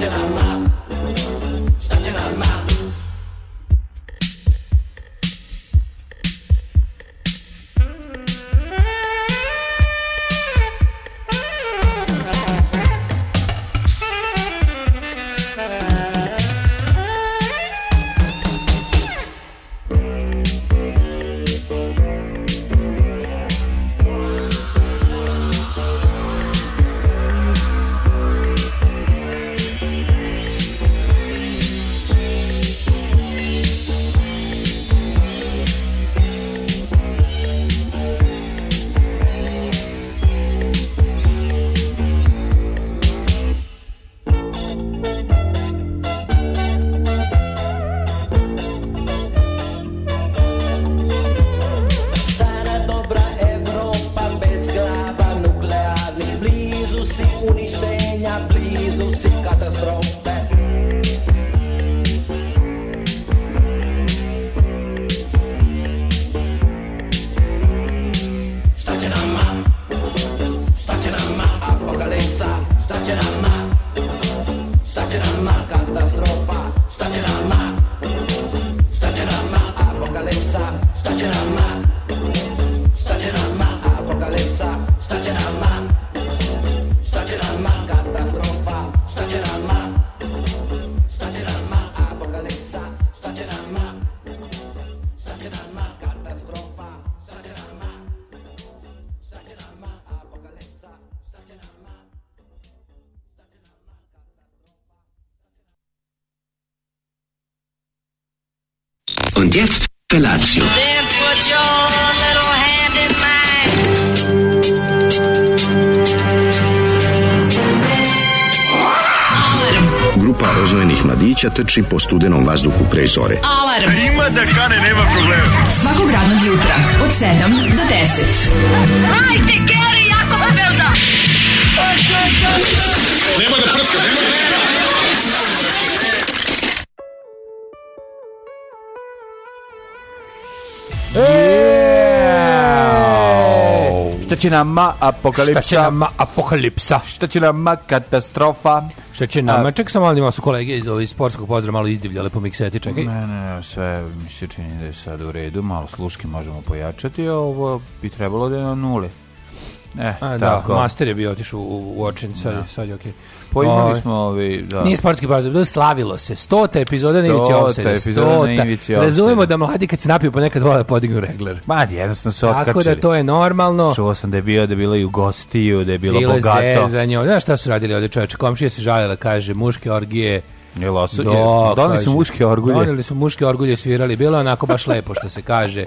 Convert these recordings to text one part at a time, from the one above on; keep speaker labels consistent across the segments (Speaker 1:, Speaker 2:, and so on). Speaker 1: će nama? Šta će nama? Stara dobra Evropa bez glava nuklearnih Blizu si uništenja, blizu si katastrofe Šta će nama? Šta će nama apokalipsa? Šta će nama? Šta će nama katastrofa? Šta će nama? Šta će nama apokalipsa? Šta će nama? Šta će nama apokalipsa? Šta će nama? Šta će nama katastrofa? Šta će nama? Šta će nama apokalipsa? Šta će nama? Šta će nama katastrofa? Šta će nama? Šta će nama apokalipsa? Šta će nama? Šta će nama katastrofa?
Speaker 2: Und jetzt Felatio.
Speaker 3: Then put your little hand in mine.
Speaker 4: Grupa roznojenih mladića trči po studenom vazduhu pre zore.
Speaker 5: Alarm
Speaker 6: Ima da kane, nema problema.
Speaker 5: svakog radnog jutra od 7 do 10.
Speaker 7: Šta će nama apokalipsa?
Speaker 8: Šta će nama apokalipsa?
Speaker 7: Šta će nama katastrofa?
Speaker 8: Šta će nama? Ček sam malo da imam su kolege iz, ovaj, iz sportskog pozdrava malo izdivljale po mikseti, čekaj.
Speaker 9: Ne, ne, ne, sve mi se čini da je sad u redu, malo sluške možemo pojačati, a ovo bi trebalo da je na nuli. E,
Speaker 8: A, da,
Speaker 9: tako.
Speaker 8: master je bio otišao u, u očin, sad, je- sad je okej. Ovaj,
Speaker 9: Poimali smo ovi, da.
Speaker 8: Nije sportski pozdrav, bilo je slavilo se. Stota epizoda na ivici
Speaker 9: Stota
Speaker 8: Offside.
Speaker 9: epizoda na ivici offside.
Speaker 8: Razumemo da mladi kad se napiju ponekad vole da podignu regler.
Speaker 9: Ma, jednostavno se otkačili.
Speaker 8: Tako da to je normalno.
Speaker 9: Čuo sam da je bio, da je bila i u gostiju, da je bilo,
Speaker 8: Bilo je
Speaker 9: bogato.
Speaker 8: zezanje. Znaš šta su radili ovdje čoveče? Komšija se žalila, kaže, muške orgije.
Speaker 9: Jel osu-
Speaker 8: Da,
Speaker 9: je- doneli su
Speaker 8: kaže.
Speaker 9: muške orgulje.
Speaker 8: Doneli su muške orgulje, svirali. Bilo je onako baš lepo što se kaže.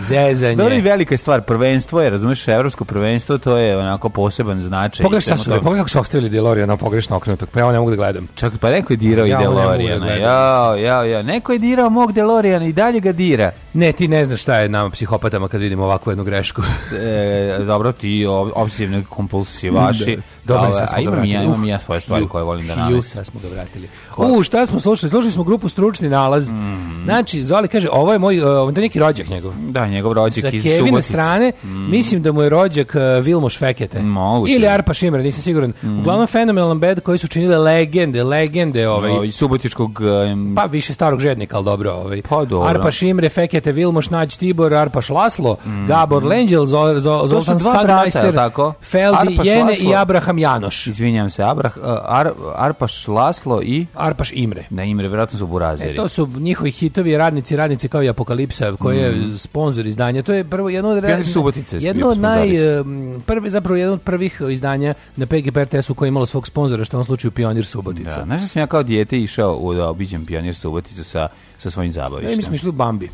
Speaker 8: Zezanje.
Speaker 9: Dobro i velika je stvar, prvenstvo je, razumiješ, evropsko prvenstvo, to je onako poseban značaj.
Speaker 8: Pogledaj
Speaker 9: Svemu
Speaker 8: šta su,
Speaker 9: tome.
Speaker 8: pogledaj kako su ostavili DeLorean na pogrešno okrenutog, pa ja ovo ne mogu da gledam.
Speaker 9: Čak pa neko je dirao
Speaker 8: Ja
Speaker 9: i
Speaker 8: ovo ne mogu da
Speaker 9: Delorijana.
Speaker 8: gledam,
Speaker 9: Jao, jao, jao. Neko je dirao mog Delorijana i dalje ga dira.
Speaker 8: Ne, ti ne znaš šta je nama psihopatama kad vidimo ovakvu jednu grešku.
Speaker 9: E, dobro, ti ob- obsesivni kompulsivaši.
Speaker 8: Da, dobro,
Speaker 9: Ali,
Speaker 8: sad smo
Speaker 9: a
Speaker 8: ga
Speaker 9: imam i
Speaker 8: vratili.
Speaker 9: ja,
Speaker 8: Uh,
Speaker 9: imam i ja svoje stvari
Speaker 8: ju,
Speaker 9: koje volim da
Speaker 8: ju,
Speaker 9: namestim.
Speaker 8: Sad smo ga vratili. U, šta smo slušali? Slušali smo grupu Stručni nalaz.
Speaker 9: Mhm.
Speaker 8: Znači, Zoli kaže, ovo je moj, e, ovo je neki rođak njegov.
Speaker 9: Da, njegov
Speaker 8: Sa
Speaker 9: rođak iz Subotice. Mhm.
Speaker 8: Kevine strane, mislim da mu je rođak uh, Vilmoš Fekete.
Speaker 9: Moguće. Mhm.
Speaker 8: Ili Arpa Šimra, nisam siguran. Uglavnom, fenomenalan bed koji su činile legende, legende ovaj,
Speaker 9: Ovaj, iz Subotičkog... em,
Speaker 8: Pa više starog žednika, ali dobro. Ovaj.
Speaker 9: Pa dobro.
Speaker 8: Arpa Šimre, Fekete Vilmoš, Nađ Tibor, Arpaš Laslo, Gabor Lenđel, Zo, Zo, Zoltan
Speaker 9: Mhm. dva brata,
Speaker 8: Sadmeister,
Speaker 9: jel tako?
Speaker 8: Feldi
Speaker 9: Arpaš
Speaker 8: Jene
Speaker 9: Laslo.
Speaker 8: i Abraham Janoš.
Speaker 9: izvinjam se, Abrah, e, Ar, Arpaš Laslo i...
Speaker 8: Arpaš Imre.
Speaker 9: Da, Imre, vjerojatno su burazeri.
Speaker 8: E, to su njihovi hitovi radnici, radnici kao i Apokalipsa, koji je sponzor izdanja. To je prvo jedno od
Speaker 9: Pijani Mhm. Subotice je
Speaker 8: jedno
Speaker 9: bio
Speaker 8: od naj
Speaker 9: sponzoris.
Speaker 8: em, prvi zapravo jedno od prvih izdanja na PGP RTS-u koje je imalo svog sponzora, što je u ovom slučaju Pionir Subotica.
Speaker 9: Da, znaš da sam ja kao dijete išao u da obiđem pionir Suboticu sa, sa svojim
Speaker 8: E, mi smo
Speaker 9: zabavištem.
Speaker 8: išli u Bambi.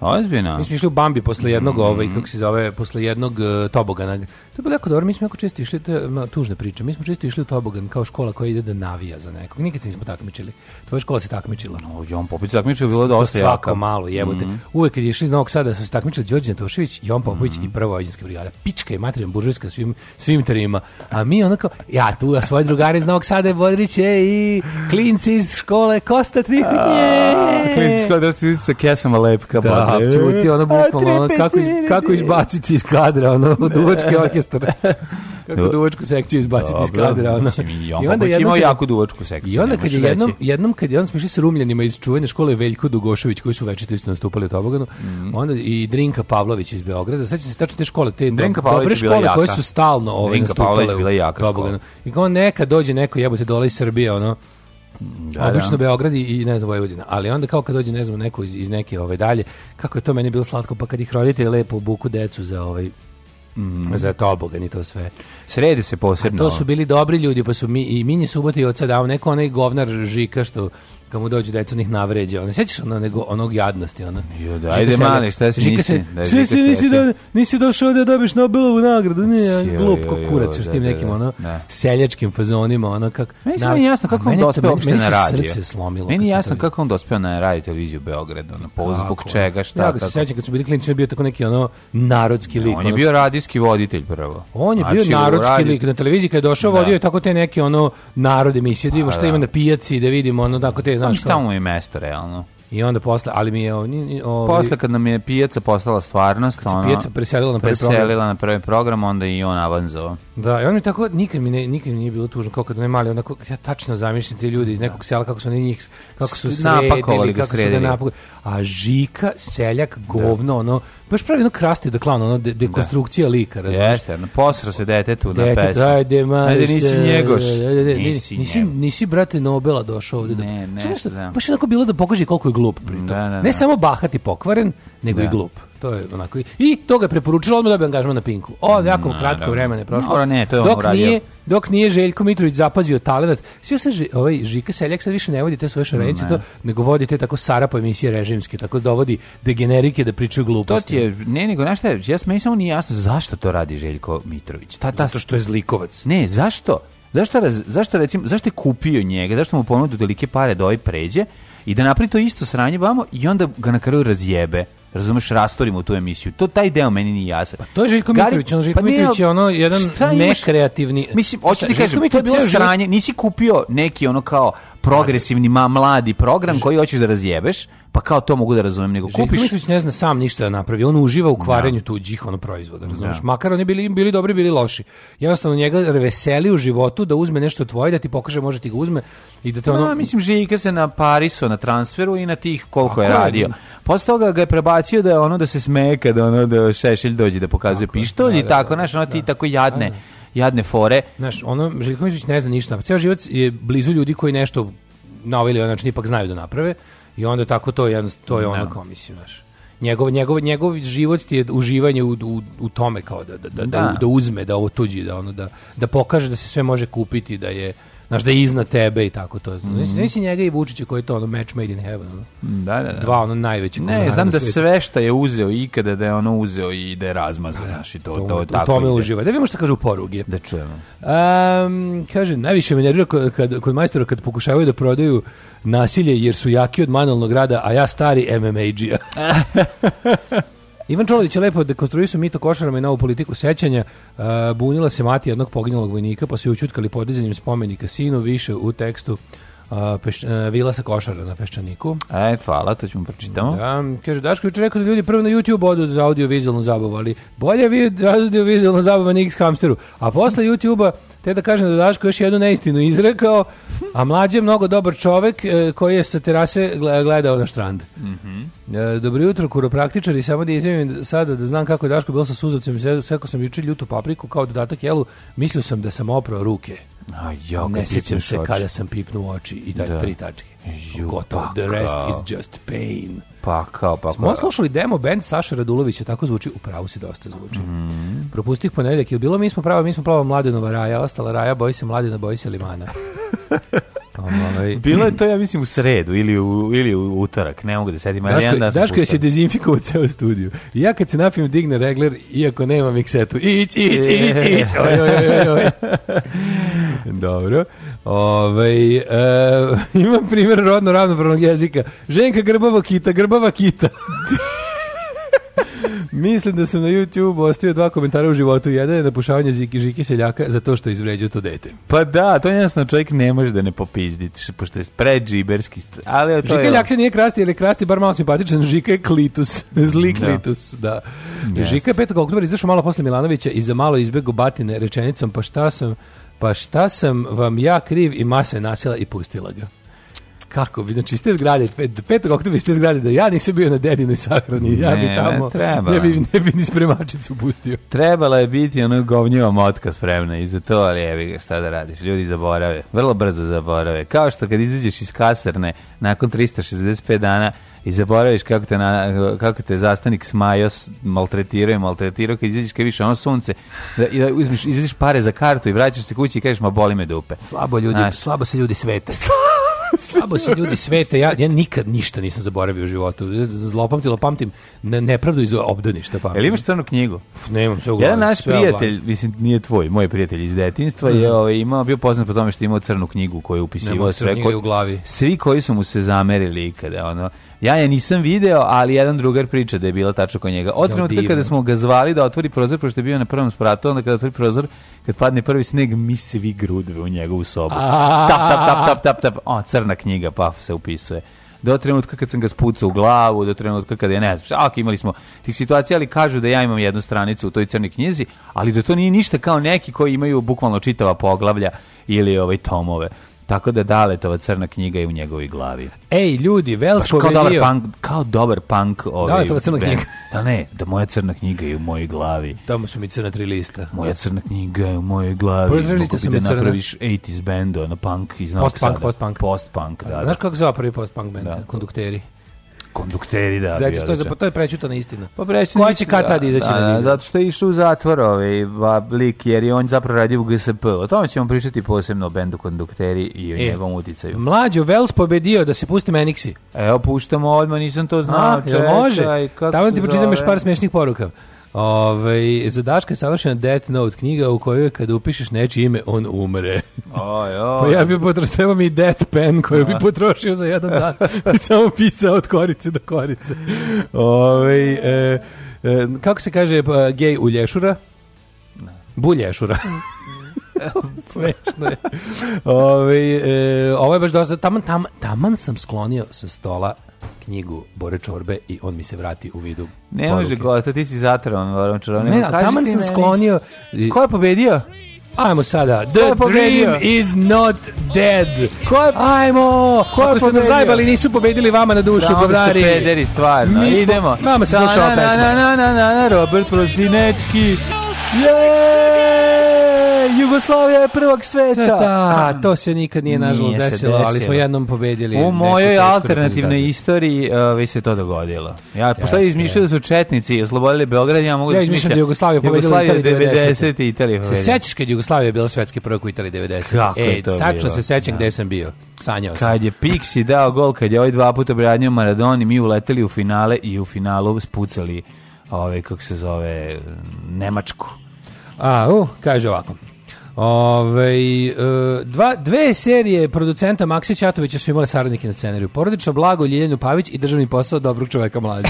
Speaker 9: Ozbiljno?
Speaker 8: Mi smo išli u Bambi posle jednog,
Speaker 9: Mhm.
Speaker 8: ovaj, kako se zove, posle jednog e, tobogana. To je bilo jako dobro, mi smo jako često išli, to je ma, tužna priča, mi smo često išli u tobogan kao škola koja ide da navija za nekog. Nikad se nismo takmičili. Tvoja škola se takmičila.
Speaker 9: O, Jon Popović takmičio je bilo
Speaker 8: To
Speaker 9: dosta
Speaker 8: svako
Speaker 9: jako. Mhm.
Speaker 8: malo jebote. Uvek kad je išli iz Novog Sada su se takmičili Đorđe Tošević, Jon Popović
Speaker 9: Mhm.
Speaker 8: i prva vojinska brigada. Pička je materina buržujska svim, svim terima. A mi onako, ja tu, a svoje drugare iz Novog Sada je Bodrić je i klinci iz škole Kosta Tripić. je.
Speaker 9: Kliničko odrasti sa kesama lepka.
Speaker 8: Da,
Speaker 9: brate.
Speaker 8: ono, čuti ono bukvalno, ono, kako, iz, kako izbaciti iz kadra, ono, duvački ono, orkestar. Kako duvačku sekciju izbaciti iz
Speaker 9: Dobro,
Speaker 8: kadra. Ono.
Speaker 9: mislim, i on Popović imao
Speaker 8: kad-
Speaker 9: jaku duvačku sekciju,
Speaker 8: I onda
Speaker 9: ne
Speaker 8: kad je
Speaker 9: možeš
Speaker 8: jednom,
Speaker 9: reći.
Speaker 8: jednom kad je on smišli sa rumljanima iz čuvene škole Veljko Dugošević koji su večito isto nastupali u Toboganu,
Speaker 9: Mhm.
Speaker 8: onda i Drinka Pavlović iz Beograda. Sećam se tačno te škole, te do-
Speaker 9: Drinka Pavlović
Speaker 8: dobre
Speaker 9: je bila
Speaker 8: škole koje
Speaker 9: jaka.
Speaker 8: su stalno ove
Speaker 9: Drinka
Speaker 8: nastupale
Speaker 9: Pavlović je bila jaka
Speaker 8: u Toboganu. I kao neka dođe neko jebote dole iz Srbije, ono,
Speaker 9: da.
Speaker 8: obično Beograd i, i ne znam Vojvodina, ali onda kao kad dođe ne znam neko iz, iz neke ove dalje, kako je to meni bilo slatko, pa kad ih roditelji lepo obuku decu za ovaj
Speaker 9: Mhm.
Speaker 8: za tobogan i to sve.
Speaker 9: Sredi se
Speaker 8: To
Speaker 9: posebno.
Speaker 8: su bili dobri ljudi, pa su mi, i Minje Subota i oca dao neko onaj govnar Žika što kad mu dođu deca onih navređe. Ono, sećaš ono, nego, onog jadnosti? Ono?
Speaker 9: Jo, da,
Speaker 8: Žika
Speaker 9: ajde,
Speaker 8: se-
Speaker 9: mali, šta si
Speaker 8: Žika
Speaker 9: nisi?
Speaker 8: se-
Speaker 9: Da,
Speaker 8: sve
Speaker 9: Žika
Speaker 8: si
Speaker 9: se
Speaker 8: nisi,
Speaker 9: seća.
Speaker 8: do- nisi došao da dobiš Nobelovu nagradu,
Speaker 9: Jo,
Speaker 8: ne,
Speaker 9: jo,
Speaker 8: glup ko
Speaker 9: jo,
Speaker 8: kurac, još
Speaker 9: da,
Speaker 8: s tim
Speaker 9: da,
Speaker 8: nekim
Speaker 9: da,
Speaker 8: ono,
Speaker 9: da.
Speaker 8: seljačkim fazonima, ono kako...
Speaker 9: Meni se nije jasno kako
Speaker 8: A
Speaker 9: on
Speaker 8: mene to-
Speaker 9: dospeo
Speaker 8: meni-
Speaker 9: uopšte
Speaker 8: meni
Speaker 9: na
Speaker 8: se
Speaker 9: radio.
Speaker 8: srce slomilo.
Speaker 9: Meni
Speaker 8: kad
Speaker 9: je
Speaker 8: sam
Speaker 9: jasno
Speaker 8: to
Speaker 9: kako on dospeo na radio televiziju Beograd, ono, po, zbog
Speaker 8: Tako je.
Speaker 9: čega, šta,
Speaker 8: ja ga se
Speaker 9: kako.
Speaker 8: sećam kad su bili klinični, bio tako neki ono narodski lik.
Speaker 9: on je
Speaker 8: ono,
Speaker 9: bio radijski voditelj prvo.
Speaker 8: On je bio
Speaker 9: Znači, u
Speaker 8: narodski
Speaker 9: radi-
Speaker 8: lik na televiziji kad je došao,
Speaker 9: Da. Pa
Speaker 8: vodio je tako te neke ono narod emisije, da vidimo šta
Speaker 9: da.
Speaker 8: ima na pijaci, da vidimo ono tako te,
Speaker 9: Znaš
Speaker 8: znaš,
Speaker 9: šta
Speaker 8: kao-
Speaker 9: mu je mesto, realno.
Speaker 8: i onda posle, ali mi je on,
Speaker 9: Posle kad nam je pijaca postala stvarnost,
Speaker 8: se
Speaker 9: ona
Speaker 8: pijaca preselila na prvi program.
Speaker 9: preselila na prvi program, onda je i on avanzovao.
Speaker 8: da, i on mi tako, nikad mi, ne, nikad mi nije bilo tužno, kao kad ne mali, onako, ja tačno zamišljam te ljudi iz nekog sela, kako su oni njih, kako su
Speaker 9: S-
Speaker 8: sredili,
Speaker 9: napakovali ga,
Speaker 8: kako su ga
Speaker 9: sredili.
Speaker 8: napakovali. A Žika, seljak, govno, ono, baš pravi ono krasti da klan, ono, de- dekonstrukcija lika, razumiješ?
Speaker 9: Jeste, ono, posrao se detetu na
Speaker 8: Dete,
Speaker 9: pesmu.
Speaker 8: ajde, mali,
Speaker 9: Ajde, nisi
Speaker 8: šta-
Speaker 9: njegoš.
Speaker 8: da, da, da, da,
Speaker 9: Nisi
Speaker 8: Nisi, nisi,
Speaker 9: njegov.
Speaker 8: brate, Nobela došao ovdje.
Speaker 9: Ne,
Speaker 8: da,
Speaker 9: ne,
Speaker 8: Znaš šta,
Speaker 9: da.
Speaker 8: Baš je onako bilo da pokaže koliko je glup pritom.
Speaker 9: Da, da, da.
Speaker 8: Ne samo bahat i pokvaren, nego i glup. To je onako. i- I to ga je preporučilo, odmah dobio angažman na Pinku. O, jako kratko
Speaker 9: Mm, naravno.
Speaker 8: vremena je prošlo.
Speaker 9: Dobro, ne, to je on
Speaker 8: dok
Speaker 9: uradio.
Speaker 8: nije, dok nije Željko Mitrović zapazio talenat. Svi se Ži- ovaj Žika Seljak sad više ne vodi te svoje šarenice,
Speaker 9: Mm,
Speaker 8: to, nego vodi te tako sarapa emisije režimske, tako dovodi degenerike da pričaju
Speaker 9: To
Speaker 8: gluposti.
Speaker 9: ti je, ne, nego, znaš šta, je, ja meni samo nije jasno zašto to radi Željko Mitrović. Ta, ta,
Speaker 8: Zato što je zlikovac.
Speaker 9: Ne, zašto? Zašto, raz- zašto, recimo, zašto je kupio njega? Zašto mu ponudio delike pare da ovaj pređe i da napravi to isto sranje vamo i onda ga na kraju razjebe? Razumeš, rastori mu tu emisiju. To taj deo meni nije jasan. Pa
Speaker 8: To je Željko Mitrović, on Željko
Speaker 9: ne,
Speaker 8: Mitrović je ono jedan
Speaker 9: šta imaš?
Speaker 8: nekreativni.
Speaker 9: Mislim, hoću ti
Speaker 8: Željko
Speaker 9: kažem, to je
Speaker 8: Mitrović
Speaker 9: bilo
Speaker 8: ceo život-
Speaker 9: sranje, nisi kupio neki ono kao progresivni ma, mladi program koji hoćeš da razjebeš, pa kao to mogu da razumem, nego
Speaker 8: Željko
Speaker 9: kupiš
Speaker 8: Mitrović ne zna sam ništa da napravi, on uživa u kvarenju tuđih ono proizvoda, razumeš? Makar oni bili bili dobri, bili loši. Jednostavno njega veseli u životu da uzme nešto tvoje, da ti pokaže može ti ga uzme i da te ono
Speaker 9: Pa, mislim, Žika se na Parisu na transferu i na tih koliko je
Speaker 8: Tako je.
Speaker 9: radio. Posle toga ga je prebacio da je ono da se smeje kada ono da Šešelj dođe da pokazuje pištolj i tako, znaš, ono ti tako jadne, jadne fore.
Speaker 8: Znaš, ono, Željko Mitrović ne zna ništa. Ceo život je blizu ljudi koji nešto na ovaj ili onaj način ipak znaju da naprave i onda tako to je, jedno- to je ono kao, mislim, znaš. Njegov, njegov, njegov život ti je uživanje u, u, u tome kao da, da, da, da. da uzme, da otuđi, da, ono, da, da pokaže da se sve može kupiti, da je znaš, da je iznad tebe i tako to.
Speaker 9: Mhm.
Speaker 8: Znaš, znaš i njega i Vučića koji je to ono match made in heaven. ono.
Speaker 9: Da, da, da.
Speaker 8: Dva ono najveće.
Speaker 9: Ne, znam da sve što je uzeo ikada da je ono uzeo i da je razmazao, znaš, i to, to,
Speaker 8: u
Speaker 9: tako
Speaker 8: tome
Speaker 9: ide.
Speaker 8: uživa. Da vidimo što kažu poruge.
Speaker 9: Da čujemo.
Speaker 8: Um, kaže, najviše me nervira kod, kad, kod majstora kad pokušavaju da prodaju nasilje jer su jaki od manualnog rada, a ja stari MMA-đija. Ivan Čolović je lepo dekonstruisao mito košarama i novu politiku sećanja. Uh, bunila se mati jednog poginulog vojnika, pa su ju učutkali podizanjem spomenika sinu, više u tekstu uh, peš- uh, Vila sa košara na Peščaniku.
Speaker 9: E, hvala, to ćemo pročitamo.
Speaker 8: Da, kaže Daško juče rekao da ljudi prvo na YouTube odu za audiovizualnu zabavu, ali bolje vi audiovizualna zabava na X hamsteru. A posle YouTube-a, te da kažem da Daško još jednu neistinu izrekao, a mlađe je mnogo dobar čovek e, koji je sa terase gle- gledao na štrand.
Speaker 9: Mhm.
Speaker 8: E, Dobro jutro, kuropraktičari, samo da izjavim sada da znam kako je Daško bilo sa suzavcem, sve- sekao sam juče ljutu papriku kao dodatak jelu, mislio sam da sam oprao ruke.
Speaker 9: A, jo, Pa kad
Speaker 8: Ne sjećam
Speaker 9: pipneš
Speaker 8: se
Speaker 9: oči.
Speaker 8: kada sam pipnuo oči i daj tri tačke. Gotovo, the rest is just pain.
Speaker 9: Pa kao, pa
Speaker 8: Smo
Speaker 9: kao.
Speaker 8: slušali demo band Saša Radulovića, tako zvuči, u pravu si dosta zvuči. Propustih ponedjeljak, ili bilo mi smo prava, mi smo plava mladenova raja, ostala raja, boji se mladena, boji se limana. Ovaj,
Speaker 9: Bilo je to, ja mislim, u sredu ili u, ili u utorak, ne mogu da sedim. ali jedan
Speaker 8: Daško,
Speaker 9: dan smo
Speaker 8: Daško je se
Speaker 9: pustili.
Speaker 8: dezinfikovao ceo studiju. I ja kad se napijem digne regler, iako nema miksetu. Ić, ić, ić, ić. Oj, oj, oj, oj. Dobro. Ovaj, e, imam primjer rodno ravnopravnog jezika. Ženka grbava kita, grbava kita. Mislim da sam na YouTube ostavio dva komentara u životu. Jedan je napušavanje Ziki Žiki seljaka za to što je izvređao to dete.
Speaker 9: Pa da, to jednostavno čovjek ne može da ne popizditi, š- pošto je predžiberski, st- ali evo, to
Speaker 8: Žika
Speaker 9: je... ono.
Speaker 8: Ljak se nije krasti, ali je krasti bar malo simpatičan. Žika je klitus. Zli
Speaker 9: Da.
Speaker 8: klitus, da.
Speaker 9: Jeste.
Speaker 8: Žika je 5. oktobra izašao malo posle Milanovića i za malo izbjegu batine rečenicom pa šta sam, pa šta sam vam ja kriv i masa je nasjela i pustila ga. Kako bi, znači iz te zgrade, 5. oktobra iz te zgrade, da ja nisam bio na dedinoj sahrani, ja
Speaker 9: Ne,
Speaker 8: bi
Speaker 9: ne
Speaker 8: tamo,
Speaker 9: treba.
Speaker 8: ne bi, ne bi ni spremačicu pustio.
Speaker 9: Trebala je biti ono govnjiva motka spremna i za to, ali evi ga, šta da radiš, ljudi zaborave, vrlo brzo zaborave. Kao što kad izađeš iz kasarne nakon 365 dana i zaboraviš kako te, na, kako te zastanik smajo s- maltretirao i maltretirao, kad izađeš kad više ono sunce, da, i da uzmiš, izvediš pare za kartu i vraćaš se kući i kažeš ma boli me dupe.
Speaker 8: Slabo ljudi,
Speaker 9: Znaš.
Speaker 8: slabo se ljudi svete. Slabo se ljudi svete. Ja, ja nikad ništa nisam zaboravio u životu. Zlopamtilo pamtim ne, nepravdu iz obdaništa pamtim.
Speaker 9: Jel imaš crnu knjigu?
Speaker 8: Pf, nemam sve u glavi.
Speaker 9: Jedan naš
Speaker 8: sve u glavi. Mhm.
Speaker 9: prijatelj, mislim, nije tvoj, moj prijatelj iz detinstva, je ovaj, imao, bio poznat po tome što je imao crnu knjigu koju je upisivao
Speaker 8: Nemam crnu
Speaker 9: sve.
Speaker 8: knjigu u glavi.
Speaker 9: Svi koji su mu se zamerili ikada, ono, ja je nisam video, ali jedan drugar priča da je bila tačno kod njega. Od
Speaker 8: Jo,
Speaker 9: trenutka
Speaker 8: divno.
Speaker 9: kada smo ga zvali da otvori prozor, pošto je bio na prvom spratu, onda kada otvori prozor, kad padne prvi sneg, mi svi grudve u njegovu sobu. Tap, tap, tap, tap, tap, tap. O, crna knjiga, pa se upisuje. Do trenutka kad sam ga spucao u glavu, do trenutka kada je, ne znam, šta, ok, imali smo tih situacija, ali kažu da ja imam jednu stranicu u toj crnoj knjizi, ali da to nije ništa kao neki koji imaju bukvalno čitava poglavlja ili ovaj tomove. Tako da Daletova crna knjiga je u njegovoj glavi.
Speaker 8: Ej, ljudi, Vels
Speaker 9: Baš Pa kao dobar
Speaker 8: pobedio.
Speaker 9: punk, kao dobar punk ovaj.
Speaker 8: Daletova crna
Speaker 9: band.
Speaker 8: knjiga.
Speaker 9: Da ne, da moja crna knjiga je u mojoj glavi.
Speaker 8: Tamo su mi crna tri lista.
Speaker 9: Moja crna knjiga je u mojoj glavi.
Speaker 8: Prvi
Speaker 9: Mogu
Speaker 8: liste
Speaker 9: bi
Speaker 8: su mi
Speaker 9: da
Speaker 8: crne.
Speaker 9: napraviš 80s band, ono punk iz Novog
Speaker 8: Post-punk,
Speaker 9: Sada.
Speaker 8: post-punk.
Speaker 9: Post-punk, da. da.
Speaker 8: Znaš kako se zove prvi post-punk band? Kondukteri.
Speaker 9: Kondukteri, da.
Speaker 8: Znači,
Speaker 9: bio
Speaker 8: to je, za,
Speaker 9: odličan.
Speaker 8: to je prećutana istina.
Speaker 9: Pa preći
Speaker 8: Koja
Speaker 9: ništa,
Speaker 8: će kad tad izaći
Speaker 9: da,
Speaker 8: na
Speaker 9: da,
Speaker 8: vidjelo?
Speaker 9: Zato što je išao u zatvor ovaj, va, lik, jer je on zapravo radio u GSP. O tome ćemo pričati posebno o bendu Kondukteri i o
Speaker 8: E.
Speaker 9: njegovom uticaju.
Speaker 8: Mlađo, Vels pobedio da se pusti Meniksi.
Speaker 9: Evo, puštamo odmah, nisam to znao.
Speaker 8: A, jel
Speaker 9: čekaj,
Speaker 8: može?
Speaker 9: kako
Speaker 8: Tamo
Speaker 9: se
Speaker 8: ti pročitam
Speaker 9: zove?
Speaker 8: još par smiješnih poruka. Ove, za Daška je savršena Death Note knjiga u kojoj kada upišeš nečije ime, on umre.
Speaker 9: Oj, oj.
Speaker 8: Pa ja bi potrošio, treba mi i Death Pen koju bi potrošio za jedan dan. Samo pisao od korice do korice. Ove, e, e, kako se kaže pa, gej u lješura? Bulješura. Smešno je. Ove, e, ovo je baš dosta. Taman, tam, taman sam sklonio sa stola knjigu Bore Čorbe i on mi se vrati u vidu
Speaker 9: Ne može
Speaker 8: poruke.
Speaker 9: gotovo, ti si zatran, varom čarovnikom.
Speaker 8: Ne, a
Speaker 9: Kaži
Speaker 8: taman
Speaker 9: ti
Speaker 8: sam
Speaker 9: meni,
Speaker 8: sklonio... i-
Speaker 9: Ko je pobedio?
Speaker 8: Ajmo sada.
Speaker 9: je
Speaker 8: The
Speaker 9: pobedio?
Speaker 8: dream is not dead.
Speaker 9: Ko je-
Speaker 8: Ajmo.
Speaker 9: Ko je
Speaker 8: Ako ste nas
Speaker 9: pobedio?
Speaker 8: zajbali, nisu pobedili vama na dušu,
Speaker 9: Da, onda
Speaker 8: govnari.
Speaker 9: ste pederi, stvarno.
Speaker 8: Mi smo-
Speaker 9: Idemo.
Speaker 8: Vama se sluša ova
Speaker 9: Na, na,
Speaker 8: pesma.
Speaker 9: na, na, na, na, na, Robert Prosinečki. Je! Jugoslavija je prvak sveta.
Speaker 8: Da, to se nikad nije nažalost
Speaker 9: Nije se
Speaker 8: desilo, ali smo
Speaker 9: desilo.
Speaker 8: jednom pobedili.
Speaker 9: U
Speaker 8: neku
Speaker 9: mojoj
Speaker 8: tešku
Speaker 9: alternativnoj
Speaker 8: reprezentaciju.
Speaker 9: istoriji ovaj, se to dogodilo. Ja, pošto
Speaker 8: Jeste.
Speaker 9: ja izmišljao da su četnici oslobodili Beograd, ja mogu
Speaker 8: Ja
Speaker 9: da
Speaker 8: izmišljam da je Jugoslavija pobedila
Speaker 9: Jugoslavija
Speaker 8: Italiju
Speaker 9: 90. i Italija
Speaker 8: Se
Speaker 9: pobedila.
Speaker 8: sećaš kad Jugoslavija je bila svetski prvak u Italiji 90?
Speaker 9: Kako je
Speaker 8: Ej,
Speaker 9: to
Speaker 8: tačno
Speaker 9: bilo?
Speaker 8: se sećam
Speaker 9: Da.
Speaker 8: gde sam bio. Sanjao sam.
Speaker 9: Kad je Pixi dao gol, kad je ovaj dva puta branio Maradoni, mi uleteli u finale i u finalu spucali ovaj, kako se zove, Nemačku.
Speaker 8: A, u, kaže ovako. Ove, dva, dve serije producenta Maksi Ćatovića su imale saradnike na scenariju. Porodično blago Ljiljanu Pavić i državni posao dobrog čoveka mlađe.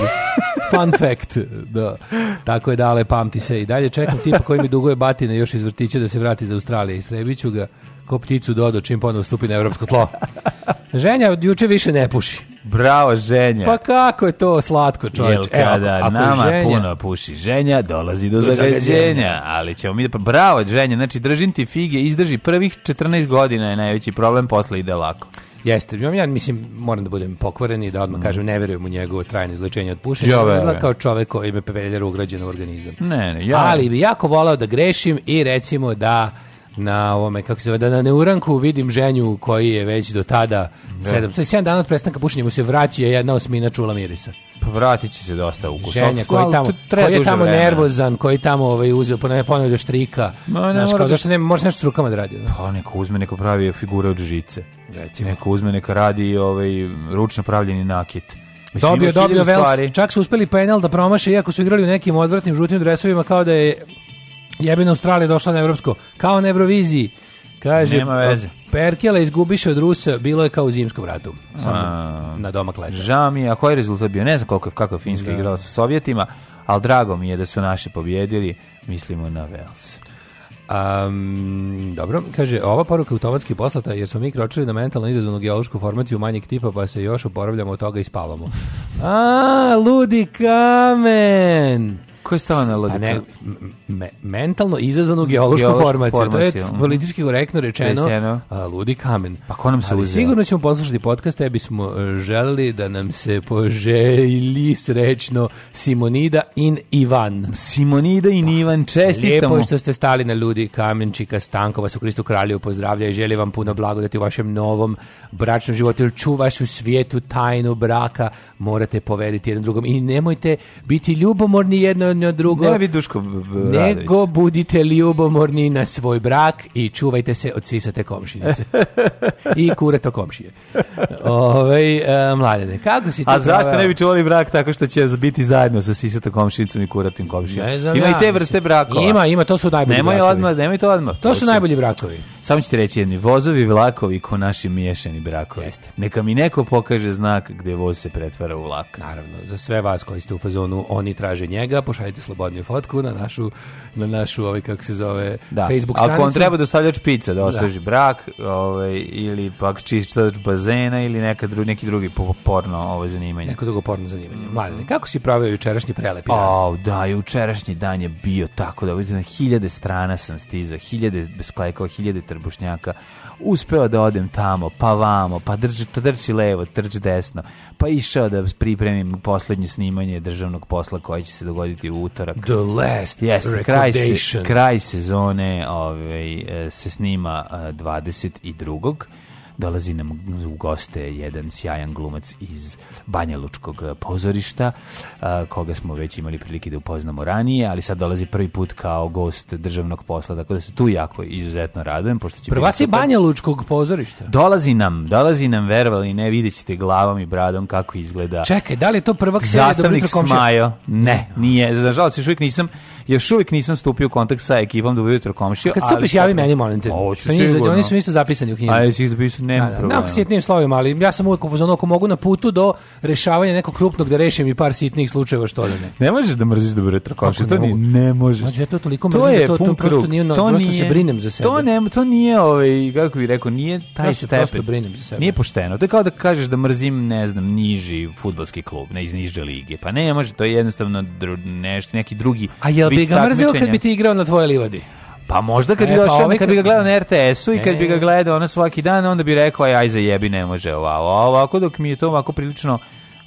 Speaker 8: Fun fact. Da. Tako je dale, pamti se. I dalje čekam tipa koji mi duguje batine još iz vrtića da se vrati iz Australije. Istrebit ću ga ko pticu dodo čim ponovo stupi na evropsko tlo. Ženja od juče više ne puši.
Speaker 9: Bravo, ženja.
Speaker 8: Pa kako je to slatko
Speaker 9: Jel
Speaker 8: čovječe. E, ako-
Speaker 9: kada
Speaker 8: ako je
Speaker 9: nama
Speaker 8: ženja-
Speaker 9: puno puši ženja, dolazi do,
Speaker 8: zagađenja.
Speaker 9: zagađenja. Ali ćemo mi da... pa Bravo, ženja. Znači, držim ti fige, izdrži prvih 14 godina je najveći problem, posle ide lako.
Speaker 8: Jeste, ja, ja mislim, moram da budem pokvaren i da odmah kažem, ne verujem u njegovo trajno izlečenje od pušenja,
Speaker 9: Mm. Ja
Speaker 8: on
Speaker 9: verujem.
Speaker 8: izgleda kao čovek koji me peveljera ugrađen u organizam.
Speaker 9: Ne, ne, ja...
Speaker 8: Ali bi jako volao da grešim i recimo da na ovome, kako se zove, da na neuranku vidim ženju koji je već do tada sedam, sad sedam dana od prestanka pušenja mu se vraća jedna osmina čula mirisa.
Speaker 9: Pa vratit će se dosta ukusa.
Speaker 8: Ženja koji
Speaker 9: Ali to
Speaker 8: tamo,
Speaker 9: treba
Speaker 8: koji je
Speaker 9: duže
Speaker 8: tamo
Speaker 9: vremena.
Speaker 8: nervozan, koji tamo ovaj, uzeo, ponavlja ponavlja do štrika.
Speaker 9: Ma, ne
Speaker 8: Znaš,
Speaker 9: mora
Speaker 8: kao,
Speaker 9: da-
Speaker 8: zašto ne, možeš nešto s rukama da radi. no?
Speaker 9: Pa neko uzme, neko pravi figure od žice.
Speaker 8: Recimo.
Speaker 9: Neko uzme, neka radi ovaj, ručno pravljeni nakit. Mislim,
Speaker 8: Dobio,
Speaker 9: ima
Speaker 8: dobio
Speaker 9: hiljadu
Speaker 8: Vels.
Speaker 9: stvari.
Speaker 8: Čak su uspeli penal da promaše, iako su igrali u nekim odvratnim žutim dresovima, kao da je jebena Australija došla na evropsko. Kao na Euroviziji. Kaže,
Speaker 9: Nema veze.
Speaker 8: Perkele izgubiše od Rusa, bilo je kao u zimskom ratu. Samo
Speaker 9: A.
Speaker 8: na domak leta.
Speaker 9: Žao mi je, a koji je rezultat bio? Ne znam koliko je, kako je Finjska igrala sa Sovjetima, ali drago mi je da su naši pobjedili, mislimo na Vels.
Speaker 8: Um, dobro, kaže, ova poruka je automatski poslata jer smo mi kročili na mentalno izazvanu geološku formaciju manjeg tipa pa se još oporavljamo od toga i spavamo. A, ludi kamen!
Speaker 9: Ko je stava na
Speaker 8: A
Speaker 9: lodika?
Speaker 8: pa ne, m- me- mentalno izazvanu geološku,
Speaker 9: Geološku
Speaker 8: formaciju. To je
Speaker 9: formaciju,
Speaker 8: t-
Speaker 9: mhm.
Speaker 8: politički korektno rečeno.
Speaker 9: Rečeno.
Speaker 8: a, ludi kamen.
Speaker 9: Pa ko nam se
Speaker 8: Ali
Speaker 9: uzeo?
Speaker 8: sigurno ćemo poslušati podcast, te bismo e, želeli da nam se poželji srećno Simonida in Ivan.
Speaker 9: Simonida i Nivan,
Speaker 8: Pa, Lijepo
Speaker 9: čestitamo.
Speaker 8: je što ste stali na ljudi kamenčika Stanko vas u Kristu Kralju pozdravlja i želi vam puno blagodati u vašem novom bračnom životu jer ču vašu svijetu tajnu braka morate poveriti jednom drugom i nemojte biti ljubomorni jedno na drugo
Speaker 9: Ne bi Duško B- B- Radović.
Speaker 8: nego budite ljubomorni na svoj brak i čuvajte se od sisate komšinice i kureto komšije Ovaj e, mladene kako si ti
Speaker 9: A zašto
Speaker 8: proveo?
Speaker 9: ne bi čuvali brak tako što će biti zajedno sa sisatom komšinicom i kuratim komšijom?
Speaker 8: Ne znam
Speaker 9: Ima
Speaker 8: ja,
Speaker 9: i te
Speaker 8: mislim.
Speaker 9: vrste brakova.
Speaker 8: Ima, ima, to su najbolji
Speaker 9: Nemoj
Speaker 8: brakovi.
Speaker 9: odmah, nemoj to odmah.
Speaker 8: to su najbolji brakovi
Speaker 9: Samo ću ti reći jedni, vozovi, vlakovi ko naši miješani brakovi.
Speaker 8: Jeste.
Speaker 9: Neka mi neko pokaže znak gde voz se pretvara u vlak.
Speaker 8: Naravno, za sve vas koji ste u fazonu oni traže njega, pošaljite slobodniju fotku na našu, na našu ovaj, kako se zove, Facebook stranicu.
Speaker 9: Ako vam treba dostavljač pica da osveži brak, ovaj, ili pak čistač bazena, ili neka dru, neki drugi po- porno ovaj, zanimanje.
Speaker 8: Neko drugo porno zanimanje. Mladine, kako si pravio jučerašnji prelepi dan?
Speaker 9: Au, da, jučerašnji dan je bio tako da vidite, na hiljade strana sam stizao, hiljade besklekova, hiljade trbušnjaka. Uspeo da odem tamo, pa vamo, pa drži, to trči levo, trči desno, pa išao da pripremim poslednje snimanje državnog posla koje će se dogoditi u utorak.
Speaker 8: The Last
Speaker 9: Jeste, kraj, se,
Speaker 8: Recordation.
Speaker 9: kraj sezone ovaj, e, se snima e, 22. Dolazi nam u goste jedan sjajan glumac iz Banja Lučkog e, pozorišta, e, koga smo već imali prilike da upoznamo ranije, ali sad dolazi prvi put kao gost državnog posla, tako da se tu jako izuzetno radujem. Pošto će biti
Speaker 8: Prvaci
Speaker 9: super.
Speaker 8: Banja Lučkog pozorišta.
Speaker 9: Dolazi nam, dolazi nam, verovali, ne, vidjet ćete glavom i bradom kako izgleda
Speaker 8: Čekaj, da li je to prvak serija Dobro
Speaker 9: Zastavnik
Speaker 8: jutro komšija?
Speaker 9: Smajo. Ne, nije. Nažalost, još uvijek nisam, još uvijek nisam stupio u kontakt sa ekipom Dobro jutro komšija.
Speaker 8: Kad stupiš, javi meni, molim te.
Speaker 9: Hoću
Speaker 8: Sa njih-
Speaker 9: sigurno.
Speaker 8: Oni su isto zapisani u knjigu.
Speaker 9: A jesi ih zapisao? Nema
Speaker 8: Da, da,
Speaker 9: problema.
Speaker 8: nemam sitnim slovima, ali ja sam uvijek u fazonu ako mogu na putu do rešavanja nekog krupnog da rešim i par sitnih slučajeva što da ne.
Speaker 9: Ne možeš da mrziš Dobro jutro komšija,
Speaker 8: Kako
Speaker 9: Pa to
Speaker 8: ne
Speaker 9: ni,
Speaker 8: mogu?
Speaker 9: ne možeš.
Speaker 8: Znači, ja to toliko mrzim da to- to
Speaker 9: pun
Speaker 8: prosto
Speaker 9: krug.
Speaker 8: nije ono-
Speaker 9: To
Speaker 8: prosto se
Speaker 9: nije-
Speaker 8: brinem za sebe.
Speaker 9: To, ne, to nije, ovaj, kako bih rekao, nije taj
Speaker 8: Ja se prosto
Speaker 9: stepen.
Speaker 8: brinem za sebe.
Speaker 9: Nije pošteno. To je kao da kažeš da mrzim, ne znam, niži fudbalski klub, ne iz niže lige. Pa ne može, to je jednostavno dru- nešto, neki drugi
Speaker 8: A jel bi
Speaker 9: vid
Speaker 8: ga mrzio kad
Speaker 9: takmičenja.
Speaker 8: bi ti igrao na tvojoj livadi?
Speaker 9: Pa možda kad bi
Speaker 8: E, pa
Speaker 9: došao,
Speaker 8: ovaj
Speaker 9: kad bi ga
Speaker 8: kad-
Speaker 9: gledao na RTS-u i kad bi
Speaker 8: E.
Speaker 9: ga gledao ono svaki dan, onda bi rekao, aj, aj, zajebi, ne može ovako. A ovako dok mi je to ovako prilično,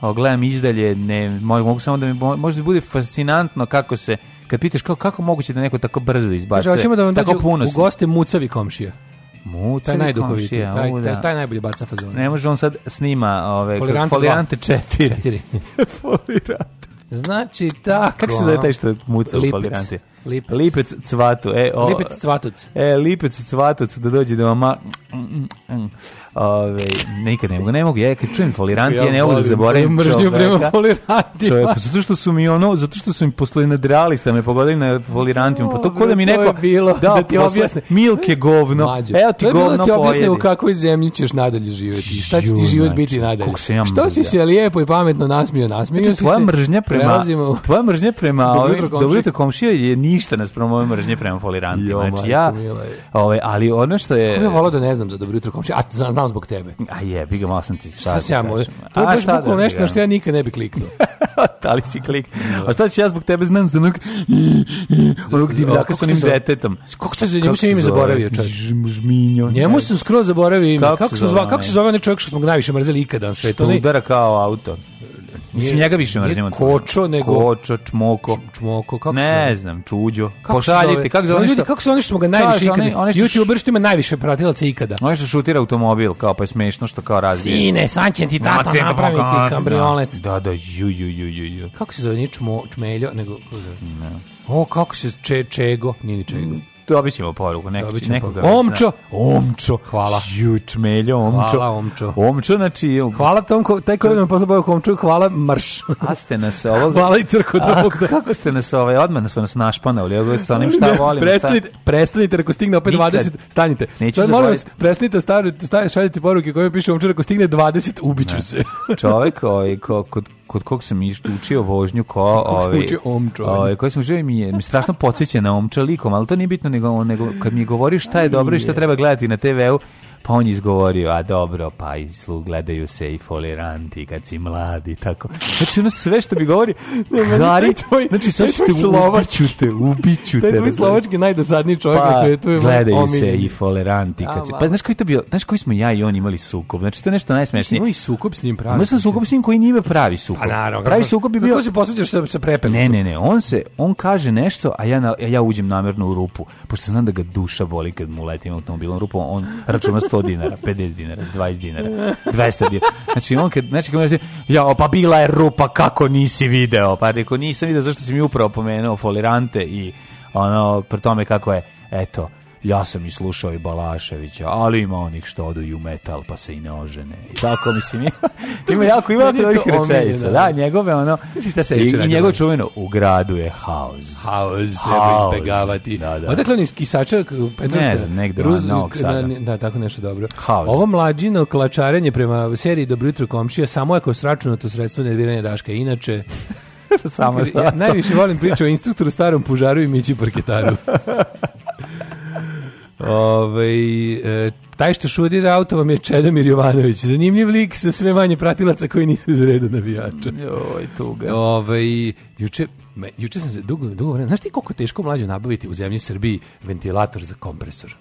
Speaker 9: o, gledam izdalje, ne, mo- mogu samo da mi, mo- možda bude fascinantno kako se, kad pitaš kao, kako moguće da neko tako brzo
Speaker 8: Kaže,
Speaker 9: izbacuje,
Speaker 8: Znači, hoćemo da vam dođe
Speaker 9: Pa tako puno.
Speaker 8: u goste mucavi komšija. Taj najduhovitiji,
Speaker 9: komšija,
Speaker 8: taj,
Speaker 9: u,
Speaker 8: taj,
Speaker 9: da.
Speaker 8: taj najbolji baca fazon.
Speaker 9: Ne može on sad snima ove,
Speaker 8: Folirante dva.
Speaker 9: folirante 4.
Speaker 8: Četiri.
Speaker 9: folirante.
Speaker 8: Znači, tako.
Speaker 9: Kako se zove taj što muca u
Speaker 8: Lipec.
Speaker 9: folirante?
Speaker 8: Lipec.
Speaker 9: Lipec cvatu. E, o,
Speaker 8: Lipec Cvatuc.
Speaker 9: E, lipec cvatuc da dođe da mama... Ove, nikad ne mogu, ne mogu, ja kad čujem folirant, ja, ne mogu da zaboravim
Speaker 8: mržnju prema
Speaker 9: čoveka.
Speaker 8: folirantima.
Speaker 9: Čovjeku, zato što su mi ono, zato što su mi posle nadrealista me pogodili na folirantima, pa to ko da mi
Speaker 8: Dobro,
Speaker 9: neko
Speaker 8: to je bilo,
Speaker 9: dao
Speaker 8: da ti
Speaker 9: posle,
Speaker 8: objasne.
Speaker 9: Milke govno,
Speaker 8: Mlađe,
Speaker 9: Ono, evo ti
Speaker 8: to je bilo da
Speaker 9: govno
Speaker 8: ti objasne u
Speaker 9: pojedi.
Speaker 8: kakvoj zemlji ćeš nadalje živjeti. Šta će ti
Speaker 9: Ju,
Speaker 8: život
Speaker 9: znači,
Speaker 8: biti nadalje?
Speaker 9: kako se ja
Speaker 8: Što si
Speaker 9: mrzio.
Speaker 8: se lijepo i pametno nasmio, nasmio
Speaker 9: Znači,
Speaker 8: si
Speaker 9: tvoja
Speaker 8: se.
Speaker 9: mržnja prema
Speaker 8: Prelazimo u-
Speaker 9: tvoja mržnja prema
Speaker 8: Dobro
Speaker 9: ovim
Speaker 8: jutro, komšija.
Speaker 9: dobro jutro komšija je ništa naspram moje mržnje prema folirantima.
Speaker 8: Jo,
Speaker 9: Znači ja
Speaker 8: majko mila.
Speaker 9: ovaj ali ono što je
Speaker 8: Ja bih volao da ne znam za dobro jutro komšija, a znam znam zbog tebe.
Speaker 9: A je, bi ga malo sam ti
Speaker 8: Šta
Speaker 9: sad.
Speaker 8: se ja mo-
Speaker 9: kažem.
Speaker 8: To je
Speaker 9: A,
Speaker 8: baš
Speaker 9: šta da
Speaker 8: bukvalno
Speaker 9: ti
Speaker 8: nešto na što ja
Speaker 9: kažem?
Speaker 8: nikad ne bi kliknuo.
Speaker 9: da li si klik? A šta ću ja zbog tebe znam za onog onog divljaka
Speaker 8: kako
Speaker 9: sa onim
Speaker 8: se zove?
Speaker 9: detetom.
Speaker 8: Kako se njemu
Speaker 9: Kako
Speaker 8: se ime
Speaker 9: zove?
Speaker 8: zaboravio, čovječe?
Speaker 9: Ž- Žminjo.
Speaker 8: Njemu sam skroz zaboravio ime.
Speaker 9: Kako
Speaker 8: Kako,
Speaker 9: se
Speaker 8: se
Speaker 9: zove
Speaker 8: zva,
Speaker 9: onaj?
Speaker 8: kako se zove onaj čovjek što smo ga najviše mrzeli ikada na
Speaker 9: Što
Speaker 8: svetu? Onaj-
Speaker 9: udara kao auto. Mislim,
Speaker 8: Nije-
Speaker 9: njega više
Speaker 8: nije
Speaker 9: mrzimo.
Speaker 8: Kočo, nego-
Speaker 9: Kočo, čmoko.
Speaker 8: Čmoko, kako se zove?
Speaker 9: Ne znam, čuđo.
Speaker 8: Kako se
Speaker 9: Pošaljite,
Speaker 8: zove?
Speaker 9: kako zove?
Speaker 8: Oni
Speaker 9: ono
Speaker 8: Ljudi,
Speaker 9: što-
Speaker 8: kako su oni što smo ga najviše
Speaker 9: Kaže,
Speaker 8: ikada?
Speaker 9: oni- oni što-
Speaker 8: YouTuber što ima najviše pratilaca ikada.
Speaker 9: Ono što šutira automobil, kao pa je smešno što kao razvije.
Speaker 8: Sine, sad će ti
Speaker 9: Ma,
Speaker 8: tata
Speaker 9: te to pokazna.
Speaker 8: napraviti kabriolet.
Speaker 9: Da, da, ju, ju, ju, ju, ju.
Speaker 8: Kako se zove? Nije čmo, čmeljo, nego... kako se zove? O, kako se... Če, čego? Nije ni čego.
Speaker 9: Dobit ćemo poruku, neko,
Speaker 8: Dobit
Speaker 9: Dobit
Speaker 8: ćemo
Speaker 9: Mm, znači nekoga.
Speaker 8: poruku. Omčo!
Speaker 9: Omčo!
Speaker 8: Hvala.
Speaker 9: Ju, čmeljo, omčo.
Speaker 8: Hvala, omčo.
Speaker 9: Omčo, znači,
Speaker 8: Hvala tom, ko, taj koji nam posla bavio komču, hvala mrš.
Speaker 9: a ste nas ovog...
Speaker 8: Hvala i crko
Speaker 9: A,
Speaker 8: drugog.
Speaker 9: kako ste nas ovaj, odmah su nas našpanali, ovo sa onim šta volim.
Speaker 8: prestanite, prestanite, ako stigne opet
Speaker 9: Nikad.
Speaker 8: 20, stanite.
Speaker 9: Neću
Speaker 8: To je, molim vas,
Speaker 9: zaboraviti.
Speaker 8: prestanite, stavite, stavite, šaljite poruke koje piše omčer, ako stigne 20, ubiću se.
Speaker 9: Čovek ovaj, ko, kod, kod kog sam iš- učio vožnju ko
Speaker 8: Kog sam
Speaker 9: ovaj
Speaker 8: učio omča.
Speaker 9: ovaj, koji sam učio mi je mi strašno podsjeća na omča likom, ali to nije bitno nego, nego kad mi govori šta je dobro i šta treba gledati na TV-u, pa on je izgovorio, a dobro, pa izlu gledaju se i foliranti kad si mladi, tako. Znači, ono sve što mi govori, gari, znači, sad ću te ubiću te, ubiću te.
Speaker 8: Taj tvoj
Speaker 9: razumeš?
Speaker 8: slovački najdosadniji čovjek na svetu je moj
Speaker 9: gledaju Pa, se
Speaker 8: omiljeni.
Speaker 9: i foleranti
Speaker 8: A,
Speaker 9: kad se,
Speaker 8: ma.
Speaker 9: pa znaš koji to bio znaš koji smo ja i on imali sukob znači to je nešto najsmešnije
Speaker 8: Imao i sukob s njim pravi.
Speaker 9: Imao sam sukob s njim koji nije bio pravi sukob.
Speaker 8: Pa naravno.
Speaker 9: pravi
Speaker 8: kako-
Speaker 9: sukob bi bio...
Speaker 8: Kako se posvećaš sa, sa prepelicom?
Speaker 9: Ne, ne, ne, on se, on kaže nešto, a ja, na, a ja uđem namjerno u rupu, pošto znam da ga duša boli kad mu letim automobilom rupu, on računa 100 dinara, 50 dinara, 20 dinara, 200 dinara. Znači, on kad, znači, kad ja, pa bila je rupa, kako nisi video? Pa rekao, nisam video, zašto si mi upravo pomenuo folirante i ono, pri tome kako je, eto, ja sam i slušao i Balaševića, ali ima onih što odu i u metal pa se i ne ožene. I tako mislim, ima jako, ima
Speaker 8: Meni je to
Speaker 9: dobrih rečenica.
Speaker 8: omiljeno.
Speaker 9: Da, njegove ono,
Speaker 8: Mislim, šta se
Speaker 9: i,
Speaker 8: juče
Speaker 9: i
Speaker 8: radilo?
Speaker 9: njegovo čuveno, u gradu je haos.
Speaker 8: Haos treba
Speaker 9: Haos.
Speaker 8: izbegavati.
Speaker 9: Da, da.
Speaker 8: Odakle on iz Kisača, k- Petrovca?
Speaker 9: Ne znam, negde
Speaker 8: Ruz-
Speaker 9: van Novog Sada.
Speaker 8: na- Da, tako nešto dobro.
Speaker 9: Haos.
Speaker 8: Ovo mlađino klačarenje prema seriji Dobro jutro komšija samo je kao sračunato sredstvo nerviranja Daška. Inače,
Speaker 9: Samo je
Speaker 8: ja
Speaker 9: to.
Speaker 8: najviše volim priču o instruktoru starom pužaru i Mići parketaru. Ovaj, e, taj što šudira auto vam je Čedomir Jovanović. Zanimljiv lik sa sve manje pratilaca koji nisu iz reda navijača.
Speaker 9: Joj, tuga.
Speaker 8: Ovaj juče me, juče sam se dugo dugo vremena. Znaš ti koliko je teško mlađe nabaviti u zemlji Srbiji ventilator za kompresor?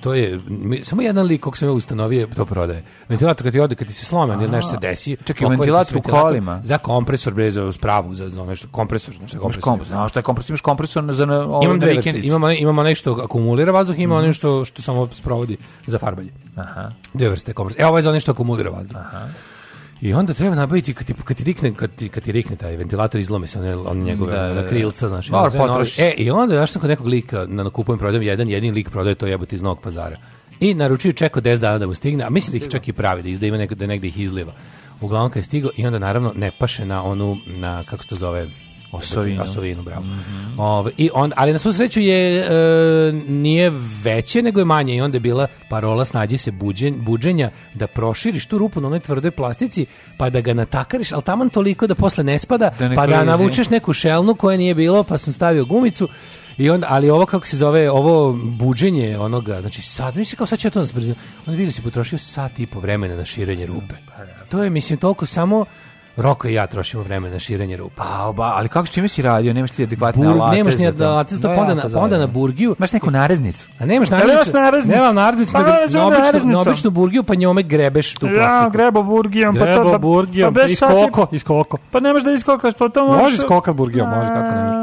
Speaker 8: To je mi- samo jedan lik kog sam ja ustanovio to prodaje. Ventilator kad ti ode, kad ti se slome, ne nešto se desi.
Speaker 9: Čekaj,
Speaker 8: pokvari ti se
Speaker 9: ventilator u kolima?
Speaker 8: Za kompresor bre za spravu za za nešto kompresor, znači
Speaker 9: Imaš
Speaker 8: kompresor.
Speaker 9: kompresor, znaš šta je kompresor, imaš kompresor na, za na, ovaj,
Speaker 8: Imam
Speaker 9: na
Speaker 8: dve
Speaker 9: vikendice.
Speaker 8: vrste. Imamo, imamo nešto akumulira vazduh, ima ono što, što samo sprovodi za farbanje.
Speaker 9: Mhm. Aha.
Speaker 8: Dve vrste kompresora. E, ovo je za nešto akumulira vazduh. I onda treba nabaviti kad ti, kad ti rikne kad ti, kad ti rikne taj ventilator izlomi se one on njegove
Speaker 9: Da, da, da.
Speaker 8: da, krilca znači
Speaker 9: Dobro,
Speaker 8: ono sve novi.
Speaker 9: potrošiš.
Speaker 8: e i onda znaš sam kod nekog lika na na kupujem prodajem jedan jedini lik prodaje to jebote iz Novog Pazara i naručio čekao 10 dana da mu stigne a mislim da ih čak i pravi da izda ima neko da negde ih izliva uglavnom kad je stigao i onda naravno ne paše na onu na kako se to zove
Speaker 9: Osovinu.
Speaker 8: Osovinu, bravo. Ove, i on, ali na svu sreću je e, nije veće nego je manje i onda je bila parola snađi se buđen, buđenja da proširiš tu rupu na onoj tvrdoj plastici pa da ga natakariš, ali taman toliko da posle ne spada,
Speaker 9: Da ne
Speaker 8: pa da
Speaker 9: klizi.
Speaker 8: navučeš neku šelnu koja nije bilo pa sam stavio gumicu i onda, ali ovo kako se zove, ovo buđenje onoga, znači sad, misli kao sad će ja to nas brzo, onda vidi da si potrošio sat i po vremena na širenje rupe.
Speaker 9: Pa
Speaker 8: To je, mislim, toliko samo Roko i ja trošimo vremena na širenje rupa.
Speaker 9: A, ba, ali kako s čime si radio? Nemaš ti adekvatne
Speaker 8: Burg-
Speaker 9: alate
Speaker 8: nemaš ni
Speaker 9: za to.
Speaker 8: alate za to,
Speaker 9: Da,
Speaker 8: pa onda
Speaker 9: ja
Speaker 8: na-
Speaker 9: to
Speaker 8: pa
Speaker 9: znam.
Speaker 8: onda na burgiju.
Speaker 9: Imaš neku nareznicu.
Speaker 8: A nemaš
Speaker 9: Da,
Speaker 8: narnicu?
Speaker 9: nemaš nareznicu.
Speaker 8: Nemam narnicu,
Speaker 9: Pa
Speaker 8: nego
Speaker 9: nemaš
Speaker 8: na običnu,
Speaker 9: nareznicom.
Speaker 8: na običnu burgiju, pa njome grebeš tu
Speaker 9: Ja,
Speaker 8: plastiku.
Speaker 9: grebo burgijom, pa to
Speaker 8: Grebo
Speaker 9: da...
Speaker 8: burgijom,
Speaker 9: bez sati-
Speaker 8: iskoko, iskoko.
Speaker 9: Pa nemaš da iskokaš, pa to
Speaker 8: Može skokat burgijom, može, kako ne može.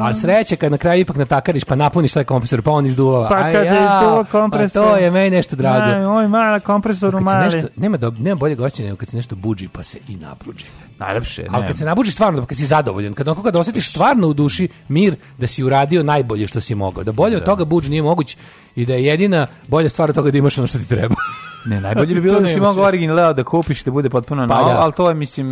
Speaker 8: Ali sreće kad na kraju ipak natakariš, pa napuniš taj kompresor, pa on izduvava.
Speaker 9: Pa
Speaker 8: Aj,
Speaker 9: kad je
Speaker 8: jao,
Speaker 9: izduvao
Speaker 8: pa
Speaker 9: kompresor.
Speaker 8: to je meni nešto drago.
Speaker 9: Oj, mala kompresoru,
Speaker 8: Kad se nešto, nema, dob, nema bolje gošće nego kad se nešto buđi pa se i nabruđi.
Speaker 9: Najlepše, ne.
Speaker 8: Ali kad se nabuđi stvarno, kad si zadovoljan, kad onako kad osjetiš stvarno u duši mir da si uradio najbolje što si mogao, da bolje od toga buđ nije moguć i da je jedina bolja stvar od toga da imaš ono što ti treba.
Speaker 9: Ne, najbolje bi bilo
Speaker 8: To
Speaker 9: da si
Speaker 8: nema
Speaker 9: mogao
Speaker 8: šanse.
Speaker 9: original Leo da kupiš i da bude potpuno
Speaker 8: Pa
Speaker 9: novo,
Speaker 8: da.
Speaker 9: ali to je, mislim,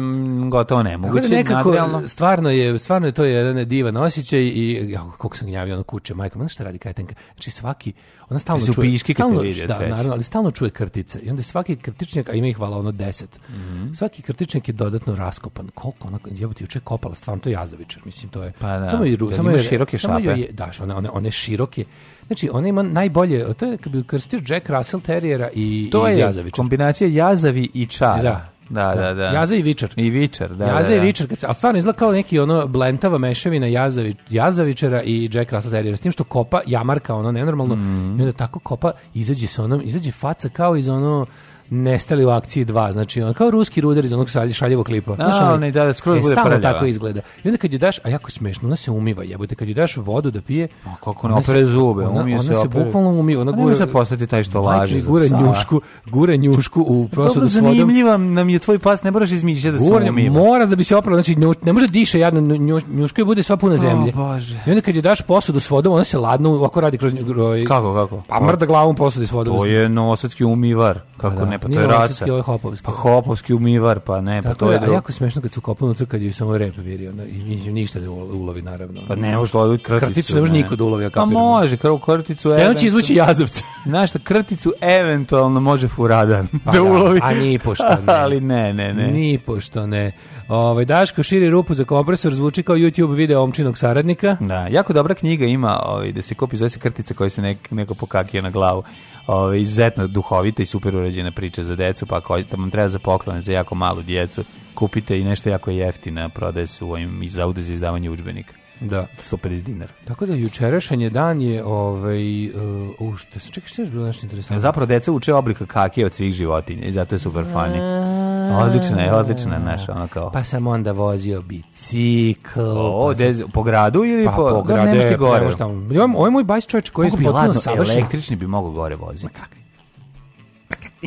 Speaker 9: gotovo
Speaker 8: Tako da
Speaker 9: nemoguće.
Speaker 8: nekako,
Speaker 9: nadrealno.
Speaker 8: stvarno je, stvarno je to jedan divan osjećaj i ja, koliko sam gnjavio ono kuće, majka, znaš šta radi kretenka? Znači svaki, ona stalno
Speaker 9: Mislim, u
Speaker 8: čuje,
Speaker 9: piški kad te
Speaker 8: stalno,
Speaker 9: vidi od
Speaker 8: da,
Speaker 9: sreće.
Speaker 8: naravno, ali stalno čuje krtice i onda svaki krtičnjak, a ima ih hvala ono deset,
Speaker 9: Mhm.
Speaker 8: svaki krtičnjak je dodatno raskopan. Koliko ona, jebote, juče je kopala, stvarno to je jazavičar, mislim, to je.
Speaker 9: Pa da,
Speaker 8: Samo, je, ru-
Speaker 9: kad
Speaker 8: samo
Speaker 9: ima
Speaker 8: je-
Speaker 9: široke
Speaker 8: samo joj
Speaker 9: šape.
Speaker 8: je- daš, one, one, one široke, znači ona ima najbolje, to je kad bi ukrstio Jack Russell Terjera i,
Speaker 9: To
Speaker 8: i
Speaker 9: je
Speaker 8: jazavičar.
Speaker 9: kombinacija jazavi i čara.
Speaker 8: Da.
Speaker 9: Da, da, da.
Speaker 8: Jaza i vičar.
Speaker 9: I vičar, da.
Speaker 8: Jaza
Speaker 9: da,
Speaker 8: i
Speaker 9: da.
Speaker 8: Vičar, kad se, ali stvarno izgleda kao neki ono blentava mešavina Jazavi, Jazavičara i Jack Russell Terriera, s tim što kopa jamarka ono nenormalno
Speaker 9: Mhm.
Speaker 8: i onda tako kopa, izađe sa onom, izađe faca kao iz ono nestali u akciji 2, znači on kao ruski ruder iz onog šalj- šaljivog klipa. Znaš, ono-
Speaker 9: onaj, da, da, skroz
Speaker 8: E,
Speaker 9: bude
Speaker 8: stalno
Speaker 9: prljava.
Speaker 8: tako izgleda. I onda kad je daš, a jako je smešno, ona se umiva, jebote, kad je daš vodu da pije,
Speaker 9: Ma, kako ne
Speaker 8: ona se-
Speaker 9: opere zube,
Speaker 8: ona,
Speaker 9: umije
Speaker 8: ona
Speaker 9: se,
Speaker 8: se
Speaker 9: opere.
Speaker 8: bukvalno umiva, ona
Speaker 9: A ne
Speaker 8: gura,
Speaker 9: može sad postati taj što
Speaker 8: Majke
Speaker 9: laže
Speaker 8: mi,
Speaker 9: za
Speaker 8: gura
Speaker 9: psa.
Speaker 8: njušku, gura njušku u
Speaker 9: Dobro,
Speaker 8: prosudu s vodom.
Speaker 9: zanimljiva nam je tvoj pas, ne moraš izmišljati da se
Speaker 8: Gurne,
Speaker 9: umiva.
Speaker 8: mora da bi se oprala, znači nju- ne može diše jadno, nju, njuška je bude sva puna zemlje.
Speaker 9: Bože.
Speaker 8: I onda kad je daš posudu s vodom, ona se ladno ovako radi kroz nju. ovaj-
Speaker 9: Kako, kako?
Speaker 8: Pa mrda glavom posudi s vodom.
Speaker 9: To je novosadski umivar, kako
Speaker 8: Da,
Speaker 9: ne, pa to
Speaker 8: Nije
Speaker 9: je rasa.
Speaker 8: Novosadski, ovo je hopovski.
Speaker 9: Pa hopovski umivar, pa ne, pa
Speaker 8: Tako
Speaker 9: to je
Speaker 8: je, a
Speaker 9: drugo.
Speaker 8: jako smešno kad su kopali unutra kad ju samo rep viri, onda, i ni- ništa da ulo- ulovi, naravno.
Speaker 9: Pa ne može loviti krticu.
Speaker 8: Krticu ne može niko da ulovi, ja
Speaker 9: Pa
Speaker 8: kapiram.
Speaker 9: može, krvu krticu.
Speaker 8: E, on će
Speaker 9: eventualno-
Speaker 8: izvući jazovca.
Speaker 9: Znaš šta, krticu eventualno može furadan
Speaker 8: Pa
Speaker 9: da
Speaker 8: da,
Speaker 9: ulovi.
Speaker 8: a ni pošto ne.
Speaker 9: Ali ne, ne, ne.
Speaker 8: Ni pošto ne. Ovaj Daško širi rupu za kompresor zvuči kao YouTube video omčinog saradnika.
Speaker 9: Da, jako dobra knjiga ima, ovaj, da se kopi zove se krtica koja se nek, neko pokakio na glavu. Ovaj, izuzetno duhovita i super urađena priča za decu, pa ako vam treba za poklon za jako malu djecu, kupite i nešto jako jeftina, prodaje se u ovim iz zavoda za izdavanje udžbenika.
Speaker 8: Da.
Speaker 9: 150 dinara.
Speaker 8: Tako da jučerašnji dan je ovaj uh, u što se čekaj što je bilo nešto interesantno.
Speaker 9: Zapravo deca uče oblika kakije od svih životinja i zato je super fani. Odlična je, odlična je naša, ono kao...
Speaker 8: Pa sam onda vozio bicikl.
Speaker 9: o,
Speaker 8: pa sam-
Speaker 9: dez- po gradu ili
Speaker 8: pa
Speaker 9: po...
Speaker 8: po
Speaker 9: Da, nemaš ti
Speaker 8: grade,
Speaker 9: gore.
Speaker 8: nemaš tamo. Ja, ovo je moj bajs čovječ koji je
Speaker 9: Mogu bi
Speaker 8: potpuno
Speaker 9: ladno,
Speaker 8: savršen.
Speaker 9: električni bi mogao gore voziti. e,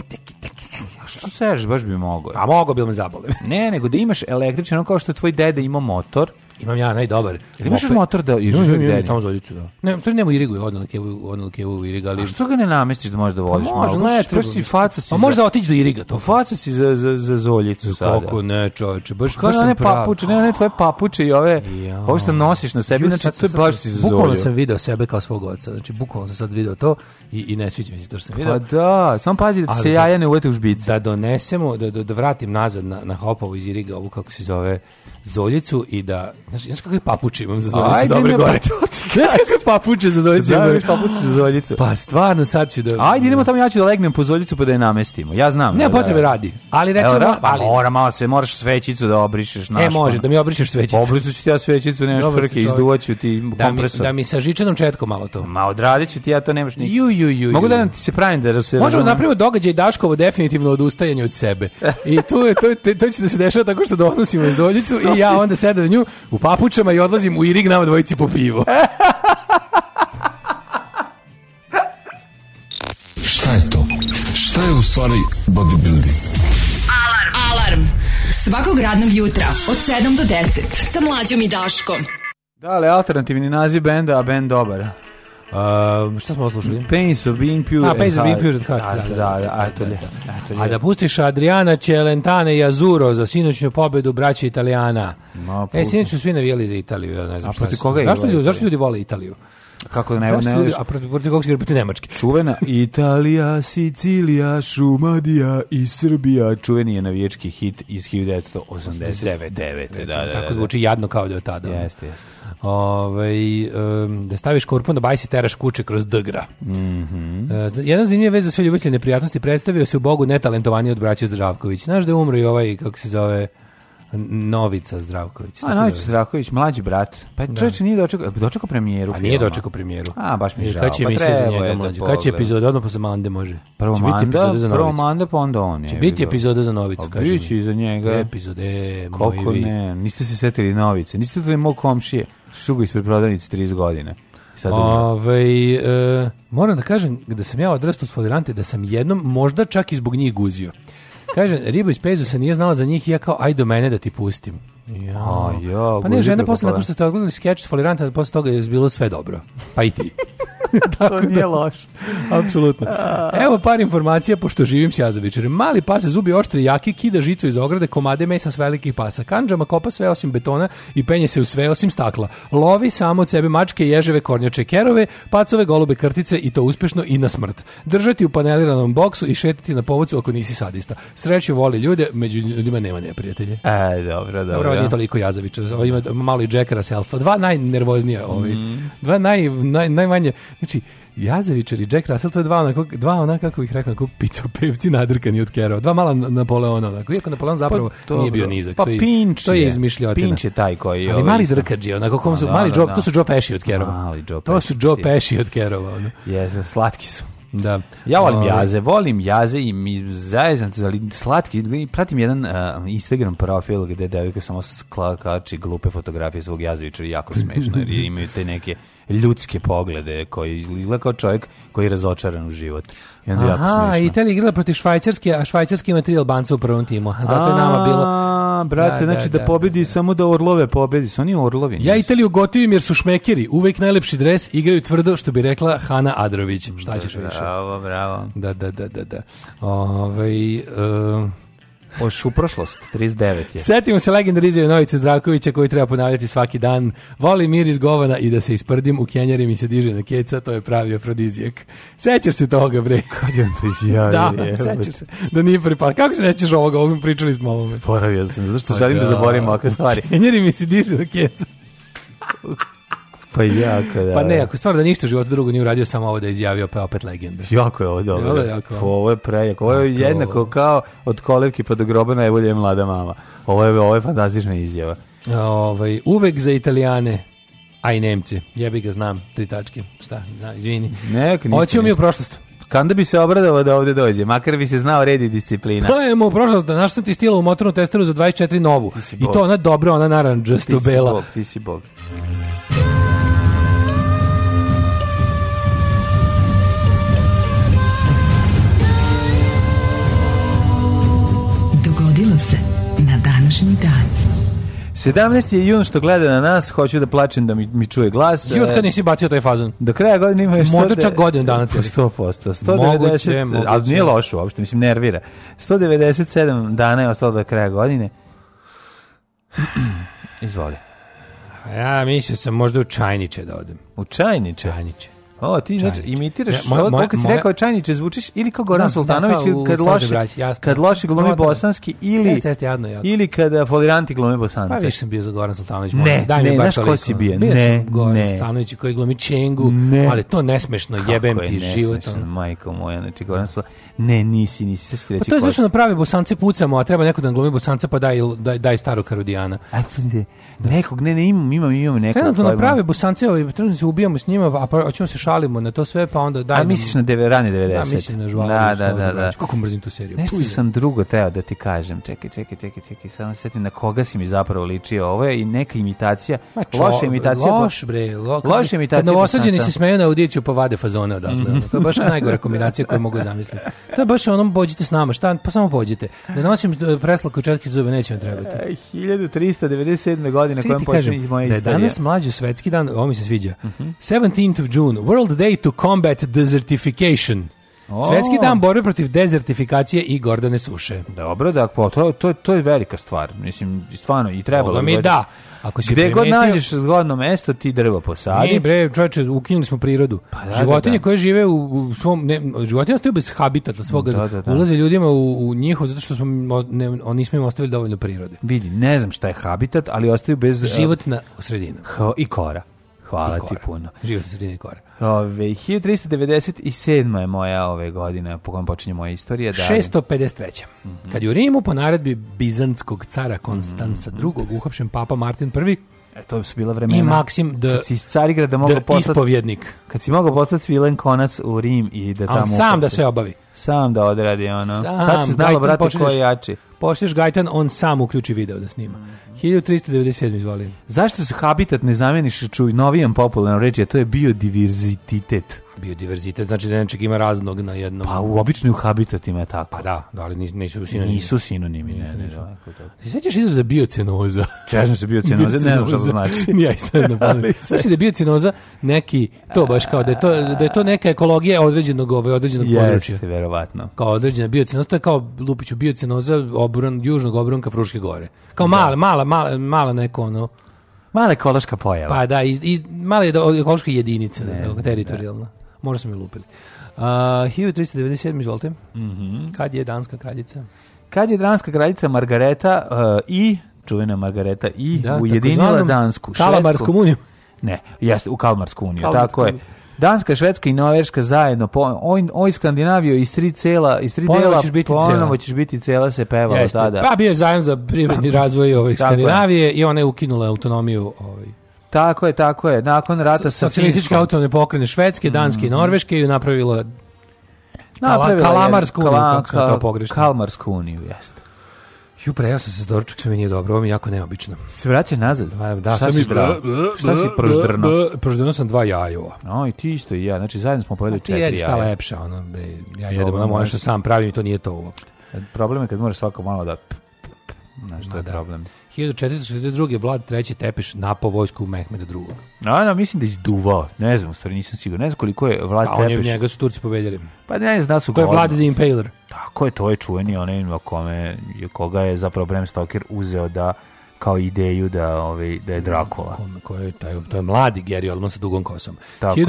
Speaker 9: A što seš, baš bi mogao.
Speaker 8: A mogo bi me zabole.
Speaker 9: Ne, nego da imaš električni, ono kao što tvoj deda ima motor.
Speaker 8: Imam ja najdobar.
Speaker 9: Ili imaš još
Speaker 8: moped.
Speaker 9: motor da
Speaker 8: Imam,
Speaker 9: ižiš
Speaker 8: imam, imam tamo zoljicu, da. Ne, to nema u Irigu, odnalik je u- odnalik je u Irigu, ali...
Speaker 9: A što ga ne namestiš da možeš da voziš malo?
Speaker 8: Možda, ne,
Speaker 9: Baš-
Speaker 8: treba
Speaker 9: baš si
Speaker 8: mislim.
Speaker 9: faca si
Speaker 8: Pa
Speaker 9: za-
Speaker 8: možda otići do Iriga, to
Speaker 9: Faca si za, za, za zoljicu sada. Pa
Speaker 8: Kako ne, čoveče, baš
Speaker 9: Kao
Speaker 8: baš sam
Speaker 9: ne
Speaker 8: prav.
Speaker 9: papuče, ne, ne, tvoje papuče i ove,
Speaker 8: Ja.
Speaker 9: ovo što nosiš na sebi,
Speaker 8: Juče
Speaker 9: znači
Speaker 8: sad
Speaker 9: to je
Speaker 8: sam-
Speaker 9: baš si za
Speaker 8: Bukvalno
Speaker 9: zolju.
Speaker 8: sam video sebe kao svog oca, znači bukvalno sam sad video to i, i ne sviđa mi se to što sam
Speaker 9: Pa
Speaker 8: video.
Speaker 9: da, samo pazi da ti
Speaker 8: Ali
Speaker 9: se
Speaker 8: da-
Speaker 9: jaja ne uvete u žbice.
Speaker 8: Da donesemo, da, da, da vratim nazad na, na Hopovu iz Iriga, ovu kako se zove, Zoljicu i da, znaš, znaš kakve papuče imam za Zoljicu,
Speaker 9: Ajde,
Speaker 8: dobre
Speaker 9: ne,
Speaker 8: gore.
Speaker 9: pa to
Speaker 8: Znaš kakve papuče za Zoljicu
Speaker 9: Da,
Speaker 8: imam?
Speaker 9: vidiš papuče za zoljicu.
Speaker 8: Pa stvarno sad ću da...
Speaker 9: Ajde, idemo tamo, ja ću da legnem po zoljicu pa da je namestimo. Ja znam.
Speaker 8: Ne,
Speaker 9: da-
Speaker 8: potrebe radi. Ali recimo,
Speaker 9: Evo, da, Pa
Speaker 8: ali,
Speaker 9: mora malo se, moraš svećicu da obrišeš. Naš,
Speaker 8: e, može, da mi obrišeš svećicu.
Speaker 9: Obrisu ću ti ja svećicu, nemaš
Speaker 8: Dobar si
Speaker 9: frke,
Speaker 8: čovjek.
Speaker 9: izduvaću ti
Speaker 8: Da mi,
Speaker 9: kompresor.
Speaker 8: da mi sa žičanom četkom malo to.
Speaker 9: Ma odradit ću ti, ja to nemaš nikak.
Speaker 8: Ju, ju, ju,
Speaker 9: Mogu
Speaker 8: ju.
Speaker 9: da nam ti se pravim da se...
Speaker 8: Možemo
Speaker 9: razumem?
Speaker 8: da napravimo događaj Daškovo definitivno odustajanje od sebe. I tu je, to, to, to će da se dešava tako što donosimo Zoljicu i ja onda sedam na nju u papučama i odlazim u Irig nama dvojici po pivo.
Speaker 9: E?
Speaker 2: Šta je to? Šta je u stvari bodybuilding?
Speaker 5: Alarm. Alarm. Svakog radnog jutra od 7 do 10 sa mlađom i Daškom.
Speaker 9: Dale, alternativni naziv benda, a bend dobar.
Speaker 8: Um, šta smo oslušali?
Speaker 9: Pains of being pure
Speaker 8: A,
Speaker 9: and
Speaker 8: Pains of
Speaker 9: hard.
Speaker 8: Being Pure and Hard,
Speaker 9: Da,
Speaker 8: da,
Speaker 9: da,
Speaker 8: da,
Speaker 9: da,
Speaker 8: da,
Speaker 9: a to
Speaker 8: da,
Speaker 9: je-
Speaker 8: da.
Speaker 9: a to je-
Speaker 8: A da pustiš Adriana Celentane i Azuro za sinoćnu pobedu braća Italijana.
Speaker 9: Ma,
Speaker 8: e, sinoć su svi navijali za Italiju, ja ne znam
Speaker 9: A
Speaker 8: šta
Speaker 9: protiv
Speaker 8: su.
Speaker 9: koga je
Speaker 8: zašto,
Speaker 9: bila
Speaker 8: ljudi, zašto
Speaker 9: Italija?
Speaker 8: ljudi vole Italiju?
Speaker 9: Kako ne,
Speaker 8: zašto
Speaker 9: ne,
Speaker 8: ljudi,
Speaker 9: ne,
Speaker 8: a protiv, protiv koga su igrali? protiv Nemačke.
Speaker 9: Čuvena Italija, Sicilija, Šumadija i Srbija. Čuveni je navijački hit iz 1989.
Speaker 8: 9.
Speaker 9: Da, da, da,
Speaker 8: tako
Speaker 9: da.
Speaker 8: zvuči jadno kao da je od tada. ono.
Speaker 9: Jeste, jeste.
Speaker 8: Ovaj, em, da staviš korpun da bajsi teraš kuće kroz dgra.
Speaker 9: Mhm.
Speaker 8: E, za- jedna zanimljiva vez za sve ljubitelje neprijatnosti predstavio se u Bogu netalentovaniji od braća Zdravković. Znaš da je umro i ovaj, kako se zove, N- Novica Zdravković.
Speaker 9: A
Speaker 8: tako
Speaker 9: Nović
Speaker 8: zove.
Speaker 9: Strahović, mlađi brat. Pa čovječe nije dočekao, dočekao premijeru.
Speaker 8: A
Speaker 9: filma.
Speaker 8: nije dočekao premijeru.
Speaker 9: A, baš mi je
Speaker 8: I
Speaker 9: žao.
Speaker 8: Kad će
Speaker 9: Pa
Speaker 8: emisija za
Speaker 9: trebao je
Speaker 8: njega
Speaker 9: da
Speaker 8: mlađu? Kad će
Speaker 9: pogledam.
Speaker 8: epizoda? Odmah posle Mande može.
Speaker 9: Prvo
Speaker 8: će biti
Speaker 9: manda,
Speaker 8: epizoda za
Speaker 9: prvo
Speaker 8: Novicu.
Speaker 9: manda, pa onda on je.
Speaker 8: Će biti
Speaker 9: bilo.
Speaker 8: epizoda za Novicu,
Speaker 9: A
Speaker 8: kaže
Speaker 9: bit će
Speaker 8: mi.
Speaker 9: i za njega.
Speaker 8: Epizode, moji
Speaker 9: Kako
Speaker 8: vi.
Speaker 9: ne, niste se setili novice, niste to mog komšije, šugo ispred prodavnice 30 godina. Sad umro.
Speaker 8: Ovaj, e, moram da kažem da sam ja odrastao s Folirante, da sam jednom možda čak i zbog njih guzio. Kaže, riba iz Pezusa nije znala za njih i ja kao, aj do mene da ti pustim. Ja.
Speaker 9: A, ja,
Speaker 8: pa ne,
Speaker 9: guzi
Speaker 8: žena
Speaker 9: preko
Speaker 8: posle,
Speaker 9: Folirante.
Speaker 8: nakon što ste odgledali skeč s Folirante, posle toga je bilo sve dobro. Pa i ti.
Speaker 9: to nije loše.
Speaker 8: Apsolutno. Evo par informacija, pošto živim s Jazovićem. Mali pas se zubi oštri jaki, kida žicu iz ograde, komade mesa s velikih pasa. Kanđama kopa sve osim betona i penje se u sve osim stakla. Lovi samo od sebe mačke, ježeve, kornjače, kerove, pacove, golube, krtice i to uspešno i na smrt. Držati u paneliranom boksu i šetiti na povodcu ako nisi sadista. Sreće voli ljude, među ljudima nema neprijatelje.
Speaker 9: E, dobro,
Speaker 8: Dobro,
Speaker 9: dobro.
Speaker 8: ovo nije toliko Jazovića. Ovo ima malo i Jackera Selstva. Dva najnervoznije ovi.
Speaker 9: Mhm.
Speaker 8: Dva naj, naj, najmanje. Znači, Jazovičar i Jack Russell, to je dva onako, dva onako, kako bih rekao, onako picopevci nadrkani od Kerova. Dva mala Na- Napoleona, onako. Iako Napoleon zapravo
Speaker 9: Pa dobro.
Speaker 8: nije bio nizak.
Speaker 9: Pa
Speaker 8: to je,
Speaker 9: Pinch
Speaker 8: To je
Speaker 9: je.
Speaker 8: izmišljotina.
Speaker 9: Pinch je taj koji je
Speaker 8: Ali
Speaker 9: ovaj
Speaker 8: mali
Speaker 9: isto. Pa
Speaker 8: drkađi, onako, kom su,
Speaker 9: Da,
Speaker 8: mali
Speaker 9: da,
Speaker 8: Joe,
Speaker 9: da.
Speaker 8: to su Joe Pesci od Kerova.
Speaker 9: Mali Joe
Speaker 8: to su
Speaker 9: Pesci,
Speaker 8: Joe
Speaker 9: sigurno.
Speaker 8: Pesci od Kerova. ono.
Speaker 9: Jeste, slatki su.
Speaker 8: Da.
Speaker 9: Ja volim
Speaker 8: Ovaj,
Speaker 9: jaze, volim jaze i mi zajezam, ali slatki, pratim jedan uh, Instagram profil gde devika samo skla- kači glupe fotografije svog jazeviča i jako je smešno, jer imaju te neke ljudske poglede koji izgleda kao čovjek koji je razočaran u život. I onda je jako
Speaker 8: Aha,
Speaker 9: smešno.
Speaker 8: Italija igrala protiv Švajcarske, a Švajcarski ima tri Albanca u prvom timu. Zato je nama bilo
Speaker 9: A, brate,
Speaker 8: Da, da,
Speaker 9: znači da,
Speaker 8: da,
Speaker 9: pobedi
Speaker 8: da,
Speaker 9: samo da orlove pobedi, su oni orlovi.
Speaker 8: Ja
Speaker 9: nisu.
Speaker 8: Italiju gotivim jer su šmekeri, uvek najlepši dres, igraju tvrdo, što bi rekla Hana Adrović. Šta ćeš više?
Speaker 9: Bravo, bravo.
Speaker 8: Da, da, da, da, da. Ovaj, e,
Speaker 9: Oš u prošlost, 39 je.
Speaker 8: Setimo se legendne izjave Novice Zdravkovića koju treba ponavljati svaki dan. Volim mir iz govana i da se isprdim u kenjari mi se diže na keca, to je pravi afrodizijak. Sećaš se toga, bre?
Speaker 9: Kad je on to izjavio?
Speaker 8: da,
Speaker 9: jebote?
Speaker 8: sećaš se. Da nije pripala. Kako se nećeš ovoga? Ovo pričali smo o ovome.
Speaker 9: Zaboravio sam, zato što želim Pa da zaboravim ovakve stvari.
Speaker 8: Kenjari mi se diže na keca.
Speaker 9: Pa jako, da.
Speaker 8: Pa ne,
Speaker 9: da.
Speaker 8: ako stvarno da ništa u životu drugo nije uradio, samo ovo da je izjavio, pa je opet legenda.
Speaker 9: Jako je ovo dobro.
Speaker 8: Jel da jako?
Speaker 9: Pa Ovo je prejako. Ovo je
Speaker 8: Pa to-
Speaker 9: jednako kao od kolevki pa do groba najbolje je mlada mama. Ovo je, ovo je fantastična izjava.
Speaker 8: Ovaj, uvek za Italijane, a i Nemce. Jebi ga znam, tri tačke. Šta, da, izvini.
Speaker 9: Nek, ništa,
Speaker 8: Hoćemo mi u
Speaker 9: ništa.
Speaker 8: prošlost.
Speaker 9: Kanda bi se obradovao da ovde dođe, makar bi se znao red i disciplina.
Speaker 8: Dajemo u prošlost da naš sam ti stila u motornu testeru za 24 novu.
Speaker 9: si
Speaker 8: I
Speaker 9: bog.
Speaker 8: to ona dobra, ona
Speaker 9: Ti
Speaker 8: naranđasto
Speaker 9: si
Speaker 8: bela.
Speaker 9: bog, ti si bog.
Speaker 5: Dogodilo se na današnji dan.
Speaker 9: 17. je jun što gleda na nas, hoću da plačem da mi, mi čuje glas.
Speaker 8: I od
Speaker 9: E,
Speaker 8: kad nisi bacio taj fazon?
Speaker 9: Do kraja godine ima još...
Speaker 8: Možda
Speaker 9: 100
Speaker 8: čak godinu dana cijeli.
Speaker 9: 100%. 190,
Speaker 8: Moguće,
Speaker 9: Ali
Speaker 8: moguće.
Speaker 9: nije loše uopšte, mislim, nervira. 197 dana je ostalo do kraja godine. Izvoli. Pa
Speaker 8: Ja mislio sam možda u Čajniče da odem.
Speaker 9: U čajniče.
Speaker 8: Čajniče.
Speaker 9: O, ti znači
Speaker 8: Čajniče.
Speaker 9: imitiraš,
Speaker 8: Ja,
Speaker 9: ja,
Speaker 8: moja- moja-
Speaker 9: kad si
Speaker 8: moja-
Speaker 9: rekao čajniče, zvučiš ili kao Goran
Speaker 8: Znam,
Speaker 9: Sultanović,
Speaker 8: da, kao u
Speaker 9: kad,
Speaker 8: Slađe
Speaker 9: loši,
Speaker 8: braći, jasno.
Speaker 9: kad loši glumi
Speaker 8: Smatram.
Speaker 9: bosanski ili,
Speaker 8: Jeste, jeste, jadno, jadno.
Speaker 9: ili kada foliranti glume
Speaker 8: Pa
Speaker 9: bosanci.
Speaker 8: više sam bio za Goran Sultanović.
Speaker 9: Ne,
Speaker 8: molim, daj mi
Speaker 9: ne,
Speaker 8: bar
Speaker 9: znaš ko
Speaker 8: toliko.
Speaker 9: si bio?
Speaker 8: Bio
Speaker 9: Ne,
Speaker 8: sam Goran
Speaker 9: ne.
Speaker 8: Sultanović koji glumi Čengu,
Speaker 9: Ne.
Speaker 8: ali to nesmešno, jebem ti život. ono.
Speaker 9: Majko moja, znači Goran Sul... Ne, nisi, nisi, sad ću ti
Speaker 8: Pa
Speaker 9: reći
Speaker 8: to je
Speaker 9: ko si.
Speaker 8: zašto na prave bosance pucamo, a treba neko da nam glumi bosanca pa daj, daj, daj starog karudijana.
Speaker 9: A to je- nekog, ne, ne, imam, imam, imam nekog.
Speaker 8: Trenutno
Speaker 9: pojma.
Speaker 8: na prave bosance, ovaj, trenutno se ubijamo s njima, a pa, hoćemo se šalimo na to sve, pa onda daj
Speaker 9: A
Speaker 8: nam-
Speaker 9: misliš na deve, rane 90.
Speaker 8: Da, mislim na žvalu.
Speaker 9: Da, da, da, da.
Speaker 8: Kako mrzim tu seriju.
Speaker 9: Nešto
Speaker 8: Puj,
Speaker 9: sam drugo teo da ti kažem. Čekaj, čekaj, čekaj, čekaj. Samo se setim na koga si mi zapravo ličio. Ovo je i neka imitacija.
Speaker 8: ma čo-
Speaker 9: loša imitacija.
Speaker 8: Loš, bre. Lo, kad-
Speaker 9: Loša imitacija
Speaker 8: Kad novosađeni
Speaker 9: Bosanca.
Speaker 8: se smeju na audiciju pa vade fazone odatle. ono. To je baš najgora kombinacija koju mogu zamisliti. To je baš onom pođite s nama. Šta? Pa samo pođite. Da nosim e, preslaku i četke zube, neće vam trebati.
Speaker 9: E, 1397. godine
Speaker 8: Čekaj
Speaker 9: kojem
Speaker 8: ti
Speaker 9: počinje
Speaker 8: kažem,
Speaker 9: iz
Speaker 8: da
Speaker 9: moje
Speaker 8: je
Speaker 9: istorije. Mhm.
Speaker 8: danas mlađi svetski dan, ovo mi se sviđa. 17th of June, World Day to Combat Desertification.
Speaker 9: O.
Speaker 8: Svetski dan borbe protiv dezertifikacije i gordane suše.
Speaker 9: Dobro, da, pa, to, to, to je velika stvar. Mislim, stvarno, i trebalo.
Speaker 8: Boga mi
Speaker 9: bi-
Speaker 8: da. Ako si
Speaker 9: Gde god
Speaker 8: primetio-
Speaker 9: nađeš zgodno mesto, ti drvo posadi.
Speaker 8: Nije bre, čoveče, ukinuli smo prirodu.
Speaker 9: Pa da,
Speaker 8: životinje
Speaker 9: da, da.
Speaker 8: koje žive u, u svom ne, životinje ostaju bez habitata svoga.
Speaker 9: Da, da, da.
Speaker 8: Ulaze ljudima u, u njihov zato što smo im o- ne, o- nismo im ostavili dovoljno prirode.
Speaker 9: Vidi, ne znam šta je habitat, ali ostaju bez... e,
Speaker 8: Život na sredini.
Speaker 9: h- I kora. Hvala ti puno.
Speaker 8: Život na sredini kora.
Speaker 9: Ove, 1397. je moja ove godine, po kojem počinje moja istorija. Da,
Speaker 8: 653. Kad je u Rimu po naredbi bizantskog cara Konstanca
Speaker 9: Mhm.
Speaker 8: II uhapšen papa Martin I
Speaker 9: E, to su bila vremena.
Speaker 8: i Maksim the,
Speaker 9: Kad si iz Carigrada mogao
Speaker 8: the
Speaker 9: poslati...
Speaker 8: ispovjednik.
Speaker 9: Kad si mogao poslati svilen konac u Rim i da
Speaker 8: A
Speaker 9: tamo...
Speaker 8: on sam da
Speaker 9: uhapsi.
Speaker 8: sve obavi.
Speaker 9: Sam da odradi, ono.
Speaker 8: Sam,
Speaker 9: Tad se znalo,
Speaker 8: Gajtan,
Speaker 9: brate, ko
Speaker 8: počinješ-
Speaker 9: je jači.
Speaker 8: Pošliš Gajtan, on sam uključi video da snima.
Speaker 9: Mhm.
Speaker 8: 1397, izvolim.
Speaker 9: Zašto se habitat ne zameniš čuj novijom popularnom reči, a to je biodiverzitet.
Speaker 8: Biodiverzitet, znači da nečeg ima raznog na jednom.
Speaker 9: Pa u običnim habitatima je tako.
Speaker 8: Pa da, da, ali nis- nisu sinonimi.
Speaker 9: Nisu sinonimi, ne, ne, da.
Speaker 8: Se sećaš izraza biocenoza?
Speaker 9: Češnju se biocenoze, ne znam šta to znači.
Speaker 8: Ni ja isto ne znam. Mislim da je biocenoza neki, to baš kao da je to, da je to neka ekologija određenog, ovaj, određenog područja.
Speaker 9: Jeste, verovatno.
Speaker 8: kao određena biocenoza, to je kao Lupiću biocenoza obron, južnog obronka Fruške gore. Kao mala, mala, mala, mala neko ono,
Speaker 9: Mala ekološka pojava.
Speaker 8: pa da, iz, iz, mala je do- ekološka jedinica, da, tako, teritorijalna. Možda smo je lupili. Uh, 1397, izvolite.
Speaker 9: Mhm.
Speaker 8: Kad je danska kraljica?
Speaker 9: Kad je danska kraljica Margareta uh, i čuvena Margareta i
Speaker 8: Da,
Speaker 9: ujedinila
Speaker 8: takozvanom
Speaker 9: Dansku,
Speaker 8: Kalamarskom
Speaker 9: Švedsku-
Speaker 8: unijom.
Speaker 9: Ne, jeste u Kalmarsku uniju,
Speaker 8: Kalmarsku
Speaker 9: tako je.
Speaker 8: uniju.
Speaker 9: Danska, Švedska i Norveška zajedno, po, oj, oj Skandinaviju iz tri cela, iz tri
Speaker 8: Ponovo
Speaker 9: dela,
Speaker 8: ćeš biti
Speaker 9: ponovo
Speaker 8: cela.
Speaker 9: ćeš biti cela se pevalo
Speaker 8: Jeste.
Speaker 9: tada.
Speaker 8: Pa bio je zajem za privredni razvoj ovaj,
Speaker 9: Tako je.
Speaker 8: Skandinavije i ona je ukinula autonomiju ovaj,
Speaker 9: Tako je, tako je. Nakon rata sa
Speaker 8: socijalističke
Speaker 9: Finskom.
Speaker 8: autonomne pokrene Švedske, Danske
Speaker 9: Mhm.
Speaker 8: i Norveške i napravila
Speaker 9: Napravila je
Speaker 8: Kalamarsku uniju,
Speaker 9: Kala-
Speaker 8: kako sam to
Speaker 9: Kal-
Speaker 8: pogrešno.
Speaker 9: Kalmarsku uniju, jeste.
Speaker 8: Ju, prejao sam se s doručak, sve mi nije dobro, ovo mi je jako neobično.
Speaker 9: Se vraća nazad?
Speaker 8: Pa, da,
Speaker 9: Šta
Speaker 8: sad
Speaker 9: si
Speaker 8: mi-
Speaker 9: brao? Šta si prždrno?
Speaker 8: Proždrno sam dva jajova.
Speaker 9: Oj, ti isto i ja. Znači, zajedno smo pojedli
Speaker 8: Pa Ti
Speaker 9: četiri
Speaker 8: jedi šta
Speaker 9: jaja.
Speaker 8: lepša, ono, bre, ja jedem
Speaker 9: Dobro,
Speaker 8: ono moje
Speaker 9: može.
Speaker 8: što sam pravim i to nije to uopšte.
Speaker 9: Problem je kad moraš svako malo da... Znaš, to je
Speaker 8: da.
Speaker 9: problem.
Speaker 8: 1462. Vlad III. Tepeš napao vojsku Mehmeda II.
Speaker 9: A, no, mislim da je izduvao. Ne znam, u stvari nisam siguran. Ne znam koliko je Vlad
Speaker 8: Pa on je
Speaker 9: Tepeš.
Speaker 8: njega su Turci pobedjeli.
Speaker 9: Pa ne znam da su
Speaker 8: To
Speaker 9: ga
Speaker 8: je
Speaker 9: odmah-
Speaker 8: Vlad the Impaler.
Speaker 9: Tako je, to je čuveni onaj na kome, je- koga je zapravo Bram Stoker uzeo da kao ideju da, ovaj, da je Drakula.
Speaker 8: On koji je taj, to je mladi Gary Oldman sa dugom kosom.
Speaker 9: Tako je.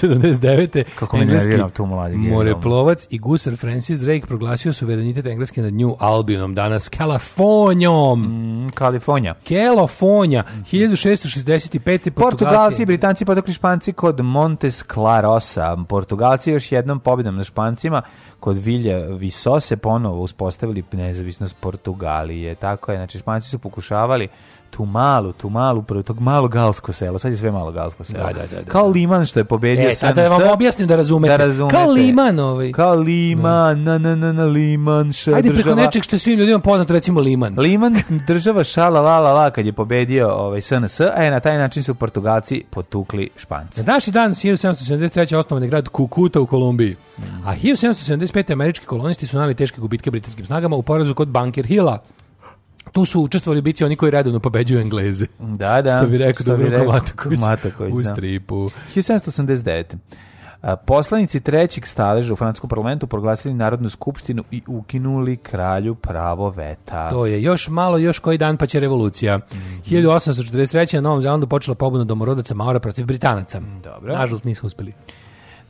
Speaker 8: 1579.
Speaker 9: Kako me
Speaker 8: engleski
Speaker 9: nervira tu mladi Gary Oldman.
Speaker 8: Moreplovac i gusar Francis Drake proglasio suverenitet Engleske nad New Albionom, danas Kalifornijom.
Speaker 9: Mm, Kalifornija.
Speaker 8: Kalifornija, 1665.
Speaker 9: Mhm. Portugalci i Britanci potekli Španci kod Montes Clarosa. Portugalci još jednom pobjedom na Špancima kod Vilja Visose ponovo uspostavili nezavisnost Portugalije. Tako je, znači Španci su pokušavali tu malu, tu malu, prvo tog malo galsko selo, sad je sve malo galsko selo.
Speaker 8: Da, da, da, da.
Speaker 9: Kao Liman što je pobedio
Speaker 8: E, sad da
Speaker 9: SNS,
Speaker 8: vam objasnim da razumete.
Speaker 9: Da razumete.
Speaker 8: Kao Liman ovaj.
Speaker 9: Kao Liman, na, na, na, na, Liman, ša,
Speaker 8: Ajde preko
Speaker 9: država.
Speaker 8: nečeg što je svim ljudima poznato, recimo Liman.
Speaker 9: Liman država šala la la la kad je pobedio ovaj SNS, a je na taj način su Portugalci potukli Špance.
Speaker 8: Na današnji dan 1773. osnovan je grad Kukuta u Kolumbiji,
Speaker 9: Mhm.
Speaker 8: a 1775. američki kolonisti su nali teške gubitke britanskim snagama u porazu kod Bunker Hilla. Tu su učestvovali bici oni koji redovno pobeđuju Engleze.
Speaker 9: Da, da.
Speaker 8: Što bi rekao Dubravko Mataković,
Speaker 9: Mataković,
Speaker 8: u
Speaker 9: da.
Speaker 8: stripu.
Speaker 9: 1789. A, Poslanici trećeg staleža u francuskom parlamentu proglasili Narodnu skupštinu i ukinuli kralju pravo veta.
Speaker 8: To je još malo, još koji dan pa će revolucija.
Speaker 9: Mhm.
Speaker 8: 1843. na Novom Zelandu počela pobuna domorodaca Maora protiv Britanaca.
Speaker 9: Dobro.
Speaker 8: Nažalost nisu uspeli.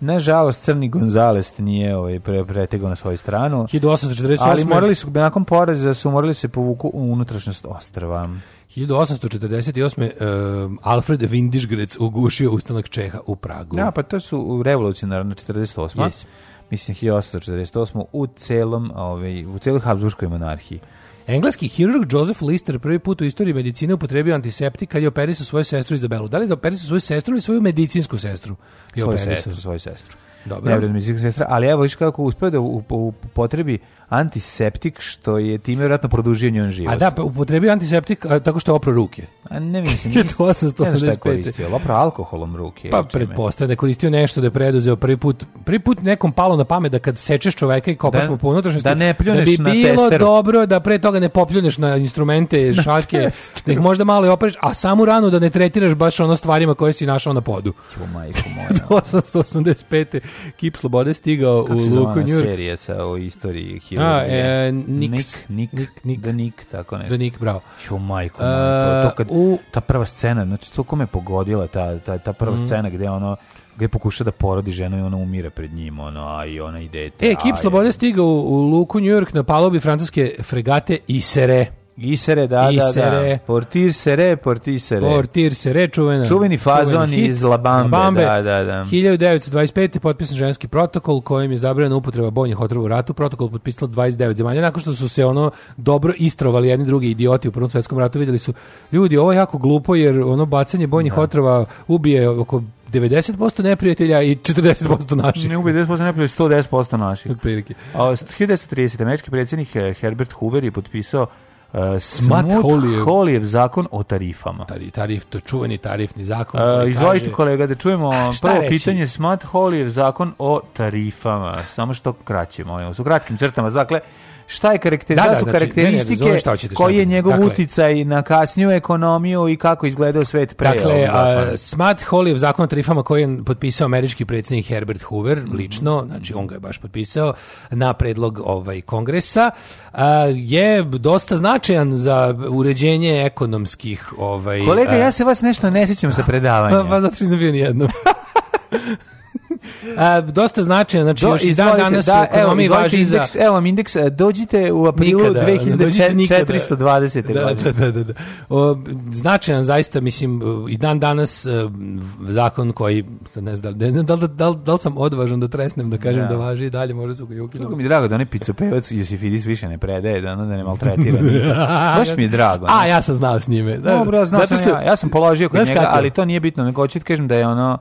Speaker 9: Nažalost, Crni Gonzales nije ovaj, pre, pretegao na svoju stranu.
Speaker 8: 1848.
Speaker 9: Ali morali su, nakon poraza su morali se povuku u unutrašnjost ostrava.
Speaker 8: 1848. em, um, Alfred Windischgrec ugušio ustanak Čeha u Pragu.
Speaker 9: Da, pa to su revolucionarno 48.
Speaker 8: Yes.
Speaker 9: Mislim 1848. u celom, ovaj, u celoj Habsburgskoj monarhiji.
Speaker 8: Engleski hirurg Joseph Lister prvi put u istoriji medicine upotrebio antiseptik kad je operisao svoju sestru Izabelu. Da li je operisao svoju sestru ili svoju medicinsku sestru? Je
Speaker 9: svoju
Speaker 8: operisao.
Speaker 9: sestru, svoju sestru.
Speaker 8: pa Dobro.
Speaker 9: Ne vredno medicinska sestra, ali evo viš kako uspeo da u, u, potrebi antiseptik što je time vjerojatno produžio njen život.
Speaker 8: A da, pa upotrebio antiseptik a, tako što je oprao ruke.
Speaker 9: A ne mislim,
Speaker 8: Je
Speaker 9: ne
Speaker 8: to 885.
Speaker 9: znam šta je koristio, lopra alkoholom ruke.
Speaker 8: Pa
Speaker 9: ili čime.
Speaker 8: pretpostavljam da je koristio nešto da je preduzeo prvi put. Prvi put nekom palo na pamet da kad sečeš čoveka i kopaš
Speaker 9: Da-
Speaker 8: mu po unutrašnjosti,
Speaker 9: da ne
Speaker 8: da
Speaker 9: pljuneš
Speaker 8: bi
Speaker 9: na
Speaker 8: bilo
Speaker 9: testeru.
Speaker 8: dobro da pre toga ne popljuneš na instrumente, šake, da ih možda malo i opereš, a samu ranu da ne tretiraš baš ono stvarima koje si našao na podu.
Speaker 9: Jo, majko moja.
Speaker 8: 885. Kip Slobode stigao
Speaker 9: Kako
Speaker 8: u
Speaker 9: se zove
Speaker 8: Luku
Speaker 9: ona
Speaker 8: Njurk.
Speaker 9: serija sa o istoriji
Speaker 8: A,
Speaker 9: hirurgije?
Speaker 8: e, Nix.
Speaker 9: Nik, Nik,
Speaker 8: Nik, Nik.
Speaker 9: The Nick, tako nešto.
Speaker 8: Da Nik, bravo.
Speaker 9: Jo, majko, moja, to, to kad,
Speaker 8: E, u-
Speaker 9: ta prva scena, znači to kome pogodila ta, ta, ta prva
Speaker 8: Mm.
Speaker 9: scena gde ono gde pokuša da porodi ženu i ona umire pred njim, ono, a i ona i dete.
Speaker 8: E, Kip
Speaker 9: a,
Speaker 8: Slobode
Speaker 9: je-
Speaker 8: stigao u, u Luku Njurk na palobi francuske fregate Isere.
Speaker 9: Isere, da, da, da.
Speaker 8: Isere.
Speaker 9: Portir sere, portir sere.
Speaker 8: Portir se rečuvena.
Speaker 9: Čuveni fazon
Speaker 8: hit
Speaker 9: iz Labambe, da, da, da.
Speaker 8: 1925. je potpisan ženski protokol kojim je zabranjena upotreba bojnih otrova u ratu. Protokol potpisalo 29 zemalja. Nakon što su se ono dobro istrovali jedni drugi idioti u Prvom svetskom ratu, vidjeli su ljudi, ovo je jako glupo jer ono bacanje bojnih otrova ubije oko 90% neprijatelja i 40% naših.
Speaker 9: Ne ubi 10% najbolje, 110% naših.
Speaker 8: Otprilike.
Speaker 9: A, 1930. američki predsjednik eh, Herbert Hoover je potpisao uh,
Speaker 8: Smart-Hawley-ev.
Speaker 9: Smut-Holijev zakon o tarifama.
Speaker 8: Tari- Tarif, to je čuveni tarifni zakon.
Speaker 9: Uh,
Speaker 8: koji
Speaker 9: izvolite
Speaker 8: kaže-
Speaker 9: kolega da čujemo
Speaker 8: šta
Speaker 9: prvo
Speaker 8: reći?
Speaker 9: pitanje Smart Holijev zakon o tarifama samo što kraće molim vas u kratkim crtama dakle šta je karakter,
Speaker 8: Da,
Speaker 9: šta
Speaker 8: da,
Speaker 9: su
Speaker 8: znači, ne,
Speaker 9: karakteristike
Speaker 8: ne, razumem šta hoćete, šta
Speaker 9: koji je
Speaker 8: hoćete.
Speaker 9: njegov
Speaker 8: Dakle-
Speaker 9: uticaj na kasniju ekonomiju i kako izgledao svet pre
Speaker 8: Dakle,
Speaker 9: ovog zakona?
Speaker 8: a, Smart Holijev zakon o tarifama koji je potpisao američki predsjednik Herbert Hoover,
Speaker 9: Mhm.
Speaker 8: lično, znači on ga je baš potpisao na predlog ovaj kongresa, a, je dosta značajan za uređenje ekonomskih... Ovaj,
Speaker 9: kolega
Speaker 8: a,
Speaker 9: ja se vas nešto ne sjećam sa predavanja
Speaker 8: Pa, pa zato što nisam bio nijednom. A, dosta značajan, znači
Speaker 9: Do-
Speaker 8: još i dan
Speaker 9: izvolite,
Speaker 8: danas u
Speaker 9: da, evo,
Speaker 8: ekonomiji
Speaker 9: izvolite
Speaker 8: važi za...
Speaker 9: indeks, evo vam indeks, e, ono, dođite u aprilu
Speaker 8: Nikada, ne dođite nikada.
Speaker 9: 2420.
Speaker 8: Da,
Speaker 9: godine.
Speaker 8: da, da, da, da. O, značajan zaista, mislim, i dan danas e, zakon koji, sad ne znam, da li- ne znam da, li- da, li- da li sam odvažan da tresnem, da kažem
Speaker 9: Da.
Speaker 8: da, važi i dalje, možda su ga i ukinuli.
Speaker 9: Mnogo mi je drago da onaj picopevac Josifidis više ne predaje, da, ono da ne maltretira. Baš mi je drago.
Speaker 8: A, ja sam znao s njime. Da,
Speaker 9: Dobro, znao
Speaker 8: zato
Speaker 9: sam
Speaker 8: što-
Speaker 9: ja. Ja sam položio kod
Speaker 8: Znaš
Speaker 9: njega,
Speaker 8: kako?
Speaker 9: ali to nije bitno. Nego hoću ti kažem da je ono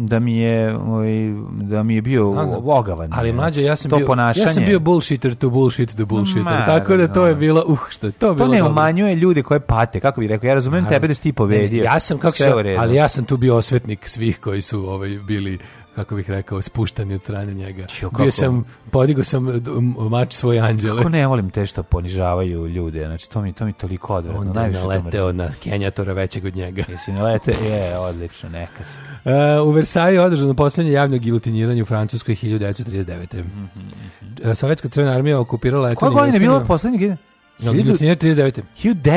Speaker 9: da mi je ovaj, da mi je bio
Speaker 8: Znam, znam.
Speaker 9: ogavan. znači,
Speaker 8: Ali mlađe, ja sam
Speaker 9: to
Speaker 8: bio,
Speaker 9: ponašanje.
Speaker 8: ja sam bio bullshitter to bullshit to bullshitter,
Speaker 9: Ma,
Speaker 8: tako da to je
Speaker 9: da.
Speaker 8: bilo, uh, što je to bilo
Speaker 9: to ne
Speaker 8: dobro.
Speaker 9: umanjuje ljude koje pate, kako bih rekao. Ja razumem tebe da si ti
Speaker 8: Ne, ne,
Speaker 9: povedio.
Speaker 8: Ja sam kako
Speaker 9: Sve
Speaker 8: se,
Speaker 9: u redu.
Speaker 8: ali ja sam tu bio osvetnik svih koji su ovaj bili kako bih rekao, spuštani od strane njega.
Speaker 9: Ćo, kako?
Speaker 8: Bio sam, podigo sam eh, d- m- mač svoje anđele.
Speaker 9: Kako ne volim te što ponižavaju ljude, znači to mi, to mi toliko odvratno.
Speaker 8: Onda je
Speaker 9: najviše to
Speaker 8: naleteo
Speaker 9: mrzim.
Speaker 8: na Kenjatora većeg od njega.
Speaker 9: Jesi nalete? Je, odlično, neka si.
Speaker 8: E, u Versaju je održano poslednje javno gilotiniranje u Francuskoj 1939. E, Sovjetska crvena armija okupirala
Speaker 9: Mhm. Koja
Speaker 8: Etoniju.
Speaker 9: godina je bila poslednji gine?
Speaker 8: Gilotiniranje 39.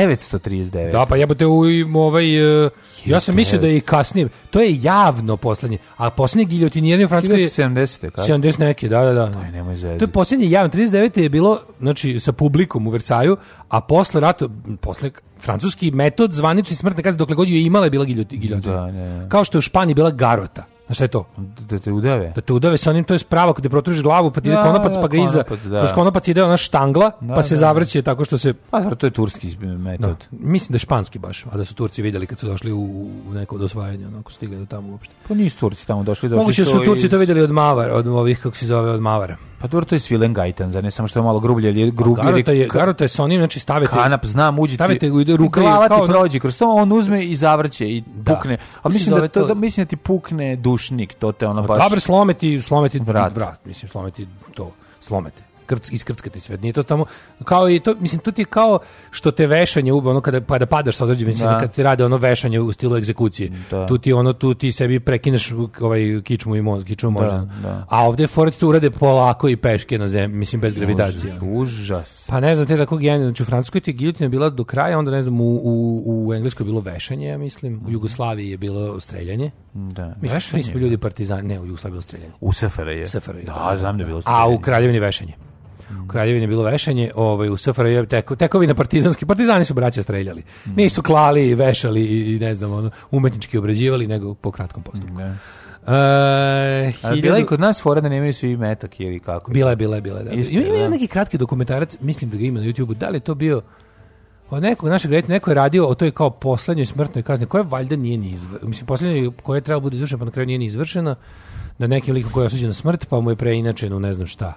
Speaker 9: 1939.
Speaker 8: Da, pa jebote u im, ovaj... e, ja sam
Speaker 9: 1939.
Speaker 8: mislio da je i kasnije. To je javno poslednje. A poslednje giljotiniranje u Francuskoj znači je...
Speaker 9: 1970. Kad?
Speaker 8: 70 neke, da, da, da.
Speaker 9: Aj, nemoj zezati.
Speaker 8: To je posljednje javno, 39. je bilo znači, sa publikom u Versaju, a posle rata, m, posle francuski metod zvanični smrtne kazne, dokle god ju je imala je bila giljoti- giljotina.
Speaker 9: Da, da, da.
Speaker 8: Kao što je u Španiji bila garota. Znaš šta je to?
Speaker 9: Da te udave.
Speaker 8: Da te udave sa onim, to je spravo, kada protružiš glavu, pa ti ide
Speaker 9: Da,
Speaker 8: konopac,
Speaker 9: da,
Speaker 8: pa ga iza,
Speaker 9: konopac, da.
Speaker 8: kroz konopac ide ona štangla, pa se
Speaker 9: da, da.
Speaker 8: zavrće tako što se
Speaker 9: Pa zar to je turski metod.
Speaker 8: da, mislim da je španski baš, a da su Turci vidjeli kad su došli u, u neko od osvajanja, onako stigli do tamo uopšte.
Speaker 9: Pa nisu Turci tamo došli, došli
Speaker 8: Moguće da su Turci
Speaker 9: iz-
Speaker 8: to vidjeli od Mavara, od ovih, kako se zove, od Mavara.
Speaker 9: Pa dobro, to je svilen gajtan, zar ne samo što je malo grublje, ali je grublje.
Speaker 8: Garota je,
Speaker 9: ka-
Speaker 8: garota je sa onim, znači stavite...
Speaker 9: kanap, znam, uđi ti.
Speaker 8: Stavite u ide ruka i
Speaker 9: glava ti
Speaker 8: kao ono-
Speaker 9: prođe kroz to, on uzme i zavrće i pukne. A
Speaker 8: Kako se
Speaker 9: mislim da,
Speaker 8: zove
Speaker 9: to,
Speaker 8: ovaj to?
Speaker 9: da, mislim da ti pukne dušnik, to te ono
Speaker 8: Pa
Speaker 9: baš...
Speaker 8: Dobro, slometi, slometi
Speaker 9: Vrat.
Speaker 8: vrat. vrat, mislim, slometi to, slomete. Krc, iskrckati sve. Nije to tamo kao i to, mislim, to ti je kao što te vešanje uba, ono kada pa da padaš sa određenim, mislim,
Speaker 9: Da.
Speaker 8: kad ti rade ono vešanje u stilu egzekucije.
Speaker 9: Da.
Speaker 8: Tu ti ono tu ti sebi prekineš ovaj kičmu i mozg, kičmu možda.
Speaker 9: da.
Speaker 8: A ovde forat tu urade polako i peške na zemlji, mislim bez gravitacije.
Speaker 9: Užas.
Speaker 8: Pa ne znam, te tako genijalno. Znači u Francuskoj ti je giljotina bila do kraja, onda ne znam, u, u, u Engleskoj je bilo vešanje, ja
Speaker 9: Mhm.
Speaker 8: mislim, u Jugoslaviji je bilo streljanje.
Speaker 9: Da.
Speaker 8: Mi, mi smo ljudi partizani, ne, u Jugoslaviji je bilo streljanje.
Speaker 9: U SFRJ. je.
Speaker 8: SFRJ,
Speaker 9: Da, znam da je bilo.
Speaker 8: A
Speaker 9: streljanje.
Speaker 8: u
Speaker 9: Mhm.
Speaker 8: Kraljevini vešanje. U Kraljevini je bilo vešanje, ovaj, u SFRJ je teko, tekovina partizanski. Partizani su braća streljali.
Speaker 9: Mhm.
Speaker 8: Nisu klali, vešali i, i ne znam, ono, umetnički obrađivali, nego po kratkom postupku.
Speaker 9: Da.
Speaker 8: E,
Speaker 9: A bila je
Speaker 8: hiljadu-
Speaker 9: kod nas fora da nemaju svi metak ili kako?
Speaker 8: Bila je, bila je, bila je. Da.
Speaker 9: Isto,
Speaker 8: ima, ima
Speaker 9: da.
Speaker 8: neki kratki dokumentarac, mislim da ga ima na YouTubeu, da li je to bio od nekog našeg reditelja, neko je radio o toj kao poslednjoj smrtnoj kazni, koja valjda nije ni izvršena, mislim poslednjoj koja je trebala bude izvršena, pa na kraju nije ni izvršena, da neki lik koji je osuđen na smrt, pa mu je preinačen u ne znam šta.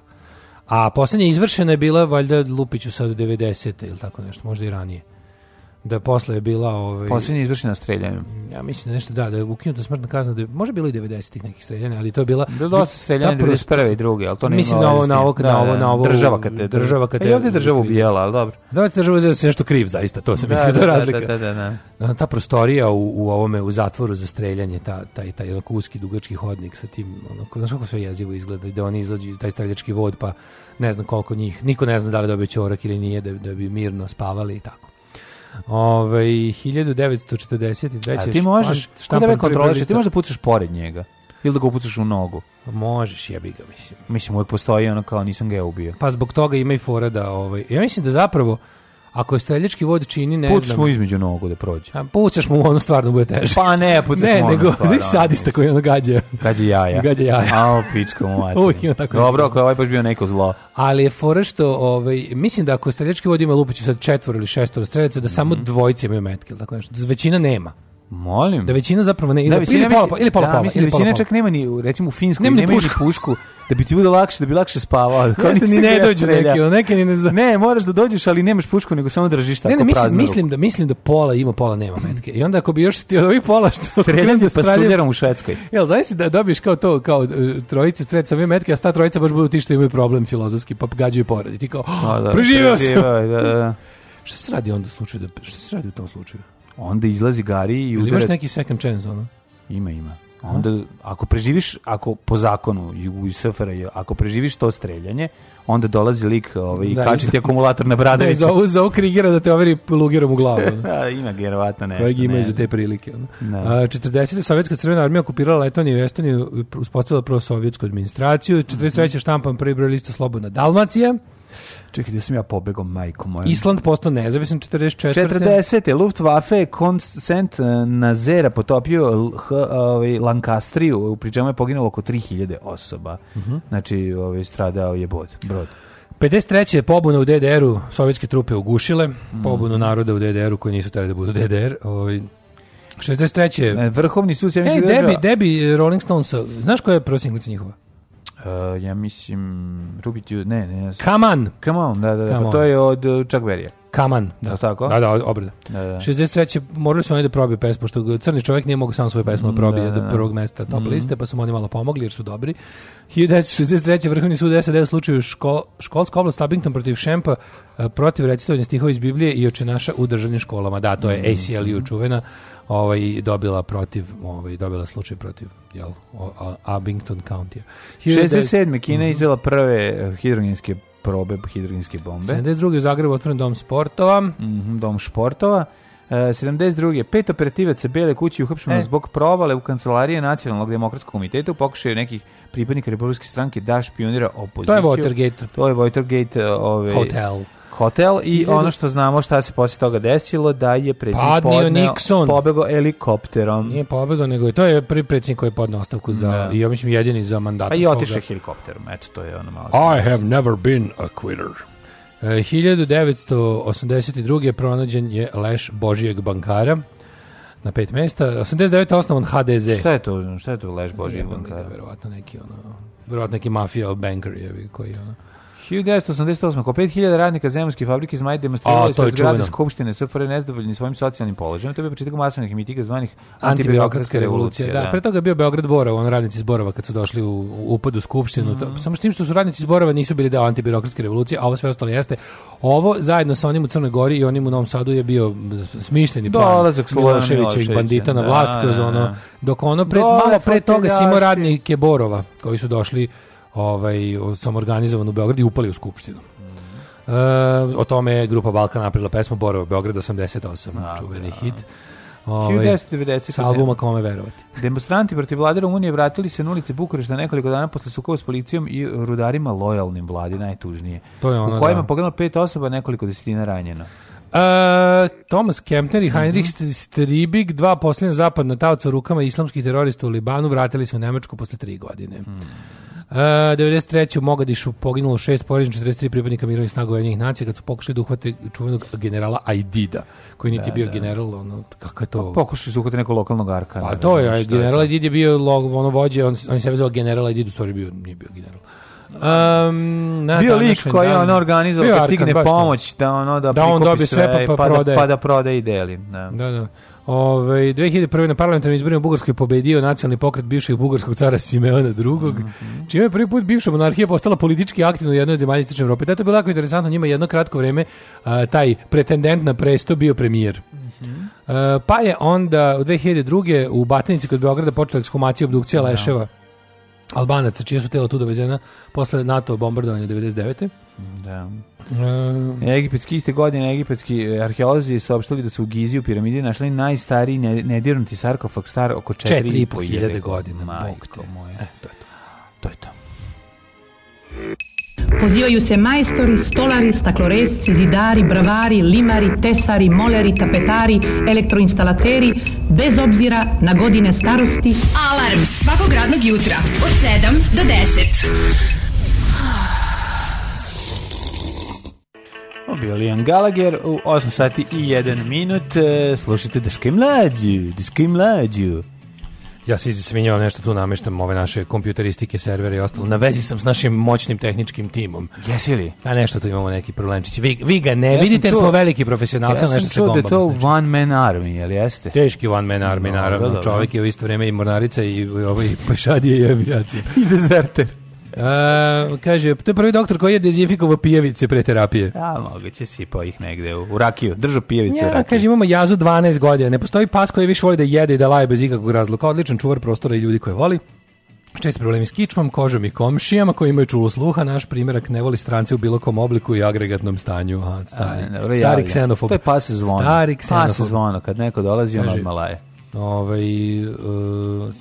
Speaker 8: A poslednja izvršena je bila valjda Lupiću sad u 90. ili tako nešto, možda i ranije. Da posle je bila... Ovaj,
Speaker 9: Posljednje izvršena streljanjem.
Speaker 8: ja mislim da nešto da, da je ukinuta smrtna kazna, da je, možda je bilo i 90-ih nekih streljanja, ali to je bila...
Speaker 9: Bilo dosta streljanja
Speaker 8: ta prost-
Speaker 9: 91. i 2. ali to nema
Speaker 8: Mislim
Speaker 9: veze
Speaker 8: na ovo,
Speaker 9: s
Speaker 8: na
Speaker 9: tim.
Speaker 8: ovo,
Speaker 9: Da,
Speaker 8: na ovo,
Speaker 9: da,
Speaker 8: na ovo,
Speaker 9: Država kad te...
Speaker 8: država kad
Speaker 9: E,
Speaker 8: te-
Speaker 9: I ovdje je država ubijala, ali dobro.
Speaker 8: Da, li te država za da si nešto kriv, zaista, to sam mislio, to je razlika.
Speaker 9: Da, da, da, da.
Speaker 8: Da, Ta prostorija u, u ovome, u zatvoru za streljanje, ta, taj, taj onako uski dugački hodnik sa tim, onako, znaš kako sve jezivo izgleda, da oni izlađu taj streljački vod, pa ne znam koliko njih, niko ne zna da li je dobio ćorak ili nije, da, da bi mirno spavali i tako. Ovaj, Ove, 1943.
Speaker 9: A ti možeš,
Speaker 8: štampan-
Speaker 9: šta da me
Speaker 8: štampan prvi
Speaker 9: kontroliš, ti
Speaker 8: lista.
Speaker 9: možeš da pucaš pored njega. Ili da ga upucaš u nogu.
Speaker 8: Možeš, jebi ga, mislim.
Speaker 9: Mislim, uvijek postoji ono kao nisam ga ja ubio.
Speaker 8: Pa zbog toga ima i fora da, ovaj, ja mislim da zapravo, ako je streljački vod čini, ne
Speaker 9: Pucaš
Speaker 8: znam...
Speaker 9: mu između nogu da prođe.
Speaker 8: A, Pucaš mu ono stvarno bude teže.
Speaker 9: Pa ne, pucaš mu
Speaker 8: Ne,
Speaker 9: ono
Speaker 8: nego,
Speaker 9: stvarno,
Speaker 8: znaš
Speaker 9: ono,
Speaker 8: sadista koji ono gađa.
Speaker 9: Gađa jaja.
Speaker 8: Gađa jaja.
Speaker 9: A, o, pička mu mati.
Speaker 8: Uvijek ima tako
Speaker 9: Dobro,
Speaker 8: nešto.
Speaker 9: ako je ovaj baš bio neko zlo.
Speaker 8: Ali je fora što, ovaj, mislim da ako streljački vod ima lupiću sad četvor ili šestor streljaca, da
Speaker 9: Mhm.
Speaker 8: samo dvojice imaju metke ili tako nešto. Da većina nema.
Speaker 9: Molim.
Speaker 8: Da većina zapravo ne. Ili,
Speaker 9: Da,
Speaker 8: ili
Speaker 9: visina
Speaker 8: pola,
Speaker 9: mislim-
Speaker 8: ili pola,
Speaker 9: da,
Speaker 8: pola,
Speaker 9: mislim da
Speaker 8: ili pola,
Speaker 9: visina
Speaker 8: pola.
Speaker 9: čak nema ni, u- recimo u Finskoj,
Speaker 8: Nema
Speaker 9: nema
Speaker 8: ni
Speaker 9: ni pušku.
Speaker 8: pušku.
Speaker 9: da bi ti bude lakše, da bi lakše spavao. Kao
Speaker 8: Jeste, ni
Speaker 9: nisam ga
Speaker 8: ne
Speaker 9: ja
Speaker 8: dođu
Speaker 9: streljao.
Speaker 8: neki, ono, neki ni ne za-
Speaker 9: Ne, moraš da dođeš, ali nemaš pušku, nego samo držiš tako
Speaker 8: Ne, ne, mislim,
Speaker 9: praznu ruku.
Speaker 8: mislim, da, mislim da pola ima, pola nema metke. I onda ako bi još ti od ovih pola što...
Speaker 9: Streljanje
Speaker 8: da streljaju-
Speaker 9: pasuljarom pa u Švedskoj.
Speaker 8: Jel, znaš si da dobiješ kao to, kao e, trojice streljaca sa ovim metke, a sta trojica baš budu ti što imaju problem filozofski, pa gađaju pored. I ti kao,
Speaker 9: Pa da,
Speaker 8: preživeo sam.
Speaker 9: preživeo je, Da, da, da.
Speaker 8: Šta se radi onda u slučaju? Da, šta se radi u tom slučaju?
Speaker 9: Onda izlazi Gari i
Speaker 8: Ili imaš
Speaker 9: udara.
Speaker 8: neki second chance, ono?
Speaker 9: Ima, ima. Onda, ako preživiš, ako po zakonu u SFRJ, ako preživiš to streljanje, onda dolazi lik ovaj, i
Speaker 8: Da,
Speaker 9: kači
Speaker 8: iz-
Speaker 9: ti akumulator na
Speaker 8: Da,
Speaker 9: bradavicu.
Speaker 8: za ovu, za ovu Krigera da te overi lugerom u glavu. ono.
Speaker 9: Da, ima vjerovatno nešto.
Speaker 8: Kojeg imaju
Speaker 9: ne
Speaker 8: za
Speaker 9: znam.
Speaker 8: te prilike. Ono.
Speaker 9: Da.
Speaker 8: A, 40. Sovjetska crvena armija okupirala Letoniju i Estoniju, uspostavila prosovjetsku administraciju. 43. štampan prvi broj lista Slobodna Dalmacija.
Speaker 9: Čekaj, da sam ja pobegao, majko moja.
Speaker 8: Island postao nezavisan 44.
Speaker 9: 40. Luftwaffe je Consent Nazera potopio L- H- ovaj, Lancastriju, u pri čemu je poginulo oko 3000 osoba.
Speaker 8: Mhm.
Speaker 9: Znači, ovaj, stradao je bod, brod. Eh,
Speaker 8: 53. je pobuna u DDR-u, sovjetske trupe ugušile,
Speaker 9: Mm.
Speaker 8: pobunu naroda u DDR-u koji nisu tere da budu DDR. Ovaj. 63. je
Speaker 9: E, Vrhovni sud se
Speaker 8: Ej, Debi, Debi Rolling Stones, znaš koja je prva singlica njihova?
Speaker 9: ja Eh, mislim, Ruby Tuesday, ne, ne, ne.
Speaker 8: Come on!
Speaker 9: Come on, da, da, da,
Speaker 8: Come
Speaker 9: pa
Speaker 8: on.
Speaker 9: to je od uh, Chuck Berry-a.
Speaker 8: Kaman, da.
Speaker 9: Jel tako?
Speaker 8: Da, da, obrada.
Speaker 9: Da, da.
Speaker 8: 63. morali su oni da probiju pesmu, pošto crni čovjek nije mogao sam svoju pesmu
Speaker 9: Mm,
Speaker 8: da probije do prvog mesta
Speaker 9: Mhm.
Speaker 8: top liste, pa su mu oni malo pomogli jer su dobri. 1963. Vrhovni sud SAD u slučaju ško, školska oblast Abington protiv Šempa e, protiv recitovanja stihova iz Biblije i oče naša u državnim školama. Da, to
Speaker 9: Mhm.
Speaker 8: je ACLU čuvena ovaj, dobila protiv, ovaj, dobila slučaj protiv jel, o- a- Abington County.
Speaker 9: 67. Kina je
Speaker 8: Mhm.
Speaker 9: izvela prve eh, hidrogenske probe, hidrogenske bombe.
Speaker 8: 72. u Zagrebu otvoren dom sportova.
Speaker 9: Mhm, dom športova. E, 72. Pet operativaca Bele kuće uhapšeno
Speaker 8: E.
Speaker 9: zbog provale u kancelarije Nacionalnog demokratskog komiteta u pokušaju nekih pripadnika Republike stranke da špionira opoziciju.
Speaker 8: To je Watergate
Speaker 9: To je Watergate e, ove,
Speaker 8: Hotel.
Speaker 9: hotel i
Speaker 8: Hiljadu-
Speaker 9: ono što znamo šta se poslije toga desilo da je predsjednik
Speaker 8: Padnio
Speaker 9: podneo,
Speaker 8: Nixon.
Speaker 9: pobego helikopterom.
Speaker 8: Nije pobegao, nego je to je prvi predsjednik koji je podneo ostavku za, i ja mislim jedini za mandata
Speaker 9: Pa i
Speaker 8: svoga.
Speaker 9: otišao helikopterom. Eto, to je ono malo.
Speaker 8: I have never been a quitter. E, 1982. pronađen je leš Božijeg bankara na pet mesta. 89. osnovan HDZ.
Speaker 9: Šta je to? Šta je to Leš Božji
Speaker 8: Jebem ga,
Speaker 9: bankar?
Speaker 8: verovatno neki ono verovatno neki mafija banker je bi, koji ono
Speaker 9: 1988. Oko 5000 radnika zemljske fabrike Zmaj
Speaker 8: A,
Speaker 9: demonstrirali
Speaker 8: to je
Speaker 9: ispred zgrade
Speaker 8: čuveno.
Speaker 9: Skupštine SFR nezadovoljni svojim socijalnim položajem. To je bio početak masovnih mitinga zvanih
Speaker 8: antibirokratska revolucija. Da. Pre toga je bio Beograd Borova, on radnici iz Borova kad su došli u, u upad u skupštinu.
Speaker 9: Mhm.
Speaker 8: To- samo s tim što su radnici iz Borova nisu bili deo antibirokratske revolucije, a ovo sve ostalo jeste. Ovo zajedno sa onim u Crnoj Gori i onim u Novom Sadu je bio smišljeni plan
Speaker 9: Dolazak Slobodana
Speaker 8: Miloševićevih
Speaker 9: Miloševića.
Speaker 8: bandita na
Speaker 9: Da,
Speaker 8: vlast kroz
Speaker 9: da,
Speaker 8: ono
Speaker 9: da.
Speaker 8: dok ono pre,
Speaker 9: Dole
Speaker 8: malo pre toga
Speaker 9: foteljaši.
Speaker 8: simo radnike Borova koji su došli ovaj o- samoorganizovan u Beograd i upali u skupštinu. E, o tome je grupa Balkan napravila pesmu Borova Beograd 88, čuveni hit. Ovaj,
Speaker 9: 1990.
Speaker 8: sa albuma kome verovati.
Speaker 9: Demonstranti protiv vlade Rumunije vratili se na ulice Bukurešta nekoliko dana posle sukova s policijom i rudarima lojalnim vladi, najtužnije.
Speaker 8: To je ono,
Speaker 9: u kojima
Speaker 8: da.
Speaker 9: poginulo pet osoba, nekoliko desetina ranjeno.
Speaker 8: E, Thomas Kempner i Heinrich St- Stribig, dva posljednja zapadna tavca u rukama islamskih terorista u Libanu, vratili se u Nemačku posle tri godine. E, 93. u Mogadišu poginulo šest porodično 43 pripadnika mirovnih snaga Ujedinjenih nacija kad su pokušali da uhvate čuvenog generala Aidida, koji niti je bio general, ono, kako je to...
Speaker 9: Pokušali su uhvatiti nekog lokalnog arkana.
Speaker 8: Pa to je,
Speaker 9: razumeš,
Speaker 8: aj,
Speaker 9: šta je
Speaker 8: general
Speaker 9: to?
Speaker 8: Edid je bio log, ono vođe, on, on se vezao general Edid, u stvari bio, nije bio general. Um, na
Speaker 9: bio lik
Speaker 8: današnji
Speaker 9: koji je
Speaker 8: dan-
Speaker 9: ono organizovao
Speaker 8: Bio
Speaker 9: kad
Speaker 8: Arkan,
Speaker 9: stigne
Speaker 8: baš to.
Speaker 9: pomoć da ono da,
Speaker 8: Da on
Speaker 9: prikupi
Speaker 8: dobije sve, pa- pa
Speaker 9: da-
Speaker 8: prodaje.
Speaker 9: pa da prodaje i deli. Da.
Speaker 8: Da, da. Ovaj, Ove, 2001. na parlamentarnim izborima u Bugarskoj pobedio nacionalni pokret bivšeg bugarskog cara Simeona II.
Speaker 9: Mhm.
Speaker 8: Čime je prvi put bivša monarhija postala politički aktivna u jednoj od zemalja istočne Evrope. Da, to je bilo jako interesantno. Njima je jedno kratko vreme a, taj pretendent na presto bio premijer.
Speaker 9: Mhm.
Speaker 8: E, pa je onda u 2002. u Batinici kod Beograda počela ekshumacija i obdukcija leševa Albanaca, čije su tela tu dovezena posle NATO bombardovanja 99.
Speaker 9: da.
Speaker 8: E,
Speaker 9: Mhm. Egipetski iste godine egipetski e, arheolozi saopštili da su u Gizi u piramidi našli najstariji ne- nedirnuti sarkofag star oko 4.500
Speaker 8: 4.500 godina. Bog
Speaker 9: Majko
Speaker 8: te.
Speaker 9: moja.
Speaker 8: E, to je to.
Speaker 9: To je to.
Speaker 10: Pozivaju se majstori, stolari, stakloresci, zidari, bravari, limari, tesari, moleri, tapetari, elektroinstalateri, bez obzira na godine starosti,
Speaker 5: Alarm svakog radnog jutra od 7 do 10.
Speaker 9: Ovo je bio Liam Gallagher u 8 sati i 1 minut. E, Slušajte Daška i mlađu, Daška i mlađu.
Speaker 8: Ja se izvinjavam nešto tu nameštam ove naše kompjuteristike, servere i ostalo. Na vezi sam s našim moćnim tehničkim timom.
Speaker 9: Jesi li?
Speaker 8: A nešto tu imamo neki problemčići. Vi, vi ga ne
Speaker 9: sam
Speaker 8: vidite jer
Speaker 9: čuo-
Speaker 8: smo veliki profesionalci,
Speaker 9: ja
Speaker 8: ali
Speaker 9: sam
Speaker 8: nešto se
Speaker 9: čuo da je
Speaker 8: gombamo.
Speaker 9: to
Speaker 8: s nečim.
Speaker 9: one man army, jel jeste?
Speaker 8: Teški one man army,
Speaker 9: Dobro,
Speaker 8: naravno.
Speaker 9: dobro.
Speaker 8: Čovjek je u isto vrijeme i mornarica i, i ovaj pešadije i avijacija.
Speaker 9: I dezerter.
Speaker 8: E, kaže, to je prvi doktor koji je dezinfikovao pijevice pre terapije.
Speaker 9: A, moguće sipao ih negde u, u rakiju. Držao pijevicu u
Speaker 8: Ja,
Speaker 9: rakiju.
Speaker 8: kaže, imamo jazu 12 godina. Ne postoji pas koji više voli da jede i da laje bez ikakvog razloga. Odličan čuvar prostora i ljudi koje voli. Čest problemi s kičmom, kožom i komšijama koji imaju čulo sluha. Naš primjerak ne voli strance u bilo kom obliku i agregatnom stanju. Aha, stari,
Speaker 9: A, dobro,
Speaker 8: stari
Speaker 9: javljam.
Speaker 8: ksenofob.
Speaker 9: To je pas zvono.
Speaker 8: Stari
Speaker 9: Pas
Speaker 8: ksenofob.
Speaker 9: zvono, kad neko dolazi, ono on
Speaker 8: Kaže-
Speaker 9: odmah laje.
Speaker 8: Ovaj, e,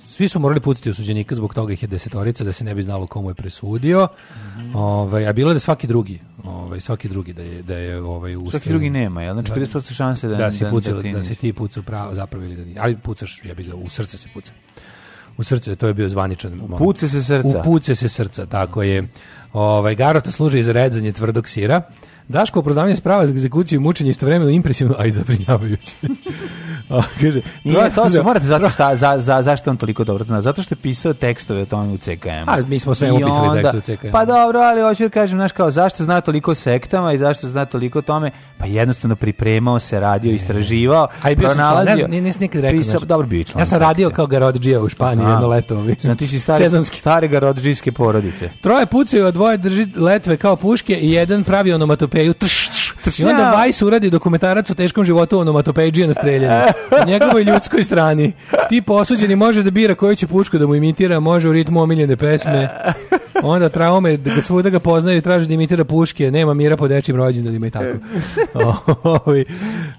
Speaker 8: svi su morali pucati osuđenika, zbog toga ih je desetorica, da se ne bi znalo komu je presudio.
Speaker 9: Mhm.
Speaker 8: Ovaj, a bilo je da svaki drugi, ovaj, svaki drugi da je, da je ovaj, u
Speaker 9: Svaki drugi nema, jel? Znači,
Speaker 8: Da.
Speaker 9: 50% šanse da,
Speaker 8: da, si pucao,
Speaker 9: ti
Speaker 8: da, si
Speaker 9: nisi.
Speaker 8: ti pucao pravo, zapravo ili da nije. Ali pucaš, ja bih ga, u srce se puca. U srce, to je bio zvaničan. U
Speaker 9: puce se srca.
Speaker 8: U puce se srca, tako je. Ovaj, garota služi i za redzanje tvrdog sira. Daško opravdavanje sprava za egzekuciju i mučenje istovremeno impresivno, a i zabrinjavajuće. O, kaže,
Speaker 9: Nije, to se
Speaker 8: Trojan-
Speaker 9: morate zato šta, za, za, zašto on toliko dobro zna. Zato što je pisao tekstove o tome u CKM.
Speaker 8: A, mi smo o svemu
Speaker 9: I
Speaker 8: pisali
Speaker 9: onda-
Speaker 8: tekste u CKM.
Speaker 9: Pa dobro, ali hoću da kažem, znaš kao, zašto zna toliko o sektama i zašto zna toliko o tome? Pa jednostavno pripremao se, radio, istraživao,
Speaker 8: E. A i bio sam član, ne
Speaker 9: pronalazio.
Speaker 8: znam, nis- nisi nikad rekao.
Speaker 9: Pisao,
Speaker 8: znaš.
Speaker 9: dobro, bio je član.
Speaker 8: Ja sam
Speaker 9: sekte.
Speaker 8: radio kao garodžija u Španiji jedno leto. ovi.
Speaker 9: Znam, Znači, ti si stari,
Speaker 8: Sezonski.
Speaker 9: stare garodžijske porodice.
Speaker 8: Troje pucaju, a dvoje drži letve kao puške i jedan pravi onomatopeju. Tš, tš, tš. I onda
Speaker 9: ja.
Speaker 8: Vajs uradi dokumentarac o teškom životu onomatopeđije na streljanju. Na njegovoj ljudskoj strani. Ti posuđeni može da bira koju će pušku da mu imitira, može u ritmu omiljene pesme. Onda traume, da ga svuda ga poznaju i traže da imitira puške. Nema mira po dečim rođendanima i tako. Ovaj,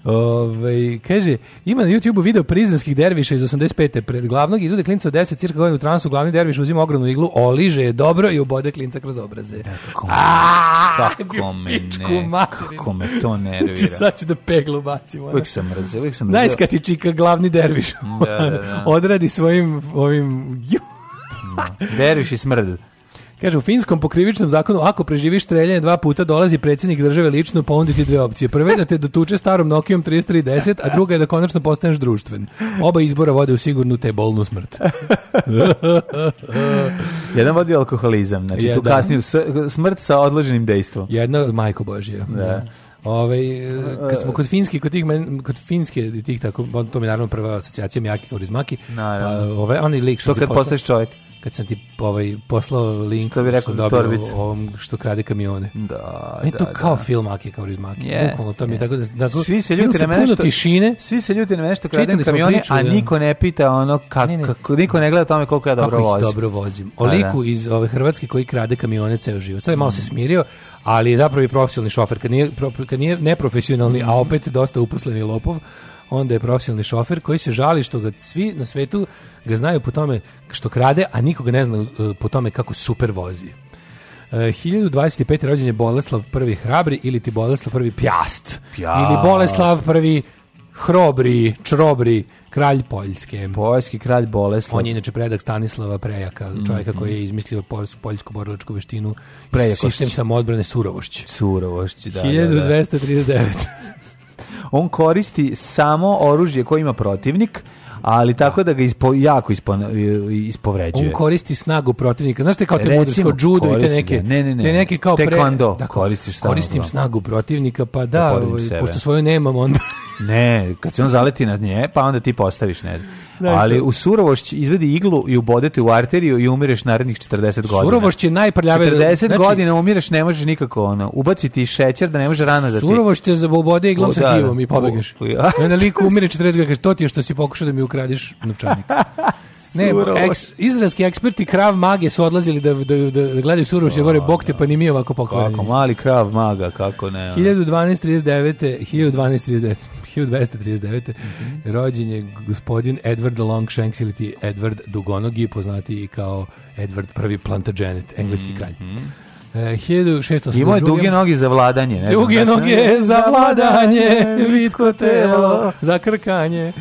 Speaker 8: ovaj, kaže, ima na YouTube-u video prizrenskih derviša iz 85. Pred glavnog izvode klinca od 10 cirka godina u transu, glavni derviš uzima ogromnu iglu, oliže je dobro i ubode klinca kroz obraze. Aaaa!
Speaker 9: Kako me
Speaker 8: Pičku
Speaker 9: ne,
Speaker 8: materinu.
Speaker 9: kako me to
Speaker 8: Ti
Speaker 9: nervira.
Speaker 8: sad ću da peglu bacim. ono.
Speaker 9: Uvijek sam mrzio, uvijek sam
Speaker 8: Znaš
Speaker 9: mrzio.
Speaker 8: kad ti čika glavni derviš ono,
Speaker 9: Da, da, da.
Speaker 8: odradi svojim ovim Ju.
Speaker 9: Derviš i smrd.
Speaker 8: Kaže, u finskom pokrivičnom zakonu, ako preživiš streljanje dva puta, dolazi predsjednik države lično ponuditi dve opcije. Prva je da te dotuče starom Nokijom 3310, a druga je da konačno postaneš društven. Oba izbora vode u sigurnu te bolnu smrt.
Speaker 9: Jedan vodi u alkoholizam, znači tu
Speaker 8: Jedan.
Speaker 9: kasniju s- smrt sa odloženim dejstvom.
Speaker 8: Jedna od majko Božija. Da. Ove, kad
Speaker 9: E.
Speaker 8: smo kod finski, kod, tih, men- kod finske i tih tako, on- to mi je naravno prva asocijacija Miyaki Kaurismaki.
Speaker 9: Naravno.
Speaker 8: Pa, ove, onaj lik što
Speaker 9: To
Speaker 8: ti
Speaker 9: kad
Speaker 8: posla-
Speaker 9: postaješ čovjek.
Speaker 8: kad sam ti ovaj, poslao link
Speaker 9: Što bi rekao,
Speaker 8: sam dobio
Speaker 9: torbicu.
Speaker 8: o ovom što krade kamione.
Speaker 9: Da,
Speaker 8: Ne,
Speaker 9: da,
Speaker 8: to
Speaker 9: da.
Speaker 8: kao film Aki kao Rizmaki.
Speaker 9: Jest,
Speaker 8: Bukvalno, to mi je
Speaker 9: jest.
Speaker 8: tako da... Dakle,
Speaker 9: Svi se ljuti na mene
Speaker 8: puno
Speaker 9: što-
Speaker 8: tišine.
Speaker 9: Svi se ljudi na mene što
Speaker 8: Čitali
Speaker 9: kradem
Speaker 8: smo
Speaker 9: kamione,
Speaker 8: priču,
Speaker 9: a
Speaker 8: da.
Speaker 9: niko ne pita ono kako,
Speaker 8: Ne, ne.
Speaker 9: niko ne gleda o tome koliko ja dobro
Speaker 8: Kako ih
Speaker 9: vozim.
Speaker 8: dobro vozim. O
Speaker 9: Pa, da. Mm.
Speaker 8: liku iz ove Hrvatske koji krade kamione ceo život. Sad je malo se smirio, ali je zapravo i profesionalni šofer. Kad nije, pro- kad nije neprofesionalni,
Speaker 9: Mm.
Speaker 8: a opet dosta uposleni lopov, onda je profesionalni šofer koji se žali što ga svi na svetu ga znaju po tome što krade, a nikoga ne zna e, po tome kako super vozi. E, 1025. rođen je Boleslav prvi hrabri ili ti Boleslav prvi pjast.
Speaker 9: Pjast.
Speaker 8: Ili Boleslav prvi hrobri, črobri, kralj Poljske.
Speaker 9: Poljski kralj Boleslav.
Speaker 8: On je inače predak Stanislava Prejaka,
Speaker 9: Mhm.
Speaker 8: čovjeka koji je izmislio poljsku, poljsku borilačku veštinu, i
Speaker 9: Prejakošć.
Speaker 8: sistem samoodbrane Surovošć.
Speaker 9: Surovošć, da, da, da.
Speaker 8: 1239.
Speaker 9: On koristi samo oružje koje ima protivnik, ali tako da ga ispo, jako ispo- ispovređuje.
Speaker 8: On koristi snagu protivnika. Znaš te kao te
Speaker 9: Recimo,
Speaker 8: mudrsko judo i te
Speaker 9: koristi
Speaker 8: neke,
Speaker 9: ga. Ne, ne, ne.
Speaker 8: te neke kao
Speaker 9: Taekwondo koristiš snagu,
Speaker 8: Koristim
Speaker 9: da.
Speaker 8: snagu protivnika, pa da,
Speaker 9: Oporavim
Speaker 8: ovaj,
Speaker 9: sebe.
Speaker 8: pošto svoju nemam, onda
Speaker 9: Ne, kad se on zaleti na nje, pa onda ti postaviš, ne znam. Ali u Surovošć izvedi iglu i ubode te u arteriju i umireš narednih 40 godina.
Speaker 8: Surovošć je najprljavije.
Speaker 9: 40
Speaker 8: Znači,
Speaker 9: godina umireš, ne možeš nikako ono. Ubaci ti šećer da ne može rana da ti...
Speaker 8: Surovošć te zabobode iglom
Speaker 9: O,
Speaker 8: sa
Speaker 9: da, da.
Speaker 8: hivom i pobegneš.
Speaker 9: O, ja.
Speaker 8: I onda lik umire 40 godina, kaže, to ti je što si pokušao da mi ukradeš novčanik. Ne,
Speaker 9: Surovošć.
Speaker 8: eks- izraelski eksperti krav mage su odlazili da, da, da, da gledaju Surovošće, gore, bok te, pa ni mi ovako pokvareni.
Speaker 9: Kako, mali krav maga, kako ne. ono.
Speaker 8: 1239. 1239. 1239.
Speaker 9: Mhm.
Speaker 8: rođen je gospodin Edward Longshanks ili ti Edward Dugonogi, poznati i kao Edward prvi Plantagenet, engleski kralj. E, 1682.
Speaker 9: Mhm. Imao je duge noge za vladanje. Ne znam
Speaker 8: Duge
Speaker 9: zašto.
Speaker 8: noge za vladanje, vitko telo, za krkanje.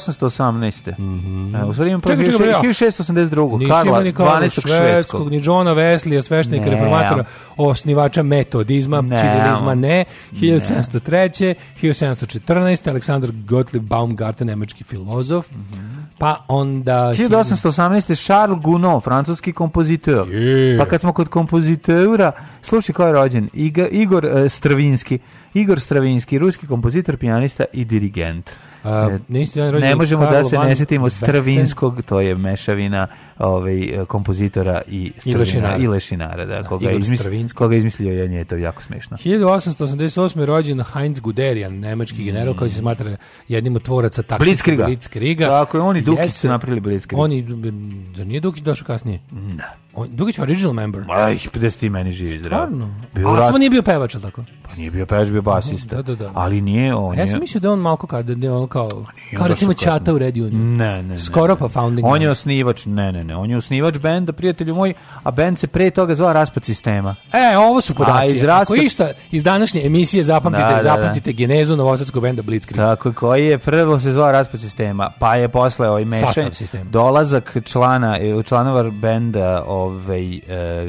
Speaker 9: 1818. E, U stvari imam
Speaker 8: Mhm. Čekaj, čekaj, ja.
Speaker 9: 1672.
Speaker 8: Nisi imao
Speaker 9: Karla,
Speaker 8: ni Karla
Speaker 9: 12.
Speaker 8: Švedskog,
Speaker 9: švedskog.
Speaker 8: ni Johna Veslija, sveštenika
Speaker 9: Ne.
Speaker 8: reformatora, osnivača metodizma,
Speaker 9: Ne.
Speaker 8: civilizma, ne. 1703. 1714. Aleksandar Gottlieb Baumgarten, nemački filozof.
Speaker 9: Mhm.
Speaker 8: Pa onda...
Speaker 9: 1818. Charles Gounod, francuski kompozitor.
Speaker 8: Je.
Speaker 9: Pa kad smo kod kompozitora, slušaj ko je rođen, Iga- Igor eh, Stravinski. Igor Stravinski, ruski kompozitor, pijanista i dirigent.
Speaker 8: A,
Speaker 9: E,
Speaker 8: na isti dan je rođen
Speaker 9: ne možemo
Speaker 8: Karlo
Speaker 9: da se
Speaker 8: van
Speaker 9: ne sjetimo
Speaker 8: Vechten.
Speaker 9: Stravinskog, to je mešavina ovaj, eh, kompozitora i, Stravina-
Speaker 8: lešinara.
Speaker 9: i lešinara. Da,
Speaker 8: Da,
Speaker 9: koga, je
Speaker 8: Igor
Speaker 9: izmis-
Speaker 8: Stravinski.
Speaker 9: koga je izmislio, je nje to jako smešno.
Speaker 8: 1888. rođen Heinz Guderian, nemački general koji se smatra jednim od tvoraca taktike
Speaker 9: Blitzkriega.
Speaker 8: Blitzkriega.
Speaker 9: Mm. Tako je, oni Dukić
Speaker 8: Jeste.
Speaker 9: su napravili Blitzkrieg.
Speaker 8: Oni, mm, zar nije Dukić došao kasnije? Ne. Dukić je original member.
Speaker 9: Aj, da si ti meni živi zdrav.
Speaker 8: Stvarno?
Speaker 9: Bio
Speaker 8: A
Speaker 9: rast-
Speaker 8: samo nije bio pevač, ali tako?
Speaker 9: Pa nije bio pevač, bio basista.
Speaker 8: Da, da, da.
Speaker 9: Ali nije, Pa on
Speaker 8: A ja sam
Speaker 9: je-
Speaker 8: mislio da je on malko kao, da je on kao, kao
Speaker 9: on
Speaker 8: recimo
Speaker 9: došao kasno.
Speaker 8: Čata u Red Union.
Speaker 9: Ne, ne, ne.
Speaker 8: Skoro
Speaker 9: ne.
Speaker 8: pa founding.
Speaker 9: On je osnivač, ne, ne, ne. On je osnivač benda, prijatelju moj, a bend se pre toga zvao Raspad sistema.
Speaker 8: E, ovo su
Speaker 9: A,
Speaker 8: podaci.
Speaker 9: iz raspad-
Speaker 8: Ako išta, iz današnje emisije zapamtite,
Speaker 9: Da, da, da.
Speaker 8: zapamtite genezu novosadskog benda Blitzkrieg.
Speaker 9: Tako, koji je prvo se zvao Raspad sistema, pa je posle ovaj mešanje,
Speaker 8: Sastav sistema.
Speaker 9: dolazak člana, e, članova benda ovaj, e,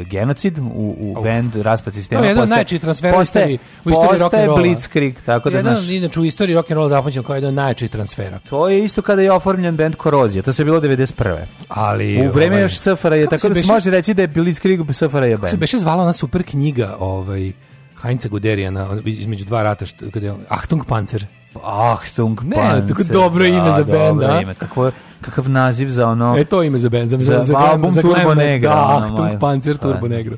Speaker 9: genocid u, u band raspad sistema.
Speaker 8: To je jedan od
Speaker 9: postaje-
Speaker 8: najjačih transfera u
Speaker 9: postaje-
Speaker 8: istoriji- u istoriji
Speaker 9: Postaje
Speaker 8: rock'n'rolla.
Speaker 9: Blitzkrieg, tako da,
Speaker 8: jedan,
Speaker 9: znaš,
Speaker 8: inače u istoriji rock and roll zapamćen kao jedan od najjačih transfera.
Speaker 9: to je isto kada je oformljen band Korozija, to se bilo 91.
Speaker 8: Ali
Speaker 9: U vreme
Speaker 8: ovaj,
Speaker 9: još SFRA je,
Speaker 8: kako se
Speaker 9: tako da se
Speaker 8: beše-
Speaker 9: može reći da je Blitzkrieg SFRA je
Speaker 8: se
Speaker 9: band.
Speaker 8: beše zvala ona super knjiga, ovaj Heinza Guderijana on- između dva rata što kada je Achtung Panzer.
Speaker 9: Achtung
Speaker 8: Ne,
Speaker 9: Panzer,
Speaker 8: tako dobro ime za
Speaker 9: dobro
Speaker 8: band, a?
Speaker 9: ime. Kakvo, kakav naziv za ono...
Speaker 8: E to ime za band, za,
Speaker 9: Za
Speaker 8: glam-
Speaker 9: album Turbo
Speaker 8: glam band.
Speaker 9: Negro,
Speaker 8: Da,
Speaker 9: ono,
Speaker 8: Achtung
Speaker 9: moje.
Speaker 8: Panzer
Speaker 9: Pa,
Speaker 8: Turbo Negro.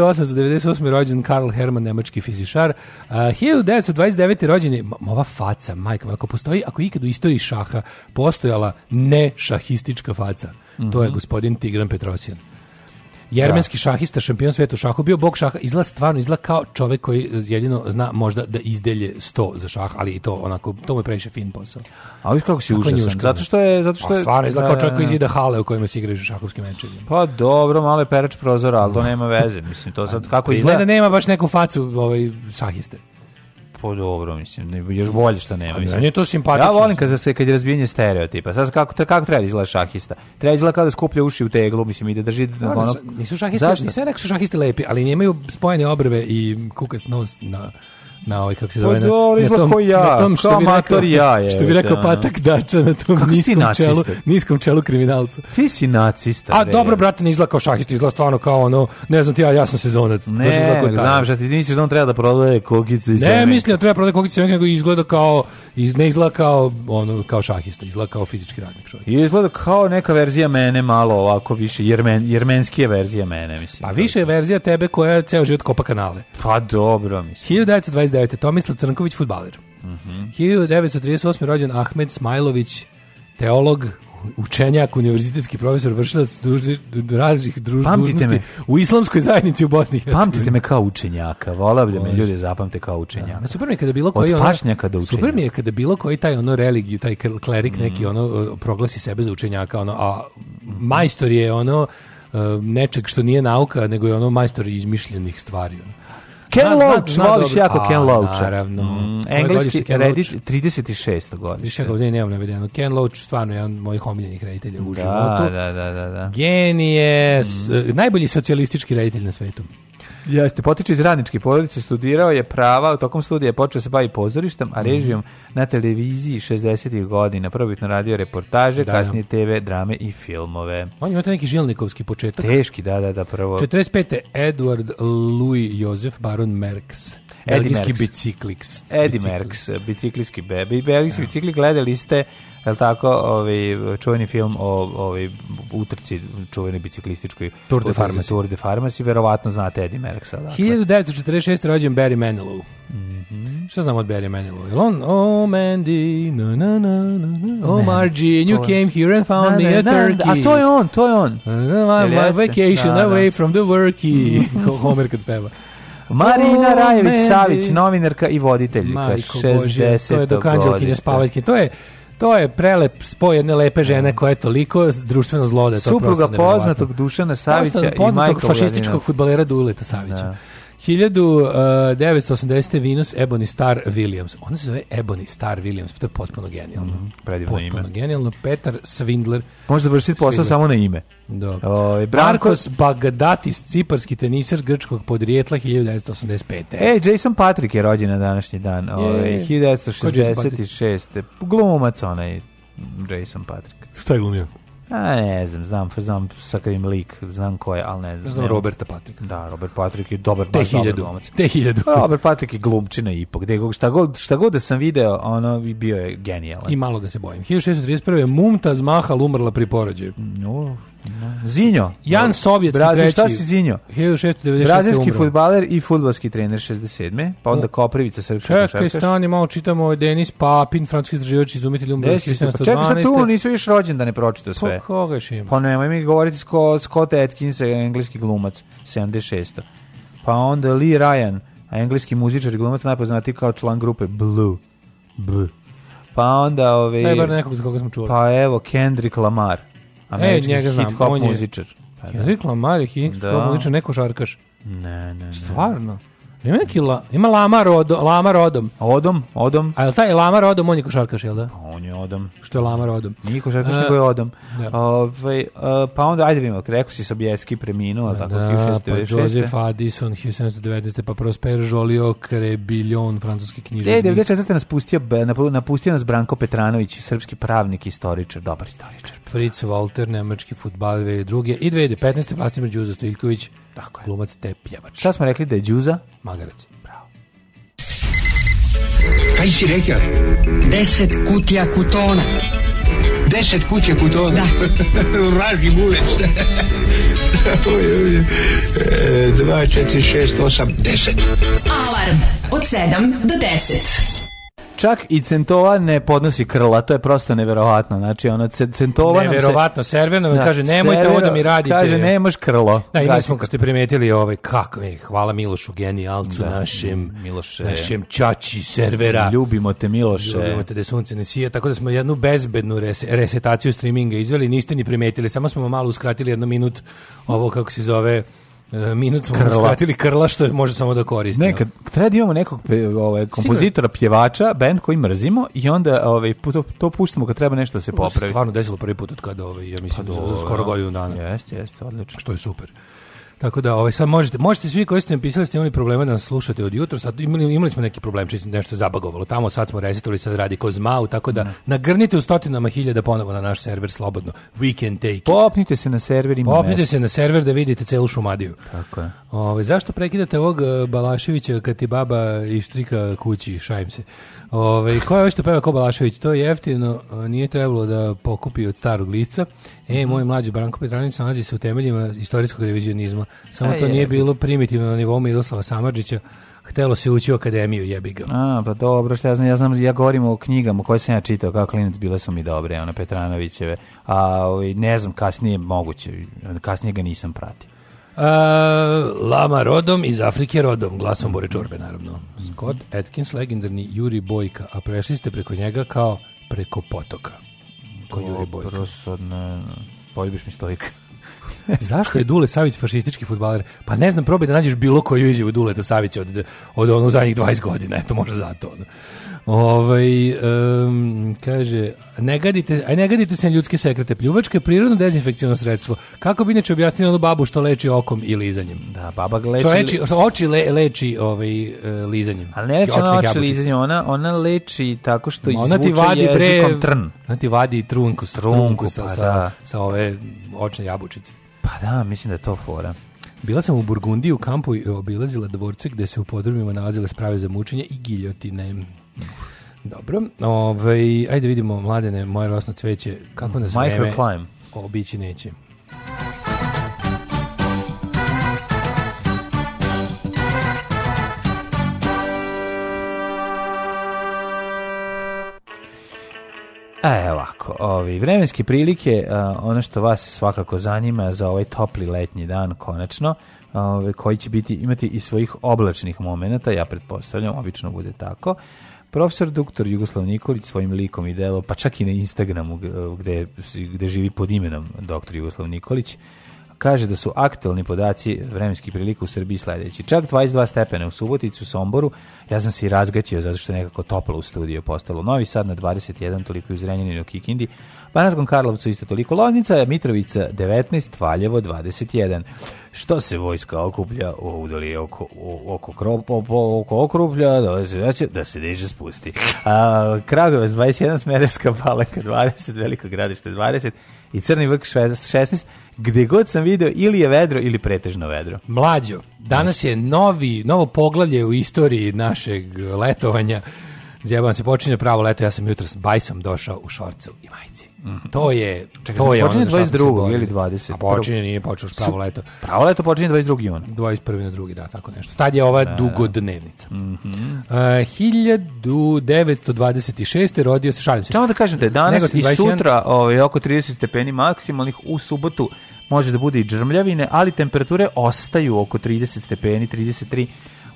Speaker 8: 1898. rođen Karl Hermann, nemački fizičar. Uh, 1929. rođen je, ma- ma ova faca, majka, moja, ako postoji, ako je ikad u istoriji šaha postojala ne šahistička faca, to
Speaker 9: Mhm.
Speaker 8: je gospodin Tigran Petrosjan. Jermenski šahista, šampion sveta u šahu, bio bog šaha, izgleda stvarno, izgleda kao čovek koji eh, jedino zna možda da izdelje 100 za šah, ali i to onako, to mu je previše fin posao.
Speaker 9: A viš kako si
Speaker 8: Kako
Speaker 9: užasan,
Speaker 8: njuška.
Speaker 9: zato što je... Zato što
Speaker 8: Pa,
Speaker 9: je
Speaker 8: stvarno, izgleda
Speaker 9: da,
Speaker 8: kao
Speaker 9: da,
Speaker 8: čovjek koji
Speaker 9: da.
Speaker 8: izida hale u kojima se igraju šahovski mečevi.
Speaker 9: Pa dobro, malo je perač prozora, ali to nema veze, mislim, to sad kako
Speaker 8: Pa Izgleda
Speaker 9: izgleda...
Speaker 8: da nema baš neku facu ovaj, šahiste.
Speaker 9: Pa dobro, mislim, ne- još bolje što nema. mislim.
Speaker 8: meni je to simpatično.
Speaker 9: Ja volim kad se kad je razbijanje stereotipa. Sad kako te- kako treba da izgleda šahista? Treba izgleda kao da skuplja uši u teglu, mislim i da drži ono.
Speaker 8: Pa nisu šahisti,
Speaker 9: Zašto?
Speaker 8: nisam ja rekao da su šahisti lepi, ali nemaju spojene obrve i kukas nos na na ovaj kako se
Speaker 9: Pa
Speaker 8: zove
Speaker 9: dobro, izgleda ko ja, kao amator ja, je,
Speaker 8: što bi rekao
Speaker 9: ono.
Speaker 8: patak dača na tom
Speaker 9: Kako si ti
Speaker 8: niskom čelu
Speaker 9: nacista?
Speaker 8: niskom čelu kriminalca
Speaker 9: Ti si nacista.
Speaker 8: a
Speaker 9: bre.
Speaker 8: dobro brate ne izgleda kao šahista izgleda stvarno kao ono ne znam ti ja ja sam sezonac baš izgleda
Speaker 9: Ne,
Speaker 8: kao taj.
Speaker 9: znam šta ti ti misliš da on treba da prodaje kokice i
Speaker 8: ne mislim da treba prodati kokice nego izgleda kao iz ne izgleda kao ono kao šahista izgleda kao fizički radnik čovjek
Speaker 9: I izgleda kao neka verzija mene malo ovako više jermen, jermenskije verzija mene mislim.
Speaker 8: Pa više je verzija tebe koja je ceo život kopa kanale.
Speaker 9: Pa dobro mislim.
Speaker 8: 1929. Tomislav Crnković, futbaler. Mhm. 1938. rođen Ahmed Smajlović, teolog, učenjak, univerzitetski profesor, vršilac dužni, du- različitih druž,
Speaker 9: Pamtite
Speaker 8: dužnosti
Speaker 9: me.
Speaker 8: u islamskoj zajednici u Bosni i Hercegovini.
Speaker 9: Pamtite me kao učenjaka, volao bi da me ljudi zapamte kao učenjaka.
Speaker 8: Ma super mi je kada bilo koji
Speaker 9: Od
Speaker 8: ono-
Speaker 9: pašnjaka do
Speaker 8: Super mi je kada bilo koji taj ono religiju, taj kl- klerik
Speaker 9: Mm.
Speaker 8: neki ono e, proglasi sebe za učenjaka, ono a majstor je ono e, nečeg što nije nauka, nego je ono majstor izmišljenih stvari. Ono.
Speaker 9: Ken
Speaker 8: Zna- zna-
Speaker 9: Loach,
Speaker 8: zna
Speaker 9: voliš
Speaker 8: dobro.
Speaker 9: jako
Speaker 8: A,
Speaker 9: Ken Loach.
Speaker 8: naravno. Koje godište
Speaker 9: engleski
Speaker 8: Ken Loach?
Speaker 9: Reddit 36.
Speaker 8: Više
Speaker 9: godište.
Speaker 8: ja ga ovdje nemam navedeno. ono, Ken Loach stvarno je jedan od mojih omiljenih reditelja u
Speaker 9: Da,
Speaker 8: životu.
Speaker 9: da, Mm. da, da, da.
Speaker 8: Genije, s- e, najbolji socijalistički reditelj na svetu.
Speaker 9: Jeste, potiče iz radničke porodice, studirao je prava, u tokom studija je počeo se bavi pozorištem,
Speaker 8: Mm.
Speaker 9: a režijom na televiziji 60. godina. Prvobitno radio reportaže,
Speaker 8: Da, da.
Speaker 9: kasnije TV, drame i filmove.
Speaker 8: On je imao taj neki žilnikovski početak.
Speaker 9: Teški, da, da, da, prvo.
Speaker 8: 45. Edward Louis Josef Baron Merks. Belgijski
Speaker 9: Merks.
Speaker 8: bicikliks.
Speaker 9: Eddie
Speaker 8: Bicikliks.
Speaker 9: Merks, bicikliski bebi, belgijski bicikli, gledali ste, je li tako, ovaj, čuveni film o ovaj, utrci čuveni biciklističkoj
Speaker 8: Tour de
Speaker 9: utrci,
Speaker 8: Pharmacy.
Speaker 9: Tour de Pharmacy, verovatno znate Eddie Merksa. Dakle.
Speaker 8: 1946. rođen Barry Manilow.
Speaker 9: Mhm.
Speaker 8: Šta znamo od Barry Manilow? Jel on? Oh, Mandy, na, na, na, na, na. Oh, Margie, and you
Speaker 9: Ovo-
Speaker 8: came here and found
Speaker 9: Na,
Speaker 8: me
Speaker 9: na,
Speaker 8: a
Speaker 9: na,
Speaker 8: turkey.
Speaker 9: A to je on, to je on.
Speaker 8: Na, na, na,
Speaker 9: Jel
Speaker 8: My
Speaker 9: jeste?
Speaker 8: vacation
Speaker 9: Da, Mhm. da.
Speaker 8: away from the worky. Kao Homer kad peva.
Speaker 9: Marina
Speaker 8: Oh,
Speaker 9: Rajević
Speaker 8: Mandy.
Speaker 9: Savić, novinarka i voditeljka.
Speaker 8: Majko
Speaker 9: 60
Speaker 8: Božja, to je dok anđelkinje
Speaker 9: godište.
Speaker 8: spavaljke. To je To je prelep spoj jedne lepe žene koja je toliko društveno zlo da je to prosto
Speaker 9: Supruga
Speaker 8: neverovatno.
Speaker 9: poznatog Dušana Savića
Speaker 8: Poznatog-
Speaker 9: i
Speaker 8: poznatog
Speaker 9: Majka
Speaker 8: fašističkog fudbalera Duleta Savića. 1980. Venus Ebony Star Williams. Ona se zove Ebony Star Williams. To je potpuno genijalno.
Speaker 9: Mhm, predivno
Speaker 8: potpuno
Speaker 9: ime.
Speaker 8: genijalno. Petar Svindler.
Speaker 9: Možda vršiti posao
Speaker 8: Svigler.
Speaker 9: samo na ime.
Speaker 8: Do.
Speaker 9: Ovaj, Branko-
Speaker 8: Markos Bagadatis, ciparski teniser grčkog podrijetla 1985.
Speaker 9: E, Jason Patrick je rođen na današnji dan, ovaj,
Speaker 8: Je. Ko je Jason
Speaker 9: 1966. Glumac onaj Jason Patrick.
Speaker 8: šta je glumio?
Speaker 9: A ne znam, znam, znam sakrim lik, znam ko je, ali ne znam.
Speaker 8: Ne znam,
Speaker 9: nemam-
Speaker 8: Roberta Patrika.
Speaker 9: Da, Robert Patrick je dobar,
Speaker 8: Te
Speaker 9: baš dobar
Speaker 8: hiljadu.
Speaker 9: glumac.
Speaker 8: Te hiljadu.
Speaker 9: Pa, Robert Patrick je glumčina ipak, gde god, šta god, šta god da sam video, ono i bio je genijalan.
Speaker 8: I malo ga se bojim. 1631. Mumtaz Mahal umrla pri porođaju.
Speaker 9: No, no. Zinjo.
Speaker 8: Jan Sovjetski
Speaker 9: Mhm. Brazil,
Speaker 8: treći.
Speaker 9: šta si Zinjo?
Speaker 8: 1696.
Speaker 9: Brazilski
Speaker 8: umro.
Speaker 9: futbaler i futbalski trener 67. Pa onda
Speaker 8: O.
Speaker 9: Koprivica, srpska
Speaker 8: Čekaj, stani, malo čitamo ovaj Denis Papin, francuski istraživač, izumitelj umro
Speaker 9: Desi se, pa čekaj, šta
Speaker 8: 1712.
Speaker 9: tu nisu još rođen da ne pročita
Speaker 8: Ko-
Speaker 9: sve.
Speaker 8: Koga još ima?
Speaker 9: Pa nemoj mi govoriti Scott, Scott Atkins, engleski glumac, 76. Pa onda Lee Ryan, engleski muzičar i glumac, najpoznatiji kao član grupe Blue. Blue. Pa onda ovi...
Speaker 8: Daj bar nekog za koga smo čuli.
Speaker 9: Pa evo, Kendrick Lamar, američki
Speaker 8: E, njega znam,
Speaker 9: hip-hop
Speaker 8: on je-
Speaker 9: muzičar. Pa da.
Speaker 8: Je rekla Marija Higgins,
Speaker 9: Da.
Speaker 8: da. lično neko šarkaš.
Speaker 9: Ne, ne, ne.
Speaker 8: Stvarno? Ima neki la, ima lama, rodo, lama rodom.
Speaker 9: Odom, Odom,
Speaker 8: A je li taj lama rodom, on je košarkaš, jel da?
Speaker 9: on je odom.
Speaker 8: Što je Lama rodom.
Speaker 9: Niko Žarković
Speaker 8: E,
Speaker 9: nego je odom.
Speaker 8: da.
Speaker 9: Ovaj, e, pa onda, ajde vidimo, rekao si Sobieski preminuo, tako,
Speaker 8: Da, pa
Speaker 9: 1696.
Speaker 8: Joseph Addison, 1719. Pa Prosper Joliot Crebillion, francuski
Speaker 9: E,
Speaker 8: književnik.
Speaker 9: 94. nas pustio, be- nap- napustio nas Branko Petranović, srpski pravnik, istoričar, dobar istoričar.
Speaker 8: Fritz Walter, nemački futbal 2002. I 2015. Vlastimir Đuza Stojljković, tako je. glumac te pjevač.
Speaker 9: Šta smo rekli da je Đuza?
Speaker 8: Magarac. Bravo.
Speaker 2: Kaj si rekao?
Speaker 3: 10 kutija kutona.
Speaker 2: Deset kuće kutona. Vraži bulec. Oj, oj, e, Dva, četiri, šest, osam, deset.
Speaker 5: Alarm od 7 do 10.
Speaker 9: Čak i Centova ne podnosi krla, to je prosto neverovatno. Znači, ono, ce- Centova nam se-
Speaker 8: Neverovatno, server nam
Speaker 9: Da,
Speaker 8: kaže, nemojte
Speaker 9: servira-
Speaker 8: ovo da mi radite.
Speaker 9: Kaže, nemaš krlo.
Speaker 8: Da, imali
Speaker 9: Gasi
Speaker 8: smo,
Speaker 9: ga.
Speaker 8: kako ste primetili, ovaj, kako je, hvala Milošu, genijalcu našem,
Speaker 9: Miloše.
Speaker 8: našem čači servera.
Speaker 9: Ljubimo te, Miloše.
Speaker 8: Ljubimo te da sunce ne sije, tako da smo jednu bezbednu res, resetaciju streaminga izveli, niste ni primetili, samo smo vam malo uskratili jedno minut, ovo kako se zove, e, minut smo vam
Speaker 9: Krla.
Speaker 8: uskratili krla, što je može samo da ono. koristimo.
Speaker 9: Nekad treba da imamo nekog pe- ovaj, kompozitora, pjevača, bend koji mrzimo i onda ovaj, pu- to, to puštamo kad treba nešto da se
Speaker 8: Ovo se
Speaker 9: popravi. Pa
Speaker 8: stvarno desilo prvi put od kada, ovaj, ja mislim, za- za skoro godinu dana.
Speaker 9: Jeste, jeste, odlično.
Speaker 8: što je super. Tako da, ovaj, sad možete, možete svi koji ste mi pisali, ste imali problema da nas slušate od jutra, sad imali, imali smo neki problemčić, nešto je zabagovalo tamo, sad smo resetovali, sad radi ko zmau, tako da nagrnite u stotinama hiljada ponovo na naš server slobodno. We can take it.
Speaker 9: Popnite se na server, ima
Speaker 8: Popnite
Speaker 9: mesta.
Speaker 8: se na server da vidite celu šumadiju.
Speaker 9: Tako je.
Speaker 8: Ovaj, zašto prekidate ovog e, Balaševića kad ti baba ištrika kući, šajem se. Ovaj, ko je ovo što peva ko Balašević? To je jeftino, e, nije trebalo da pokupi od starog lisca. E, moj mlađi Branko Petranić nalazi se u temeljima istorijskog revizionizma. Samo
Speaker 9: A
Speaker 8: to
Speaker 9: je.
Speaker 8: nije bilo primitivno na nivou Miroslava Samarđića. Htelo se ući u akademiju, jebi ga.
Speaker 9: A, pa dobro, šta ja znam, ja znam, ja govorim o knjigama koje sam ja čitao kao klinac, bile su mi dobre, one Petranovićeve, a ovaj, ne znam, kasnije moguće, kasnije ga nisam pratio.
Speaker 8: E, Lama rodom, iz Afrike rodom, glasom Bore Čorbe, naravno. Scott Atkins, legendarni Juri Bojka, a prešli ste preko njega kao preko potoka. Ko Juri Bojka.
Speaker 9: Prosodno, poljubiš mi stojka.
Speaker 8: E, Zašto je Dule Savić fašistički futbaler? Pa ne znam, probaj da nađeš bilo koju izjavu Duleta Savića od, od ono zadnjih 20 godina, eto možda zato. Ono. Ovaj, em, kaže, ne gadite, aj ne gadite se na ljudske sekrete, pljuvačka je prirodno dezinfekcijno sredstvo. Kako bi inače objasnili onu babu što leči okom i lizanjem?
Speaker 9: Da, baba ga
Speaker 8: Što
Speaker 9: leči,
Speaker 8: leči, što oči le, leči ovaj, e, lizanjem.
Speaker 9: ali ne leči ona
Speaker 8: Očnih
Speaker 9: oči
Speaker 8: jabučica.
Speaker 9: lizanje, ona, ona leči tako što
Speaker 8: Ma, Ona
Speaker 9: izvuče
Speaker 8: ti vadi bre,
Speaker 9: jezikom trn.
Speaker 8: Ona ti vadi trunku, s-
Speaker 9: Trunku,
Speaker 8: trunku sa,
Speaker 9: pa
Speaker 8: sa,
Speaker 9: da.
Speaker 8: sa ove očne jabučice.
Speaker 9: Pa da, mislim da je to fora.
Speaker 8: Bila sam u Burgundiji u kampu i obilazila dvorce gde se u podrumima nalazile sprave za mučenje i giljotine. Dobro, ovaj, ajde vidimo, mladene, moje rosno cveće, kako nas vreme
Speaker 9: Microclimb.
Speaker 8: obići neće.
Speaker 9: E, ovako, ovi, vremenske prilike, a, ono što vas svakako zanima za ovaj topli letnji dan, konačno, ove, koji će biti, imati i svojih oblačnih momenata, ja pretpostavljam, obično bude tako. Profesor doktor Jugoslav Nikolić svojim likom i delom, pa čak i na Instagramu g- gde, gde živi pod imenom doktor Jugoslav Nikolić, kaže da su aktualni podaci vremenskih prilika u Srbiji sledeći. Čak 22 stepene u Subotici, u Somboru. Ja sam se i razgaćio zato što je nekako toplo u studiju postalo. Novi Sad na 21, toliko i u Zrenjaninu i u Kikindi. Banatskom Karlovcu isto toliko. Loznica, Mitrovica 19, Valjevo 21. Što se vojska okuplja u udoli oko, o- oko, kro- po- po- oko okruplja, da se, da će- da se diže spusti. A, Kragovac 21, Smederevska Palanka 20, Veliko gradište 20 i Crni vrh šve- 16 gde god sam video ili je vedro ili pretežno vedro.
Speaker 8: Mlađo, danas je novi, novo poglavlje u istoriji našeg letovanja. Zjebam se, počinje pravo leto, ja sam jutro s bajsom došao u šorcu i majici. To je, to je
Speaker 9: Mhm.
Speaker 8: ono
Speaker 9: počinje
Speaker 8: za što smo se
Speaker 9: 22.
Speaker 8: borili.
Speaker 9: ili 20.?
Speaker 8: A počinje, nije počeo pravo leto.
Speaker 9: Pravo leto počinje 22. juna.
Speaker 8: 21. na drugi, da, tako nešto. Tad je ova dugodnevnica.
Speaker 9: Mhm.
Speaker 8: E, 1926. rodio se, šalim se.
Speaker 9: Samo da kažem da je danas
Speaker 8: Negotin
Speaker 9: i
Speaker 8: 21.
Speaker 9: sutra ovaj, oko 30 stepeni maksimalnih, u subotu može da bude i džrmljavine, ali temperature ostaju oko 30 stepeni, 33.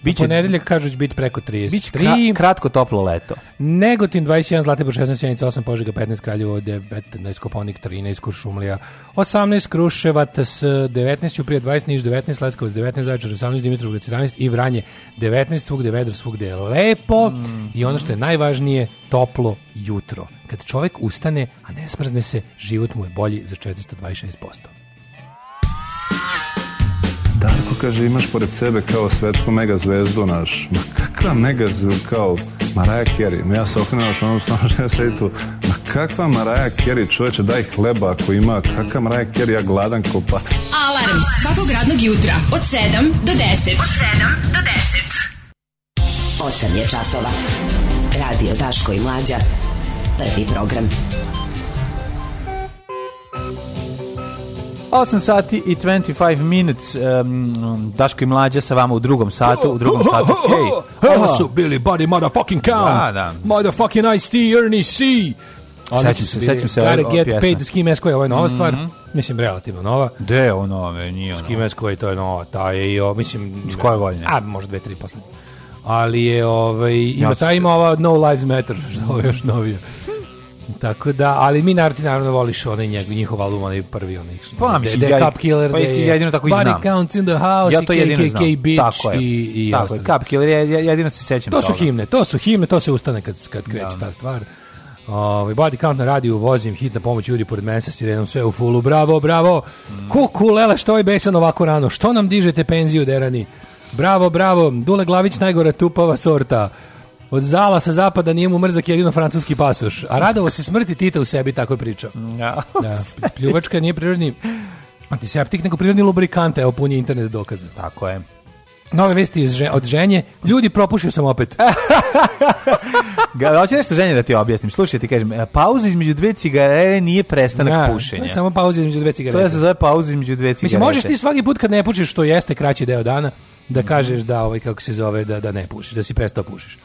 Speaker 9: Biće,
Speaker 8: Ponedeljak kažu će biti preko 33.
Speaker 9: biće kra- kratko toplo leto.
Speaker 8: Negotin 21, Zlatibor 16, Sjenica 8, Požega 15, Kraljevo 19, Koponik 13, Kuršumlija 18, Kruševat s 19, Ćuprija 20, Niš 19, Leskovac 19, Zaječar 18, Dimitrovgrad 17 i Vranje 19, svugde je vedro, svugde je lepo i ono što je najvažnije, toplo jutro. Kad čovjek ustane, a ne smrzne se, život mu je bolji za 426%.
Speaker 11: Darko kaže imaš pored sebe kao svetsku megazvezdu naš. Ma kakva megazvezdu kao Maraja Kerry. Ma ja se okrenuo još onom stvarno što ja sedi tu. Ma kakva Maraja Kerry čoveče daj hleba ako ima. Kakva Maraja Kerry ja gladan ko pas.
Speaker 5: Alarm svakog radnog jutra od 7 do 10. Od 7 do
Speaker 12: 10. 8 je časova. Radio Daško i Mlađa. Prvi program.
Speaker 9: 8 sati i 25 minutes um, Daško i Mlađa sa vama u drugom satu u drugom satu Hej,
Speaker 8: Ovo su bili Buddy Motherfucking Count,
Speaker 9: Da,
Speaker 8: Motherfucking Ice-T, Ernie C.
Speaker 9: Sećam se, sećam se
Speaker 8: Gotta
Speaker 9: ove-
Speaker 8: get
Speaker 9: ove pjesme. Mhm.
Speaker 8: paid, Ski Mask je ovo je nova stvar. Mislim, relativno nova.
Speaker 9: Gde je ono, me, nije ono.
Speaker 8: Ski Mask je to je nova, ta je i o, mislim... Iz
Speaker 9: koje godine?
Speaker 8: A, možda dve, tri poslednje. Ali je, ovaj, ima,
Speaker 9: Ja
Speaker 8: ta
Speaker 9: se-
Speaker 8: ima ova No Lives Matter, što je još novije. Tako da, ali mi naravno, ti naravno voliš onaj njeg, njihov album, onaj prvi, onaj...
Speaker 9: Pa, mislim,
Speaker 8: da je
Speaker 9: ja-
Speaker 8: Cup Killer,
Speaker 9: pa
Speaker 8: da
Speaker 9: iski-
Speaker 8: je
Speaker 9: jedino tako i
Speaker 8: Body
Speaker 9: znam.
Speaker 8: Counts in the House,
Speaker 9: Ja to
Speaker 8: i
Speaker 9: jedino
Speaker 8: KKK
Speaker 9: znam.
Speaker 8: Bitch
Speaker 9: Tako je.
Speaker 8: i, i
Speaker 9: Tako je.
Speaker 8: ostalo.
Speaker 9: Cup Killer, ja, ja jedino se sećam
Speaker 8: To su
Speaker 9: toga.
Speaker 8: himne, to su himne, to se ustane kad, kad kreće
Speaker 9: Da.
Speaker 8: ta stvar. Ovaj body count na radiju vozim, hitna pomoć ljudi pored mene sa sirenom, sve u fulu, bravo, bravo. Kuku, lela, što je besan ovako rano? Što nam dižete penziju, derani? Bravo, bravo, Dule Glavić najgora tupava sorta. Od zala sa zapada nije mu mrzak jedino francuski pasoš. A radovo se smrti Tita u sebi, tako je pričao.
Speaker 9: Ja.
Speaker 8: Da, pljuvačka nije prirodni antiseptik, nego prirodni lubrikant, evo pun je internet dokaza.
Speaker 9: Tako je.
Speaker 8: Nove vesti iz, Že- od ženje, ljudi propušio sam opet.
Speaker 9: Ga, hoće nešto ženje da ti objasnim. Slušaj, ti kažem, e, pauza između dve cigarete nije prestanak
Speaker 8: Da,
Speaker 9: pušenja.
Speaker 8: To je samo pauza između dve cigarete.
Speaker 9: To je se zove pauza između dve cigarete.
Speaker 8: Mislim, možeš ti svaki put kad ne pušiš, što jeste kraći deo dana, da kažeš da, ovaj, kako se zove, da, da ne pušiš, da si prestao pušiš.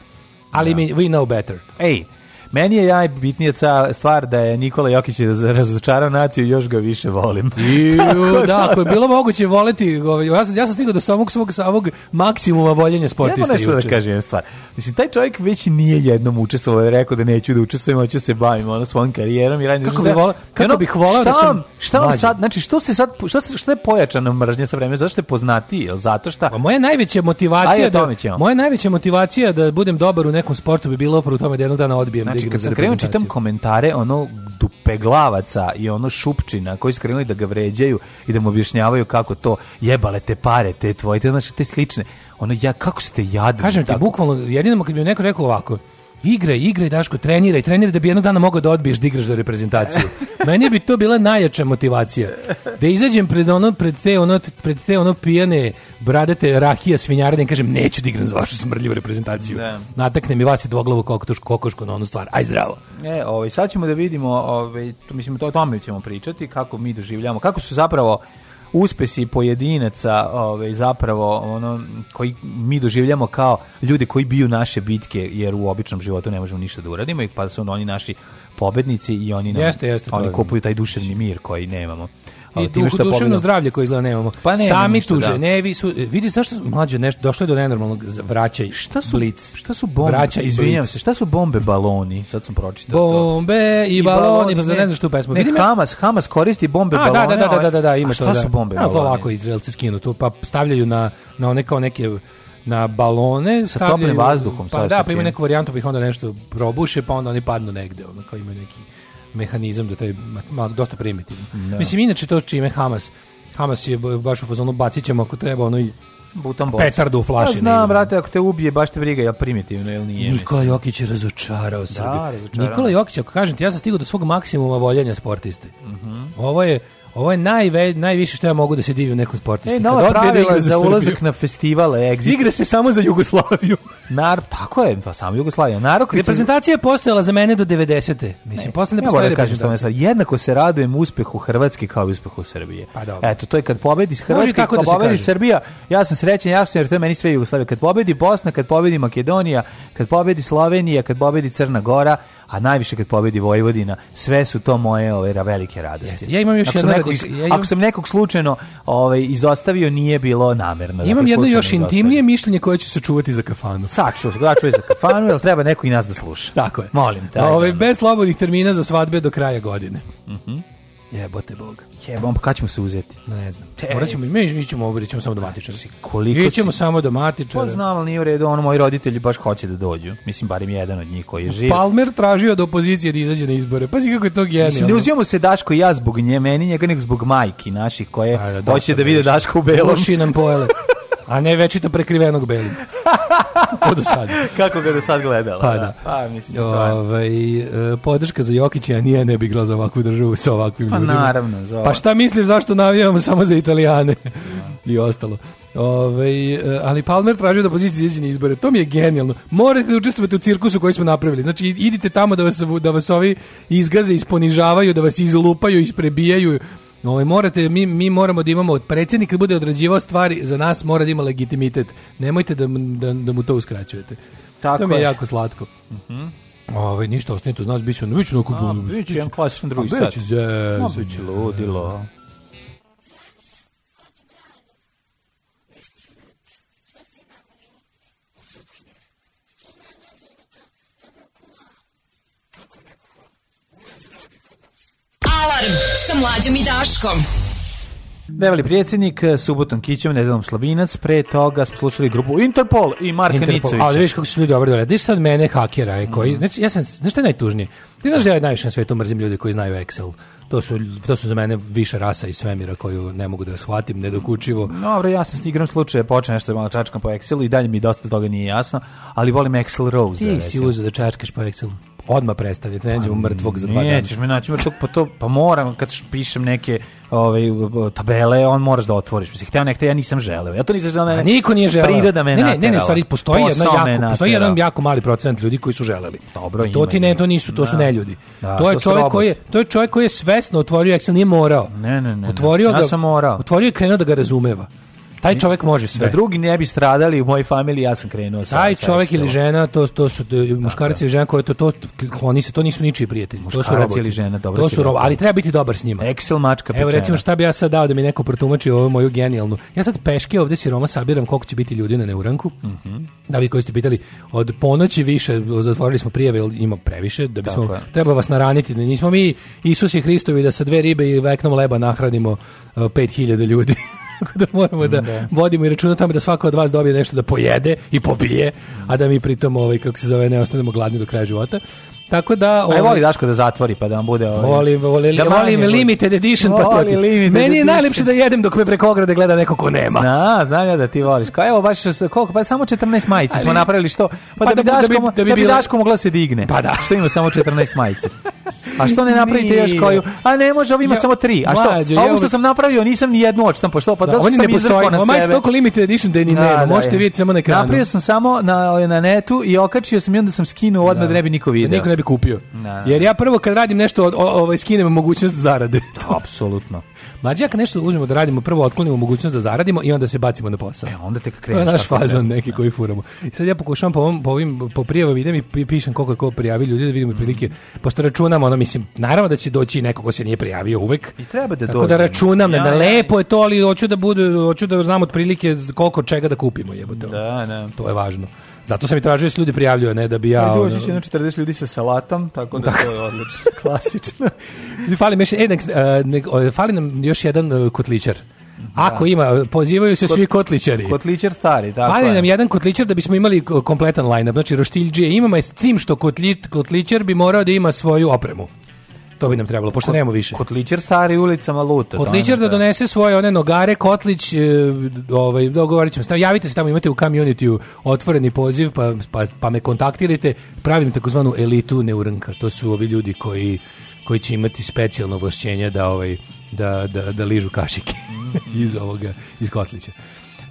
Speaker 8: Ali mi, we know better.
Speaker 9: Ej, meni je najbitnija ca- stvar da je Nikola Jokić raz- razočarao naciju i još ga više volim.
Speaker 8: Ju, da, ako je bilo moguće voleti, ovaj, ja sam, ja sam stigao do samog svog samog maksimuma voljenja
Speaker 9: Moram
Speaker 8: sportista
Speaker 9: nešto da
Speaker 8: juče.
Speaker 9: kažem jednu stvar. Mislim, taj čovjek već nije jednom učestvovao, jer je rekao da neću da učestvujem, hoću da se bavim ono svojom karijerom i radim.
Speaker 8: Kako
Speaker 9: da-
Speaker 8: bi volao- kako
Speaker 9: Ono,
Speaker 8: bih volao da
Speaker 9: šta
Speaker 8: sam
Speaker 9: vam- Šta vam
Speaker 8: mlađi?
Speaker 9: sad, znači, što se sad, što, se, što je pojačana mržnja sa vremenom, zašto je poznatiji, jel zato šta?
Speaker 8: Pa moja najveća
Speaker 9: Ajde,
Speaker 8: motivacija
Speaker 9: o
Speaker 8: da
Speaker 9: tome ćemo.
Speaker 8: moja najveća motivacija da budem dobar u nekom sportu bi bila upravo u tome da jednog dana odbijem da
Speaker 9: Znači,
Speaker 8: igram
Speaker 9: kad
Speaker 8: za
Speaker 9: sam krenuo čitam
Speaker 8: reprezentaciju.
Speaker 9: komentare ono dupeglavaca i ono šupčina koji su krenuli da ga vređaju i da mu objašnjavaju kako to jebale te pare, te tvoje, te, znači, te slične. Ono, ja, kako ste jadni?
Speaker 8: Kažem ti,
Speaker 9: tako?
Speaker 8: bukvalno, jedino kad bi mi neko rekao ovako, igraj, igraj, Daško, treniraj, treniraj da bi jednog dana mogao da odbiješ da igraš za reprezentaciju. Meni bi to bila najjača motivacija. Da izađem pred ono, pred te ono, pred te ono pijane bradate rakija svinjarine i kažem, neću da igram za vašu smrdljivu reprezentaciju.
Speaker 9: Da.
Speaker 8: Natakne mi vas i dvoglavu koktuš, kokošku na onu stvar. Aj zdravo.
Speaker 9: E, ovaj, sad ćemo da vidimo, ovaj, to, mislim, to o tome ćemo pričati, kako mi doživljamo, kako su zapravo uspesi pojedinaca ovaj, zapravo ono koji mi doživljamo kao ljude koji biju naše bitke jer u običnom životu ne možemo ništa da uradimo i pa su onda oni naši pobednici i oni nam-
Speaker 8: Jeste, jeste, to
Speaker 9: oni
Speaker 8: je.
Speaker 9: kupuju taj duševni mir koji nemamo.
Speaker 8: I
Speaker 9: Ali time
Speaker 8: duh,
Speaker 9: što
Speaker 8: duševno
Speaker 9: pobedimo-
Speaker 8: zdravlje koje izgleda nemamo.
Speaker 9: Pa nemamo
Speaker 8: Sami
Speaker 9: ništa,
Speaker 8: tu
Speaker 9: da.
Speaker 8: ženevi su... Vidi, zašto su mlađe nešto, došlo je do nenormalnog z- vraćaj.
Speaker 9: Šta su,
Speaker 8: blic?
Speaker 9: šta su bombe?
Speaker 8: Vraćaj
Speaker 9: Izvinjam
Speaker 8: blic.
Speaker 9: se, šta su bombe baloni? Sad sam pročitao. to.
Speaker 8: Bombe i, baloni, pa za ne znaš tu pesmu.
Speaker 9: Ne,
Speaker 8: Vidim ja-
Speaker 9: Hamas, Hamas koristi bombe
Speaker 8: A,
Speaker 9: balone.
Speaker 8: da, da, da, da,
Speaker 9: ovaj-
Speaker 8: da, da, da, ima
Speaker 9: A
Speaker 8: to.
Speaker 9: Šta
Speaker 8: da.
Speaker 9: su bombe
Speaker 8: A, to
Speaker 9: baloni?
Speaker 8: lako Izraelci skinu tu, pa stavljaju na, na one kao neke na balone,
Speaker 9: Sa
Speaker 8: stavljaju...
Speaker 9: toplim vazduhom,
Speaker 8: Pa
Speaker 9: sa
Speaker 8: da, pa
Speaker 9: čim?
Speaker 8: ima neku varijantu, pa ih onda nešto probuše, pa onda oni padnu negde, ono, kao imaju neki mehanizam da taj, ma, ma- dosta primitivno. Mislim, inače to čime Hamas, Hamas je ba- baš u fazonu, bacit ćemo ako treba, ono, i
Speaker 9: Butan bocu.
Speaker 8: petardu u
Speaker 9: Pa, Ja
Speaker 8: flaši.
Speaker 9: znam,
Speaker 8: negde.
Speaker 9: brate, ako te ubije, baš te briga, ja primitivno, jel nije?
Speaker 8: Nikola Jokić je razočarao Srbiju.
Speaker 9: razočarao.
Speaker 8: Nikola Jokić, ako kažem ti, ja sam stigao do svog maksimuma voljenja sportiste.
Speaker 9: Mhm.
Speaker 8: Ovo je Ovo je najve, najviše što ja mogu da se divim nekom sportisti.
Speaker 9: E,
Speaker 8: Kad
Speaker 9: nova
Speaker 8: odbije da
Speaker 9: pravila
Speaker 8: igra
Speaker 9: za,
Speaker 8: Srbiju.
Speaker 9: ulazak na festivale, exit.
Speaker 8: Igra se samo za Jugoslaviju.
Speaker 9: Nar, tako je, pa samo Jugoslavija. Narokvica.
Speaker 8: Reprezentacija je postojala za mene do 90. Mislim, posle ne
Speaker 9: Ja moram
Speaker 8: postoji
Speaker 9: da kažem što me
Speaker 8: reprezentacija.
Speaker 9: sad. Jednako se radujem uspehu Hrvatske kao i uspehu Srbije.
Speaker 8: Pa dobro.
Speaker 9: Eto, to je kad pobedi
Speaker 8: Može i
Speaker 9: Hrvatska,
Speaker 8: tako
Speaker 9: kad
Speaker 8: da se
Speaker 9: pobedi
Speaker 8: kaže.
Speaker 9: Srbija, ja sam srećan, ja sam jer to je meni sve Jugoslavija. Kad pobedi Bosna, kad pobedi Makedonija, kad pobedi Slovenija, kad pobedi Crna Gora, a najviše kad pobedi Vojvodina, sve su to moje ove ra- velike radosti.
Speaker 8: Jeste. Ja imam još
Speaker 9: ako sam
Speaker 8: jedno
Speaker 9: nekog,
Speaker 8: radik- ja imam-
Speaker 9: ako sam nekog slučajno ovaj izostavio, nije bilo namerno.
Speaker 8: Imam
Speaker 9: Dakle,
Speaker 8: jedno
Speaker 9: slučajno
Speaker 8: još
Speaker 9: izostavio.
Speaker 8: intimnije mišljenje koje ću se čuvati za kafanu.
Speaker 9: Saču, da čuje za kafanu, jel treba neko i nas da sluša.
Speaker 8: Tako je.
Speaker 9: Molim te. ajde, Mhm.
Speaker 8: Ove,
Speaker 9: ono.
Speaker 8: bez slobodnih termina za svadbe do kraja godine. Jebote Bog.
Speaker 9: Jebom, pa kada ćemo se uzeti?
Speaker 8: Ne znam.
Speaker 9: Ej.
Speaker 8: Morat ćemo, mi ićemo ovo, ićemo samo do matičara.
Speaker 9: E. Znači, Koliko
Speaker 8: Ićemo
Speaker 9: si-
Speaker 8: samo do matičara.
Speaker 9: Pa znam, ali nije u redu, ono, moji roditelji baš hoće da dođu. Mislim, barim jedan od njih koji je živ.
Speaker 8: Palmer tražio od opozicije da izađe na izbore. Pazi kako je to
Speaker 9: Mislim, ne
Speaker 8: genijalno.
Speaker 9: uzimamo se Daško i ja zbog nje, meni njega, nego zbog majki naših koje
Speaker 8: da,
Speaker 9: hoće da
Speaker 8: sam
Speaker 9: vide
Speaker 8: rešio.
Speaker 9: Daško u belom.
Speaker 8: Uši nam pojele. A ne večito prekrivenog belim. Ko do sad.
Speaker 9: Kako ga do sad gledala.
Speaker 8: Pa da.
Speaker 9: Pa, mislim, stvarno.
Speaker 8: Ovaj, e, podrška za Jokića, a nije ne bi igrala za ovakvu državu sa ovakvim
Speaker 9: Pa
Speaker 8: ljudima.
Speaker 9: naravno, za
Speaker 8: Pa
Speaker 9: ovo.
Speaker 8: šta misliš zašto navijamo samo za Italijane i ostalo. Ovaj, e, ali Palmer tražio da pozicije izađe na izbore. To mi je genijalno. Morate da učestvujete u cirkusu koji smo napravili. Znači, i- idite tamo da vas, da vas ovi izgaze, isponižavaju, da vas izlupaju, isprebijaju. Ovaj, morate, mi, mi moramo da imamo predsjednik kad bude odrađivao stvari, za nas mora da ima legitimitet. Nemojte da, mu- da, da mu to uskraćujete.
Speaker 9: Tako
Speaker 8: to mi je,
Speaker 9: je. Mhm.
Speaker 8: jako slatko. Ovaj ništa ostanite uz nas ono, biće on biće onako
Speaker 9: A, bit će jedan klasičan drugi
Speaker 8: A,
Speaker 9: sat.
Speaker 8: Biće zezanje.
Speaker 9: Ma, biće ludilo.
Speaker 5: Alarm sa mlađom i Daškom.
Speaker 9: Devali predsjednik, e, subotom Kićom, nedelom Slabinac, pre toga smo slušali grupu Interpol i Marka
Speaker 8: Interpol.
Speaker 9: Nicovića.
Speaker 8: A da vidiš kako su ljudi dobro doradili. Diš sad mene hakera je, koji, znači ja sam, znaš šta je najtužnije? Ti znaš da ja najviše na svetu mrzim ljude koji znaju Excel. To su, to su za mene više rasa iz svemira koju ne mogu da shvatim, nedokučivo.
Speaker 9: Dobro, ja sam s igram slučaje počeo nešto malo čačkam po Excelu i dalje mi dosta toga nije jasno, ali volim Excel Rose.
Speaker 8: Ti si uzeo da čačkaš po Excelu. Pa Odmah prestanite, ne nađemo mrtvog za dva dana.
Speaker 9: Nećeš me naći mrtvog, pa to pa moram kad š- pišem neke ovaj tabele, on moraš da otvoriš. Mislim hteo nekte ja nisam želeo. Ja to nisam želeo.
Speaker 8: A
Speaker 9: mene-
Speaker 8: niko nije želeo.
Speaker 9: Znači, Priroda me
Speaker 8: ne, ne, ne, ne,
Speaker 9: naterala.
Speaker 8: u stvari postoji jedna
Speaker 9: Posao me
Speaker 8: jako, postoji
Speaker 9: naterao.
Speaker 8: jedan jako mali procenat ljudi koji su želeli.
Speaker 9: Dobro,
Speaker 8: to ti
Speaker 9: ima,
Speaker 8: ne,
Speaker 9: ima.
Speaker 8: to nisu, to su
Speaker 9: Da.
Speaker 8: neljudi.
Speaker 9: Da,
Speaker 8: to je
Speaker 9: to su
Speaker 8: čovjek
Speaker 9: roboti.
Speaker 8: koji je, to je čovjek koji je svesno otvorio Excel, nije morao.
Speaker 9: Ne, ne, ne, ne.
Speaker 8: Otvorio
Speaker 9: Ja
Speaker 8: ga,
Speaker 9: sam morao.
Speaker 8: Otvorio i krenuo da ga razumeva. Taj čovjek može sve.
Speaker 9: Da drugi ne bi stradali u mojoj familiji, ja sam krenuo sa.
Speaker 8: Taj
Speaker 9: sa
Speaker 8: čovjek ili
Speaker 9: Excelom.
Speaker 8: žena, to, to su e, muškarac ili žena koje to, to kloni se, to nisu ničiji prijatelji. to su
Speaker 9: Muškarac
Speaker 8: roboti.
Speaker 9: ili žena, dobro
Speaker 8: to
Speaker 9: si
Speaker 8: su robo-
Speaker 9: rekao. E,
Speaker 8: ali treba biti dobar s njima.
Speaker 9: Excel mačka
Speaker 8: Evo
Speaker 9: pečena.
Speaker 8: recimo šta bi ja sad dao da mi neko protumači ovu moju genijalnu. Ja sad peške ovdje siroma sabiram koliko će biti ljudi na neuranku.
Speaker 9: Mhm.
Speaker 8: Da vi koji ste pitali, od ponoći više zatvorili smo prijave, jer ima previše, da bismo,
Speaker 9: Tako je.
Speaker 8: treba vas naraniti, da nismo mi Isus i Hristovi da sa dve ribe i veknom leba nahranimo e, 5000 ljudi. Tako da moramo da, vodimo i računa o tome da svako od vas dobije nešto da pojede i popije, a da mi pritom ovaj, kako se zove, ne ostanemo gladni do kraja života. Tako da...
Speaker 9: A
Speaker 8: ovaj,
Speaker 9: je voli Daško da zatvori pa da vam bude ovaj.
Speaker 8: Volim, volim,
Speaker 9: da manje
Speaker 8: volim
Speaker 9: bude.
Speaker 8: limited edition
Speaker 9: Voli
Speaker 8: patroti.
Speaker 9: limited
Speaker 8: Meni je
Speaker 9: edition.
Speaker 8: najlepše da jedem dok me preko ograde gleda neko ko nema.
Speaker 9: Da, znam ja da ti voliš. Kao evo baš sa- koliko, pa samo 14 majice smo
Speaker 8: Ali-
Speaker 9: napravili što? Pa, da, bi Daško, da bi,
Speaker 8: bile-
Speaker 9: Daško mogla se digne.
Speaker 8: Pa da.
Speaker 9: Što ima samo 14 majice. A što ne napravite još
Speaker 8: Nije.
Speaker 9: koju? A ne može, ovo ima
Speaker 8: Ja-
Speaker 9: samo tri. A što?
Speaker 8: Mlađo,
Speaker 9: a
Speaker 8: ja
Speaker 9: ovo što
Speaker 8: uvek-
Speaker 9: sam napravio, nisam ni jednu odštampo. Što? Pa
Speaker 8: Da,
Speaker 9: zato
Speaker 8: oni
Speaker 9: sam
Speaker 8: ne postoje.
Speaker 9: izrkao na
Speaker 8: Ma majte,
Speaker 9: sebe.
Speaker 8: toliko limited edition da i ni
Speaker 9: Da, da,
Speaker 8: nema. Možete
Speaker 9: je.
Speaker 8: vidjeti samo na ekranu.
Speaker 9: Napravio sam samo na, na netu i okačio sam i onda sam skinuo odmah da, ne bi niko
Speaker 8: Da
Speaker 9: vidio.
Speaker 8: niko ne bi kupio.
Speaker 9: da.
Speaker 8: Jer ja prvo kad radim nešto, od- o- ovaj, skinem mogućnost zarade.
Speaker 9: Apsolutno.
Speaker 8: Mlađi, ja kad nešto uzmemo da radimo, prvo otklonimo mogućnost da zaradimo i onda se bacimo na posao.
Speaker 9: E, onda tek
Speaker 8: To
Speaker 9: kreneš.
Speaker 8: je naš
Speaker 9: tako da-
Speaker 8: fazon neki koji furamo. I sad ja pokušavam po, ovom, po ovim po prijavama idem i pi- pišem koliko je ko prijavi ljudi da vidimo prilike. Pošto računam, ono mislim, naravno da će doći i neko ko se nije prijavio uvek.
Speaker 9: I treba da
Speaker 8: Tako
Speaker 9: dođe,
Speaker 8: da računam,
Speaker 9: mislim,
Speaker 8: da
Speaker 9: ja-
Speaker 8: lepo je to, ali hoću da bude, hoću da znam otprilike koliko čega da kupimo, jebote. ono.
Speaker 9: Da, da.
Speaker 8: To je važno. Zato sam i tražio da se ljudi prijavljuju, a ne da bi ja... ono-
Speaker 9: Dođe će jedno 40 ljudi sa salatom, tako da to je odlično. Klasično.
Speaker 8: Ljudi, fali, mi još- e, nek- e, nek- e, fali nam još jedan e, kotličar. Ako ima, e, pozivaju se svi kotličari.
Speaker 9: Kotličar stari, tako
Speaker 8: Fali
Speaker 9: je.
Speaker 8: nam jedan kotličar da bismo imali ko- kompletan line-up. Znači, roštiljđije imamo je s tim što kotli- kotličar bi morao da ima svoju opremu. To bi nam trebalo, pošto nemamo više.
Speaker 9: Kotličar stari ulicama luta.
Speaker 8: Kotličar Pa da donese svoje one nogare, Kotlić, e, ovaj, dogovorit ćemo se. Tamo- Javite se tamo, imate u community otvoreni poziv, pa, pa, pa me kontaktirajte. Pravim takozvanu elitu neurnka. To su ovi ljudi koji, koji će imati specijalno ovlašćenje da, ovaj, da, da, da ližu kašike iz ovoga, iz Kotlića.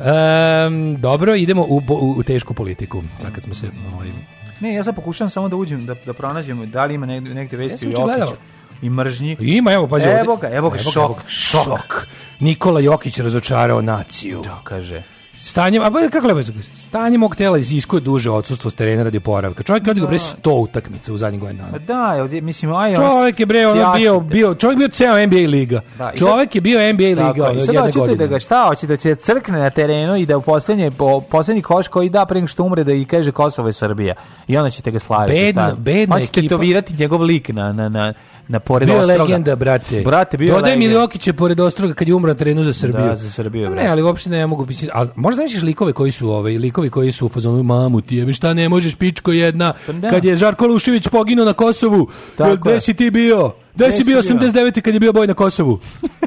Speaker 8: Em, dobro, idemo u, bo- u, u tešku politiku. Sad kad smo se... Ovaj,
Speaker 9: Ne, ja sad pokušavam samo da uđem, da, da pronađem da li ima negde, negde vesti
Speaker 8: Jesam
Speaker 9: o
Speaker 8: juče gledao.
Speaker 9: Jokiću i mržnji.
Speaker 8: ima, evo, pazi. ovde-
Speaker 9: Evo ga, evo ga, šok,
Speaker 8: evo šok. Nikola Jokić razočarao naciju.
Speaker 9: Da, kaže.
Speaker 8: Stanje, a pa, kako lepo je to kaže? Stanje mog tela iziskuje duže odsustvo s terena radi oporavka. Čovjek je odigrao bre 100 utakmica u zadnjih godina.
Speaker 9: Pa da, je ovdje, mislim, aj, ono,
Speaker 8: Čovjek je bre ono
Speaker 9: sjašite.
Speaker 8: bio bio čovjek bio ceo NBA liga.
Speaker 9: Da, i sad-
Speaker 8: čovjek je bio NBA liga
Speaker 9: Tako,
Speaker 8: ono,
Speaker 9: i
Speaker 8: od
Speaker 9: sad
Speaker 8: jedne
Speaker 9: hoćete da
Speaker 8: godine.
Speaker 9: ga šta, hoće da će crkne na terenu i da u posljednje, po, posljednji koš koji da pre nego što umre da i kaže Kosovo je Srbija. I onda ćete ga slaviti.
Speaker 8: Bedna-
Speaker 9: šta?
Speaker 8: bedna
Speaker 9: On će
Speaker 8: ekipa.
Speaker 9: tetovirati njegov lik na, na, na,
Speaker 13: na pored
Speaker 8: bio je
Speaker 13: Ostroga.
Speaker 8: legenda, brate.
Speaker 13: Brate, bio je
Speaker 8: Dodaj mi
Speaker 13: legenda.
Speaker 8: Ljokića pored Ostroga kad je umro na terenu za Srbiju.
Speaker 13: Da, za Srbiju,
Speaker 8: Pa
Speaker 13: brate.
Speaker 8: Ne, ali uopšte ne mogu pisati. Ali možda misliš likove koji su ove, likovi koji su u fazonu, mamu ti jebe, šta ne možeš, pičko jedna,
Speaker 13: Pa da.
Speaker 8: kad je Žarko Lušević poginuo na Kosovu,
Speaker 13: Tako
Speaker 8: gde
Speaker 13: je.
Speaker 8: si ti bio? Gde si bio 89. kad je bio boj na Kosovu?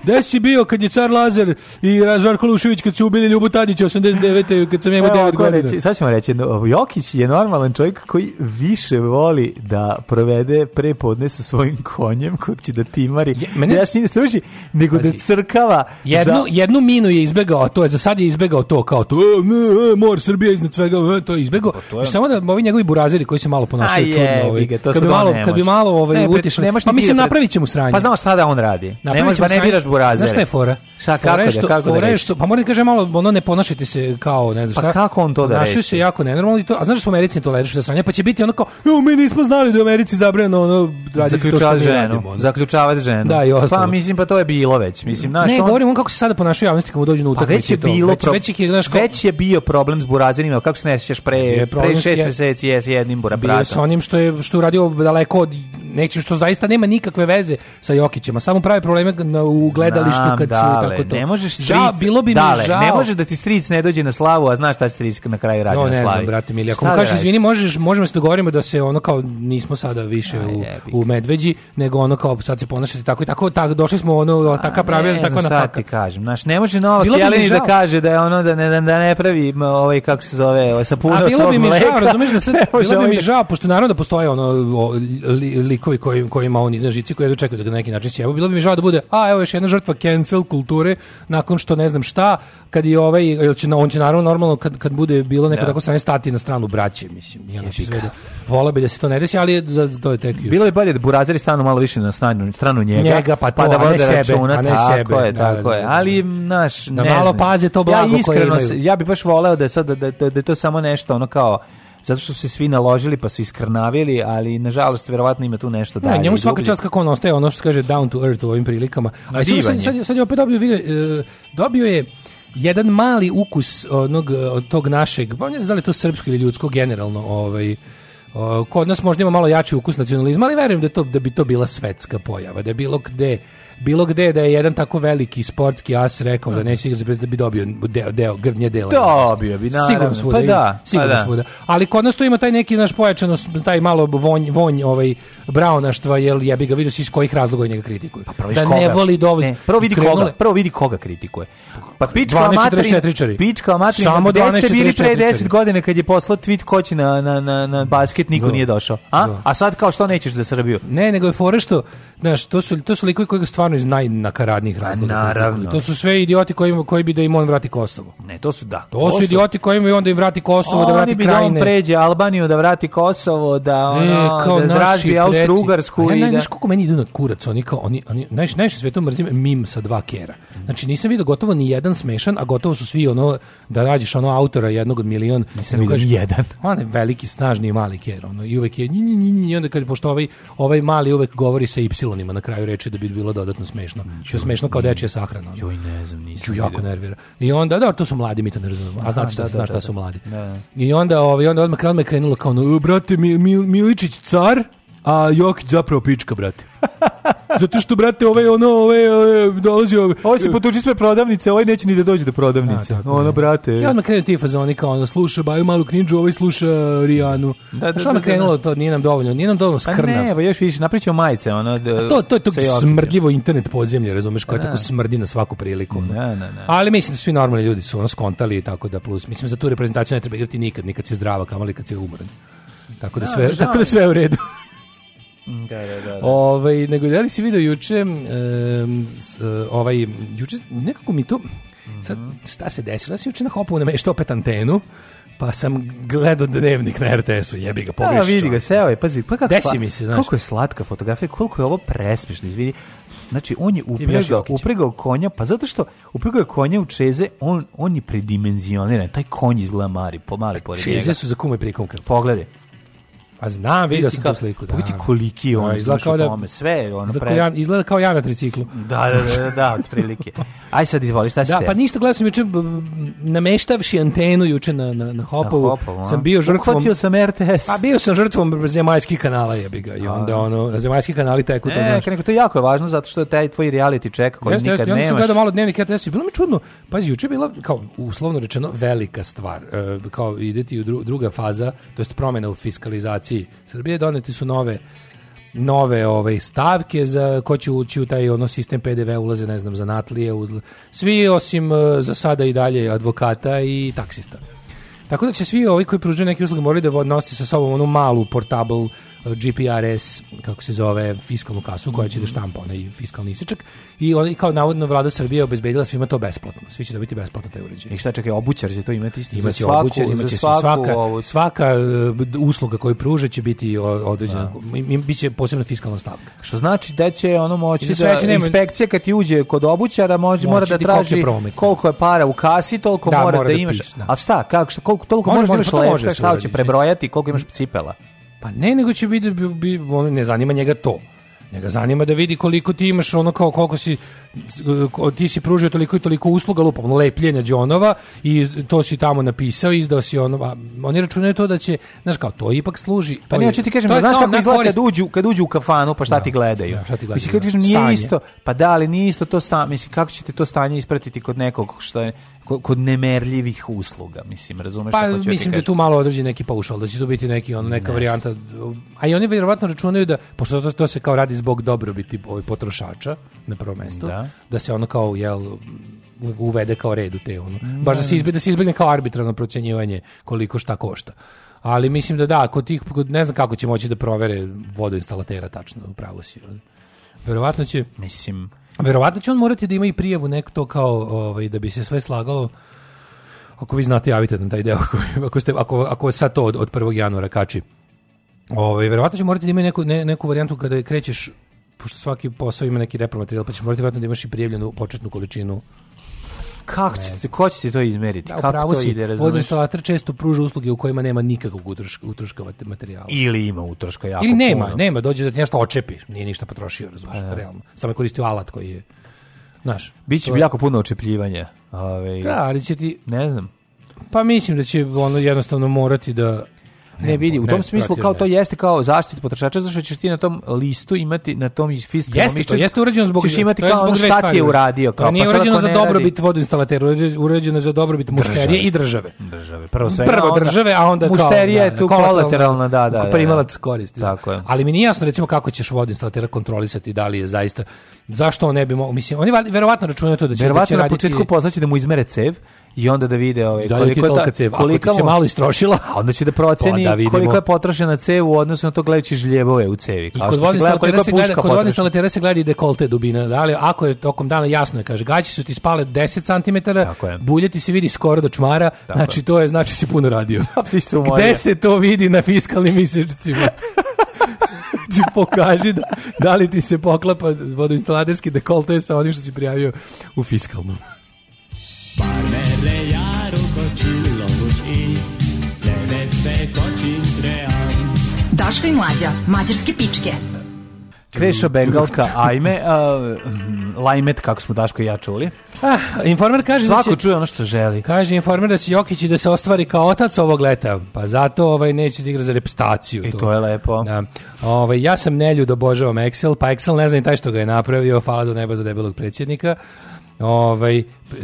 Speaker 8: Gde si bio kad je car Lazar i Žarko Lušević kad su ubili Ljubu Tadića 89. kad sam imao
Speaker 9: Evo,
Speaker 8: 9
Speaker 9: ako
Speaker 8: godina?
Speaker 9: reći, sad ćemo reći, no, Jokić je normalan čovjek koji više voli da provede prepodne sa svojim konjem kojeg će da timari. Je,
Speaker 8: mene-
Speaker 9: mene... Ja se služi, nego da
Speaker 8: Pazi,
Speaker 9: crkava
Speaker 8: Jednu,
Speaker 9: za...
Speaker 8: jednu minu je izbegao, a to je za sad je izbegao to kao to, e, ne, e, mor Srbija iznad svega, e, to je izbegao.
Speaker 9: Pa je-
Speaker 8: Samo da ovi njegovi burazeri koji se malo ponašaju
Speaker 9: A
Speaker 8: čudno,
Speaker 9: jebi
Speaker 8: ovaj,
Speaker 9: ga, to
Speaker 8: kad
Speaker 9: sad
Speaker 8: bi
Speaker 9: on
Speaker 8: malo,
Speaker 9: ne
Speaker 8: kad bi
Speaker 9: može.
Speaker 8: malo ovaj
Speaker 9: Ne, pred-
Speaker 8: utišali.
Speaker 9: ne možeš
Speaker 8: Pa
Speaker 9: ni ti
Speaker 8: mislim
Speaker 9: da pred-
Speaker 8: napravit ćemo sranje.
Speaker 9: Pa znamo šta da on radi. Ne možeš,
Speaker 8: Napravit ćemo
Speaker 9: ba ne
Speaker 8: sranje.
Speaker 9: biraš burazere.
Speaker 8: Znaš šta je fora?
Speaker 9: Šta, kako
Speaker 8: fora je
Speaker 9: da-
Speaker 8: što,
Speaker 9: kako da
Speaker 8: fora je
Speaker 9: rešiš?
Speaker 8: što, pa moram da kažem malo, ono ne ponašajte se kao, ne znam
Speaker 9: Pa
Speaker 8: šta.
Speaker 9: kako on to da
Speaker 8: Ponašaju
Speaker 9: reši?
Speaker 8: se jako nenormalno i to, a znaš da su u Americi ne tolerišu da sranje, pa će biti ono kao, jo, mi nismo znali da je u Americi zabranjeno ono, raditi to što
Speaker 9: Zaključavati
Speaker 8: mi
Speaker 9: ženu.
Speaker 8: radimo. ono.
Speaker 9: Zaključavati ženu.
Speaker 8: Da, i ostalo.
Speaker 9: Pa mislim, pa to je bilo već. Mislim, znaš,
Speaker 8: Ne,
Speaker 9: on-
Speaker 8: govorim on kako se sada ponašaju javnosti kad mu dođu na
Speaker 9: Pa
Speaker 8: utakmicu.
Speaker 9: već je
Speaker 8: i to.
Speaker 9: bilo
Speaker 8: već,
Speaker 9: pro-
Speaker 8: već ih je, znaš, kao-
Speaker 9: već je bio problem s burazerima, kako se ne sjećaš pre,
Speaker 8: Je problem
Speaker 9: pre
Speaker 8: s
Speaker 9: šest
Speaker 8: je-
Speaker 9: meseci je s jednim bura
Speaker 8: bio je sa
Speaker 9: bratom.
Speaker 8: onim što je što je uradio daleko od nečim što zaista nema nikakve veze sa Jokićem, a samo pravi probleme na, u gledalištu
Speaker 9: Znam,
Speaker 8: kad su
Speaker 9: dale,
Speaker 8: tako to.
Speaker 9: Ne možeš stric,
Speaker 8: ja, bilo bi
Speaker 9: dale,
Speaker 8: mi žao.
Speaker 9: Ne možeš da ti stric ne dođe na slavu, a znaš šta će stric na kraju radi
Speaker 8: No,
Speaker 9: na
Speaker 8: ne
Speaker 9: slavi.
Speaker 8: znam, brate mili, ako
Speaker 9: Šta
Speaker 8: mu
Speaker 9: da
Speaker 8: kažeš
Speaker 9: radi?
Speaker 8: izvini, možeš, možemo se dogovorimo da se ono kao nismo sada više u, u Medveđi, nego ono kao sad se ponašati tako i tako, tako došli smo ono, taka pravila,
Speaker 9: Pa ne
Speaker 8: tako
Speaker 9: znam
Speaker 8: na
Speaker 9: šta ti
Speaker 8: faka.
Speaker 9: kažem, znaš, ne može Novak
Speaker 8: Bilo bi mi
Speaker 9: Jeleni da
Speaker 8: žao.
Speaker 9: kaže da je ono da ne, da ne pravi m, ovaj, kako se zove, ovaj, sapuna
Speaker 8: A
Speaker 9: od
Speaker 8: bilo
Speaker 9: svog
Speaker 8: bi mi
Speaker 9: mleka.
Speaker 8: žao, razumeš da sad,
Speaker 9: Ne može
Speaker 8: bilo bi
Speaker 9: ovaj
Speaker 8: mi
Speaker 9: da-
Speaker 8: žao, pošto naravno da postoje ono o, li- likovi koji, kojima on ide na žici, koji jedva čekaju da ga na neki način sjebu, bilo bi mi žao da bude, a evo još jedna žrtva cancel kulture, nakon što ne znam šta, kad je ovaj, jel će, na- on će naravno normalno kad, kad bude bilo neko
Speaker 9: Da.
Speaker 8: tako strane stati na stranu braće, mislim. Ja, znači, sve da, vola bi da se to ne desi, ali je za, to je tek još.
Speaker 9: Bilo je bolje da burazeri stanu malo više na stranu, stranu njega,
Speaker 8: Njega, pa to,
Speaker 9: da
Speaker 8: a ne
Speaker 9: vode
Speaker 8: sebe,
Speaker 9: računa,
Speaker 8: a ne
Speaker 9: tako
Speaker 8: sebe.
Speaker 9: je,
Speaker 8: Da,
Speaker 9: tako
Speaker 8: da,
Speaker 9: je.
Speaker 8: da,
Speaker 9: Ali, naš,
Speaker 8: Da
Speaker 9: ne
Speaker 8: malo
Speaker 9: znam.
Speaker 8: paze to blago
Speaker 9: ja
Speaker 8: koje
Speaker 9: iskreno,
Speaker 8: imaju.
Speaker 9: se- Ja bih baš voleo da je sad, da, da, da je to samo nešto ono kao, zato što su se svi naložili pa su iskrnavili, ali nažalost verovatno ima tu nešto dalje.
Speaker 8: Ne, njemu
Speaker 9: i
Speaker 8: svaka
Speaker 9: dublje.
Speaker 8: čast kako on ostaje, ono što se kaže down to earth u ovim prilikama. A sad,
Speaker 9: divan
Speaker 8: sad,
Speaker 9: je.
Speaker 8: sad, sad je opet dobio, video, e, dobio je jedan mali ukus onog, e, od tog našeg, pa ne znam da li je to srpsko ili ljudsko generalno, ovaj, o, kod nas možda ima malo jači ukus nacionalizma, ali verujem da, je to, da bi to bila svetska pojava, da je bilo gde bilo gde da je jedan tako veliki sportski as rekao da neće igrati bez da bi dobio deo, deo grnje dela.
Speaker 9: Dobio bi, naravno.
Speaker 8: Sigurno svuda
Speaker 9: Pa
Speaker 8: ima.
Speaker 9: da, pa
Speaker 8: sigurno
Speaker 9: da.
Speaker 8: svuda. Ali kod nas to ima taj neki naš pojačanost, taj malo vonj, vonj ovaj, braunaštva, jel jebi ga vidio si iz kojih razloga njega kritikuju.
Speaker 9: Pa Prvo viš
Speaker 8: da ne
Speaker 9: koga-
Speaker 8: voli dovoljno.
Speaker 9: ne, prvo vidi
Speaker 8: Krenule-
Speaker 9: koga, prvo vidi koga kritikuje. Pa pička
Speaker 8: 12
Speaker 9: amatori,
Speaker 8: 44.
Speaker 9: pička amatori,
Speaker 8: Samo
Speaker 9: gde ste bili
Speaker 8: 12 44.
Speaker 9: pre 10 godina kad je poslao tweet ko će na, na, na, na basket, niko
Speaker 8: Da.
Speaker 9: nije došao. A?
Speaker 8: Da.
Speaker 9: A sad kao što nećeš za Srbiju?
Speaker 8: Ne, nego je fora što, znaš, to su, to su likovi koji ga stvarno iz najnakaradnijih razloga.
Speaker 9: Pa naravno.
Speaker 8: kritikuju. To su sve idioti koji, koji bi da im on vrati Kosovo.
Speaker 9: Ne, to su da.
Speaker 8: To su idioti koji bi onda im vrati Kosovo, da
Speaker 9: Oni
Speaker 8: vrati
Speaker 9: bi da on
Speaker 8: krajine. E,
Speaker 9: pređe Albaniju, da vrati Kosovo, da, ono, da dražbi Austro-Ugarsku.
Speaker 8: Ja,
Speaker 9: i
Speaker 8: naj-
Speaker 9: da-
Speaker 8: znaš koliko meni idu na kurac, oni kao, oni, oni, znaš, najviše sve to mrzim mim sa dva kera. Znači nisam vidio gotovo ni jedan smešan, a gotovo su svi ono, da rađeš ono autora jednog od milion.
Speaker 9: Nisam
Speaker 8: da mu
Speaker 9: vidio
Speaker 8: kažeš,
Speaker 9: ni jedan.
Speaker 8: On je veliki, snažni i mali ker, ono, i uvek je nji, nji, nji, nji, i onda kad, pošto ovaj, ovaj mali uvek govori sa y-ima na kraju reči da bi bilo dodatno smešno. Što je smešno kao dečija sahrana. ono.
Speaker 9: Joj, ne znam, nisam
Speaker 8: Ju, jako
Speaker 9: vidio.
Speaker 8: nervira. I onda, da, to su mladi, mi to ne razumemo. A znate
Speaker 9: Aha,
Speaker 8: šta,
Speaker 9: da, da,
Speaker 8: znaš
Speaker 9: da,
Speaker 8: šta
Speaker 9: da.
Speaker 8: su mladi.
Speaker 9: Da, da.
Speaker 8: I onda, ovaj, onda odmah krenulo me krenulo kao, ono, "E, brate, Mi- Mi- Miličić car, a Jokić zapravo pička, brate. Zato što, brate, ovaj, ono, ovaj, ovaj dolazi... Ovaj,
Speaker 9: Ovo se potuči sve prodavnice, ovaj neće ni da dođe do prodavnice.
Speaker 8: A, tako
Speaker 9: ono,
Speaker 8: je.
Speaker 9: brate.
Speaker 8: I odmah krenu ti fazoni kao ono, sluša Baju malu knjiđu, ovaj sluša Rijanu. Da,
Speaker 9: da,
Speaker 8: da,
Speaker 9: da, da,
Speaker 8: krenulo to, nije nam dovoljno, nije nam dovoljno
Speaker 9: Pa
Speaker 8: skrna.
Speaker 9: ne, pa još više, napričamo majice. Ono, da-
Speaker 8: to, to je to
Speaker 9: sa Jokićem.
Speaker 8: smrdljivo internet podzemlje, razumeš, koje
Speaker 9: Da.
Speaker 8: tako smrdi na svaku priliku. ono.
Speaker 9: Da, da, da.
Speaker 8: Ali mislim da svi normalni ljudi su ono skontali i tako da plus. Mislim za tu reprezentaciju ne treba igrati nikad, nikad si zdrava, kamoli kad si umoran. Tako da sve,
Speaker 9: žao
Speaker 8: tako da
Speaker 9: mi.
Speaker 8: sve je u redu.
Speaker 9: Da, da, da.
Speaker 8: Ovaj nego da li si video juče em, s- e, ovaj juče nekako mi to sad
Speaker 9: Mhm.
Speaker 8: šta se desilo? Ja sam juče na hopu na mešto opet antenu. Pa sam gledao dnevnik na RTS-u, jebi ga,
Speaker 9: Da,
Speaker 8: pogreši
Speaker 9: Pa, vidi ga,
Speaker 8: čovjek.
Speaker 9: se, ovaj, pazi, pa kako,
Speaker 8: Desi
Speaker 9: sla-
Speaker 8: mi se, znaš.
Speaker 9: Koliko je slatka fotografija, koliko je ovo presmešno, izvidi. Znači, on je
Speaker 8: bi još
Speaker 9: upregao,
Speaker 8: Jokić.
Speaker 9: upregao konja, pa zato što upregao je konja u čeze, on, on je
Speaker 8: Pa,
Speaker 9: predimenzioniran, taj konj izgleda mari, po mali pored njega.
Speaker 8: Čeze su za kume prikomka.
Speaker 9: Pogledaj.
Speaker 8: A znam, vidio
Speaker 9: Vidi
Speaker 8: sam
Speaker 9: ka-
Speaker 8: tu sliku. Da.
Speaker 9: pogledaj koliki je on, znaš, u tome, sve je ono
Speaker 8: izgleda,
Speaker 9: pre-
Speaker 8: kao ja, izgleda kao ja na triciklu.
Speaker 9: Da, da, da, da, da, otprilike. Aj sad izvoli, šta si
Speaker 8: Da,
Speaker 9: te?
Speaker 8: pa ništa, gledao sam juče, b- b- nameštavši antenu juče na, na, na Hopovu,
Speaker 9: Na Hopovu, a?
Speaker 8: sam bio žrtvom...
Speaker 9: Uhvatio sam RTS.
Speaker 8: Pa bio sam žrtvom zemaljskih kanala, jebi ga, i onda ono, zemaljski kanali teku, to
Speaker 9: Ne,
Speaker 8: znaš.
Speaker 9: nego to jako je vačno zato što taj tvoj reality check koji
Speaker 8: Jeste,
Speaker 9: nikad
Speaker 8: jeste, i onda sam
Speaker 9: nemaš.
Speaker 8: gledao malo dnevnik RTS i bilo mi čudno. Pazi, juče je bila, kao, uslovno rečeno, velika stvar. E, kao, ide ti u dru- druga faza, to jest promjena u fiskalizaciji Srbije, doneti su nove nove ove stavke za ko će ući u taj ono sistem PDV ulaze ne znam zanatlije uzla- svi osim e, za sada i dalje advokata i taksista tako da će svi ovi koji pružaju neke usluge morali da odnosi sa sobom onu malu portable e, GPRS, kako se zove, fiskalnu kasu koja
Speaker 9: Mhm.
Speaker 8: će da štampa onaj fiskalni isječak i on, i kao navodno vlada Srbije obezbedila svima to besplatno. Svi će dobiti besplatno taj uređaj.
Speaker 9: I šta čekaj, obućar će to imati isto
Speaker 8: Imaće obućar, imaće
Speaker 9: za
Speaker 8: svi-
Speaker 9: svaku
Speaker 8: svaka,
Speaker 9: ovu-
Speaker 8: svaka e, d- usluga koju pruže će biti o- određena,
Speaker 9: Da.
Speaker 8: i- i- biće posebna fiskalna stavka.
Speaker 9: Što znači da će ono moći
Speaker 8: I za
Speaker 9: da
Speaker 8: sve će nema-
Speaker 9: inspekcija kad ti uđe kod obućara može,
Speaker 8: Moći
Speaker 9: mora da
Speaker 8: ti koliko je
Speaker 9: traži
Speaker 8: promet.
Speaker 9: koliko je para u kasi, toliko
Speaker 8: Da,
Speaker 9: mora,
Speaker 8: mora
Speaker 9: da,
Speaker 8: da
Speaker 9: imaš.
Speaker 8: piše, da.
Speaker 9: A šta, kako, šta, koliko, toliko
Speaker 8: Može,
Speaker 9: možeš da
Speaker 8: može,
Speaker 9: imaš
Speaker 8: pa to može
Speaker 9: lepka,
Speaker 8: da se
Speaker 9: šta će
Speaker 8: uradi,
Speaker 9: prebrojati, koliko imaš cipela.
Speaker 8: Pa ne, nego će biti, bi, bi, ono, ne zanima njega to. Njega zanima da vidi koliko ti imaš ono kao koliko si ko- ti si pružio toliko i toliko usluga lupom ono, lepljenja đonova i to si tamo napisao izdao si ono a oni računaju to da će znaš kao to ipak služi to
Speaker 9: Pa
Speaker 8: je-
Speaker 9: ne, hoću ti kažem,
Speaker 8: to je
Speaker 9: znaš
Speaker 8: kao
Speaker 9: kako
Speaker 8: na
Speaker 9: izgleda
Speaker 8: korist.
Speaker 9: kad uđu, kad uđu u kafanu, pa šta ti gledaju?
Speaker 8: da, šta ti gledaju,
Speaker 9: Mislim, kad ti kažem,
Speaker 8: da.
Speaker 9: nije
Speaker 8: Stanje.
Speaker 9: isto, pa da, ali nije isto to stanje, mislim, kako ćete to stanje ispratiti kod nekog što je, ko- kod nemerljivih usluga, mislim, razumeš
Speaker 8: pa
Speaker 9: kako ću ti
Speaker 8: mislim da je
Speaker 9: kažem?
Speaker 8: tu malo određen neki paušal da će to biti neki ono neka
Speaker 9: Ne
Speaker 8: varijanta a i oni vjerovatno računaju da pošto to, to se kao radi zbog dobrobiti ovaj, potrošača na prvo mesto
Speaker 9: Da.
Speaker 8: da. se ono kao jel u- uvede kao red u te ono
Speaker 9: Mm,
Speaker 8: baš da se izbegne da se izbegne kao arbitrarno procjenjivanje koliko šta košta ali mislim da da kod tih kod- ne znam kako će moći da provere vodoinstalatera tačno u pravo si verovatno će
Speaker 9: mislim
Speaker 8: verovatno će on morati da ima i prijavu neko to kao ovaj da bi se sve slagalo ako vi znate, javite nam taj deo. koji- Ako, ste, ako, ako sad to od, od 1. januara kači. Ovaj verovatno će morati da imaju neku, ne- neku varijantu kada krećeš, pošto svaki posao ima neki repromaterijal, pa ćeš morati verovatno da imaš i prijavljenu početnu količinu.
Speaker 9: Kako
Speaker 8: Ne
Speaker 9: ćete, ko će ti to izmeriti?
Speaker 8: Da,
Speaker 9: kako
Speaker 8: upravo
Speaker 9: to
Speaker 8: si,
Speaker 9: ide, razumeš?
Speaker 8: vodoinstalater često pruža usluge u kojima nema nikakvog utroška, utroška vat- materijala.
Speaker 9: Ili ima utroška jako
Speaker 8: Ili nema,
Speaker 9: puno.
Speaker 8: nema, dođe da ti nešto očepi, nije ništa potrošio, razumeš,
Speaker 9: Pa da.
Speaker 8: realno. Samo je koristio alat koji je, znaš.
Speaker 9: Biće
Speaker 8: to je-
Speaker 9: jako puno očepljivanja. Ove,
Speaker 8: Da, ali će ti...
Speaker 9: Ne znam.
Speaker 8: Pa mislim da će ono jednostavno morati da...
Speaker 9: Ne vidi, u
Speaker 8: ne,
Speaker 9: tom smislu
Speaker 8: pratio
Speaker 9: kao
Speaker 8: ne.
Speaker 9: to jeste kao zaštita potrošača, zato što ćeš ti na tom listu imati na tom fiskalnom
Speaker 8: Jeste, to
Speaker 9: listu,
Speaker 8: jeste urađeno zbog
Speaker 9: ćeš imati
Speaker 8: to je
Speaker 9: kao ono
Speaker 8: zbog dve
Speaker 9: šta ti
Speaker 8: stvari
Speaker 9: je uradio,
Speaker 8: to
Speaker 9: kao
Speaker 8: nije
Speaker 9: pa sad
Speaker 8: urađeno
Speaker 9: ako
Speaker 8: za
Speaker 9: ne
Speaker 8: dobrobit
Speaker 9: radi-
Speaker 8: vodoinstalatera, urađe- urađeno je za dobrobit mušterije i države.
Speaker 9: Države. Prvo svega,
Speaker 8: Prvo
Speaker 9: onda-
Speaker 8: države, a onda kao
Speaker 9: mušterija je tu
Speaker 8: kolateralna,
Speaker 9: kolateralna, da, da,
Speaker 8: kao
Speaker 9: da.
Speaker 8: primalac koristi.
Speaker 9: Tako je.
Speaker 8: Ali mi nije jasno recimo kako ćeš vodoinstalatera kontrolisati da li je zaista zašto on ne bi mogao mislim oni val- verovatno računaju to da će
Speaker 9: Verovatno
Speaker 8: da će
Speaker 9: na početku poslaće da mu izmere cev i onda da vide ovaj,
Speaker 8: Da li ti je
Speaker 9: ta-
Speaker 8: tolika cev? Ako ti
Speaker 9: koliko
Speaker 8: se
Speaker 9: mu-
Speaker 8: malo istrošila,
Speaker 9: a Pa onda će da proceni
Speaker 8: onda vidimo.
Speaker 9: koliko je potrošena cev u odnosu na to gledajući žljebove u cevi.
Speaker 8: I
Speaker 9: Kao
Speaker 8: kod
Speaker 9: što se gleda koliko
Speaker 8: vodoinstalatera
Speaker 9: je
Speaker 8: se gleda,
Speaker 9: puška
Speaker 8: kod
Speaker 9: potrošena.
Speaker 8: vodoinstalatera se gleda i dekolte dubina. Da li, ako je tokom dana jasno je, kaže, gaći su ti spale 10 cm, bulje ti se vidi skoro do čmara, znači to je, znači si puno radio.
Speaker 9: ti se umorio.
Speaker 8: Gde se to vidi na fiskalnim mjesečcima? Znači, pokaži da, da li ti se poklapa vodoinstalaterski dekolte sa onim što si prijavio u fiskalnom.
Speaker 14: Merre jár okocsullogos ég, levette kacsintre ám.
Speaker 5: Daško i mlađa, mađarske pičke.
Speaker 9: Krešo Bengalka, ajme, uh, lajmet, kako smo Daško i ja čuli.
Speaker 8: Ah, informer kaže da
Speaker 9: Svako
Speaker 8: će-
Speaker 9: čuje ono što želi.
Speaker 8: Kaže informer da će Jokić i da se ostvari kao otac ovog leta, pa zato ovaj neće da igra za repstaciju. I to
Speaker 9: je lepo.
Speaker 8: Da. Ovaj, ja sam neljud obožavam Excel, pa Excel ne zna ni taj što ga je napravio, hvala do neba za debelog predsjednika. Ovaj,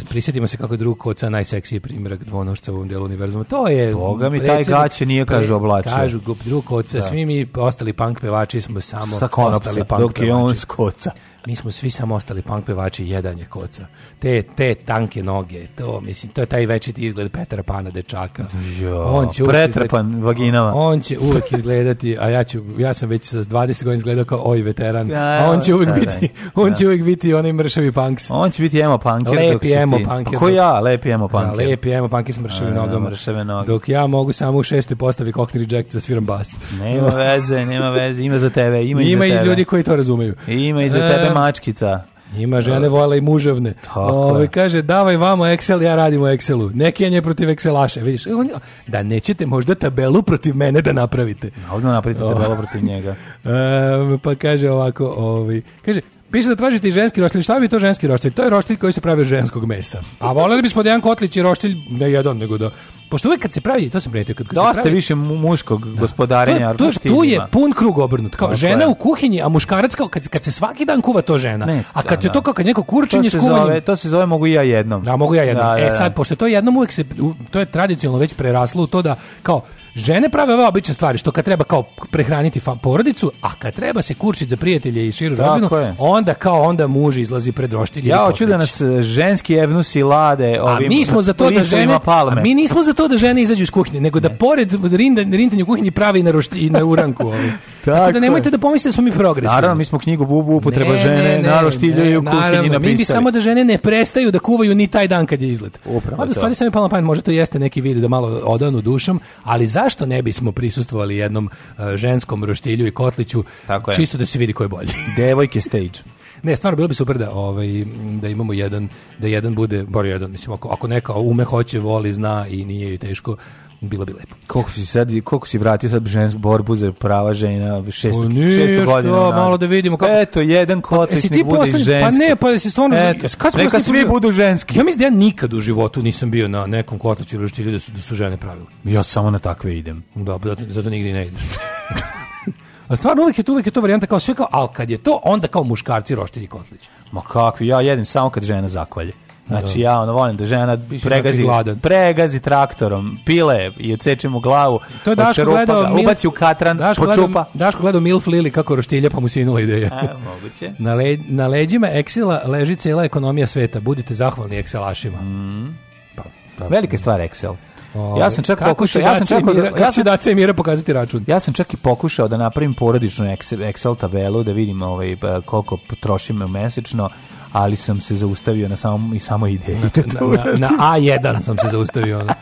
Speaker 8: prisjetimo se kako je drug koca najseksiji primjerak dvonošca u ovom delu univerzuma. To je...
Speaker 9: Boga mi, taj
Speaker 8: predsjednik-
Speaker 9: gaće nije, kaže,
Speaker 8: pre-
Speaker 9: oblačio.
Speaker 8: Kažu, gu- drug koca,
Speaker 9: Da.
Speaker 8: svi mi ostali punk pevači smo samo
Speaker 9: Sa konopca,
Speaker 8: ostali punk
Speaker 9: dok je on
Speaker 8: pevači.
Speaker 9: s koca.
Speaker 8: Mi smo svi samo ostali punk pevači, jedan je koca. Te, te tanke noge, to, mislim, to je taj večiti izgled Petra Pana dečaka.
Speaker 9: Jo,
Speaker 8: on će uvek
Speaker 9: pretrpan vaginama.
Speaker 8: On će uvek izgledati, a ja ću, ja sam već sa 20 godina izgledao kao oj veteran,
Speaker 9: Da,
Speaker 8: a on će uvek
Speaker 9: da, da,
Speaker 8: biti,
Speaker 9: da.
Speaker 8: on će uvek biti onaj mršavi punks.
Speaker 9: On će biti emo punker. dok
Speaker 8: Lepi
Speaker 9: si ti-
Speaker 8: emo punker.
Speaker 9: Pa ko ja, lepi emo punker.
Speaker 8: Da, lepi emo punker s mršavim
Speaker 9: Da, da,
Speaker 8: nogama.
Speaker 9: mršave noge.
Speaker 8: Dok ja mogu samo u šestoj postavi Cockney Reject za sviram bas.
Speaker 9: Nema veze, nema veze, ima za tebe, ima, i za
Speaker 8: Ima i
Speaker 9: tebe.
Speaker 8: ljudi koji to razumeju.
Speaker 9: Ima i za
Speaker 8: E,
Speaker 9: tebe mačkica.
Speaker 8: Ima žene vola i muževne. Ove,
Speaker 15: je.
Speaker 8: kaže, davaj vamo Excel, ja radim u Excelu. Nekenje protiv Excelaša. Vidiš, e, on- da nećete možda tabelu protiv mene da napravite.
Speaker 9: Ovdje napravite
Speaker 8: O.
Speaker 9: tabelo protiv njega.
Speaker 8: Em, pa kaže ovako, ovaj, kaže, Piše da tražite i ženski roštilj. Šta bi to ženski roštilj? To je roštilj koji se pravi od ženskog mesa. A voleli bismo da jedan kotlić i roštilj, ne jedan, nego da... Pošto uvek kad se pravi, to sam primetio, kad, kad se
Speaker 9: Dosta
Speaker 8: pravi-
Speaker 9: više mu- muškog
Speaker 8: to je-
Speaker 9: gospodarenja.
Speaker 8: to je- tu je
Speaker 9: roštiljima.
Speaker 8: pun krug obrnut. Kao
Speaker 9: Tako
Speaker 8: žena
Speaker 9: je.
Speaker 8: u kuhinji, a muškarac kao kad, kad se svaki dan kuva to žena.
Speaker 9: Ne,
Speaker 8: a kad
Speaker 9: da,
Speaker 8: je to
Speaker 9: da.
Speaker 8: kao kad neko
Speaker 9: to
Speaker 8: kurčenje s
Speaker 9: se
Speaker 8: kuvanjem-
Speaker 9: zove, to se zove mogu i ja jednom.
Speaker 8: Da, mogu ja jednom.
Speaker 9: Da, da,
Speaker 8: E sad,
Speaker 9: da.
Speaker 8: pošto je to jednom uvek se, u- to je tradicionalno već preraslo u to da kao žene prave ove obične stvari, što kad treba kao prehraniti fa- porodicu, a kad treba se kurčiti za prijatelje i širu
Speaker 9: Tako
Speaker 8: rodbinu,
Speaker 9: je.
Speaker 8: onda kao onda muž izlazi pred roštilj.
Speaker 9: Ja hoću da nas e, ženski evnusi lade
Speaker 8: A
Speaker 9: ovim
Speaker 8: mi smo za to da
Speaker 9: listovima
Speaker 8: žene,
Speaker 9: palme.
Speaker 8: a mi nismo za to da žene izađu iz kuhinje, nego da pored rinda, rintanja u kuhinji pravi na rošti i na uranku ovaj. Tako,
Speaker 9: Tako
Speaker 8: da
Speaker 9: je.
Speaker 8: nemojte da pomislite da smo mi progresivni.
Speaker 9: Naravno, mi smo knjigu Bubu upotreba Pa žene, naroštiljaju u kuhinji
Speaker 8: naravno,
Speaker 9: napisali.
Speaker 8: Mi bi samo da žene ne prestaju da kuvaju ni taj dan kad je izlet.
Speaker 9: Upravo
Speaker 8: Mada
Speaker 9: to.
Speaker 8: stvari sam je palo na pamet, možda to jeste neki vid da malo odanu dušom, ali zašto ne bismo prisustvovali jednom e, ženskom roštilju i kotliću,
Speaker 9: Tako je.
Speaker 8: čisto da se vidi ko je bolji.
Speaker 9: Devojke stage.
Speaker 8: Ne, stvarno bilo bi super da ovaj da imamo jedan da jedan bude bar jedan, mislim ako ako neka ume hoće, voli, zna i nije joj teško, bilo bi lepo.
Speaker 9: Koliko si sad, koliko si vratio sad žensku borbu za prava žena, šest,
Speaker 8: O, nije
Speaker 9: šest
Speaker 8: što,
Speaker 9: godina. nazad.
Speaker 8: Pa malo da vidimo kako-
Speaker 9: Eto, jedan
Speaker 8: Jesi
Speaker 9: kotlić
Speaker 8: ti
Speaker 9: nek bude i
Speaker 8: poslednji? Pa
Speaker 9: ženski.
Speaker 8: ne, pa jesi stvarno...
Speaker 9: Eto,
Speaker 8: Kad smo
Speaker 9: neka
Speaker 8: poslednji
Speaker 9: svi
Speaker 8: put bio?
Speaker 9: budu ženski.
Speaker 8: Ja mislim da ja nikad u životu nisam bio na nekom kotliću ili štilju da su, da su žene pravile.
Speaker 9: Ja samo na takve idem.
Speaker 8: Da, zato, zato nigdje ne idem. A stvarno uvijek je to, uvijek je to varijanta kao sve kao, ali kad je to, onda kao muškarci roštilj i kotlić.
Speaker 9: Ma kakvi, ja jedem samo kad žena zakolje. Znači ja ono volim da žena
Speaker 8: znači
Speaker 9: pregazi,
Speaker 8: gladan.
Speaker 9: pregazi traktorom, pile i odseče mu glavu,
Speaker 8: To je Daško
Speaker 9: očerupa
Speaker 8: gledao...
Speaker 9: ga,
Speaker 8: Milf-
Speaker 9: Pa ubaci u katran,
Speaker 8: Daško
Speaker 9: počupa.
Speaker 8: Gledao, Daško gledao Milf Lili kako roštilja, pa mu se inula ideja.
Speaker 9: E, moguće.
Speaker 8: Na, le, na leđima Excela leži cijela ekonomija sveta. Budite zahvalni Excelašima. Pa, pa-
Speaker 9: Velika je stvar Excel.
Speaker 8: Ovaj,
Speaker 9: Ja Mm. sam čak
Speaker 8: kako
Speaker 9: pokušao,
Speaker 8: će
Speaker 9: ja sam
Speaker 8: Dacia i
Speaker 9: čak, od-
Speaker 8: Mira- kako
Speaker 9: ja
Speaker 8: će
Speaker 9: sam,
Speaker 8: Dacia i Mira pokazati račun.
Speaker 9: ja sam čak i pokušao da napravim porodičnu Excel, Excel tabelu da vidim ovaj, pa, koliko potrošim mesečno, ali sam se zaustavio na samom i samo ideji.
Speaker 8: Na, na, na A1 sam se zaustavio. Ono.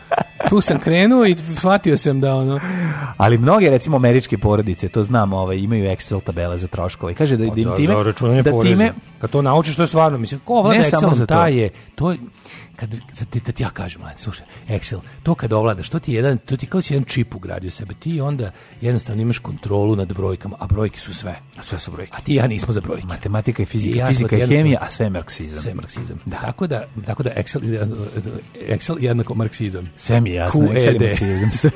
Speaker 8: Tu sam krenuo i shvatio sam da ono...
Speaker 9: Ali mnoge recimo američke porodice, to znam, ovaj imaju Excel tabele za troškove. Kaže da, da im
Speaker 8: Pa Za-
Speaker 9: time
Speaker 8: za računanje
Speaker 9: da
Speaker 8: poreza.
Speaker 9: time
Speaker 8: Kad to naučiš, to je stvarno, mislim, ko ovlada
Speaker 9: Ne samo
Speaker 8: Excelom,
Speaker 9: za to.
Speaker 8: taj je, to je, kad, sad ti, da ti ja kažem, mladen, slušaj, Excel, to kad ovladaš, to ti je jedan, to ti je kao si jedan čip ugradio u sebe, ti onda jednostavno imaš kontrolu nad brojkama, a brojke su sve.
Speaker 9: A sve su brojke.
Speaker 8: A ti i ja nismo za brojke.
Speaker 9: Matematika i fizika,
Speaker 8: I ja sam
Speaker 9: fizika i
Speaker 8: jednostavno-
Speaker 9: hemija, a sve je marksizam.
Speaker 8: Sve je marksizam. Tako da, tako da Excel, Excel jednako marksizam. E
Speaker 9: Sve mi je jasno, Excel je
Speaker 8: QED.
Speaker 9: marksizam, sve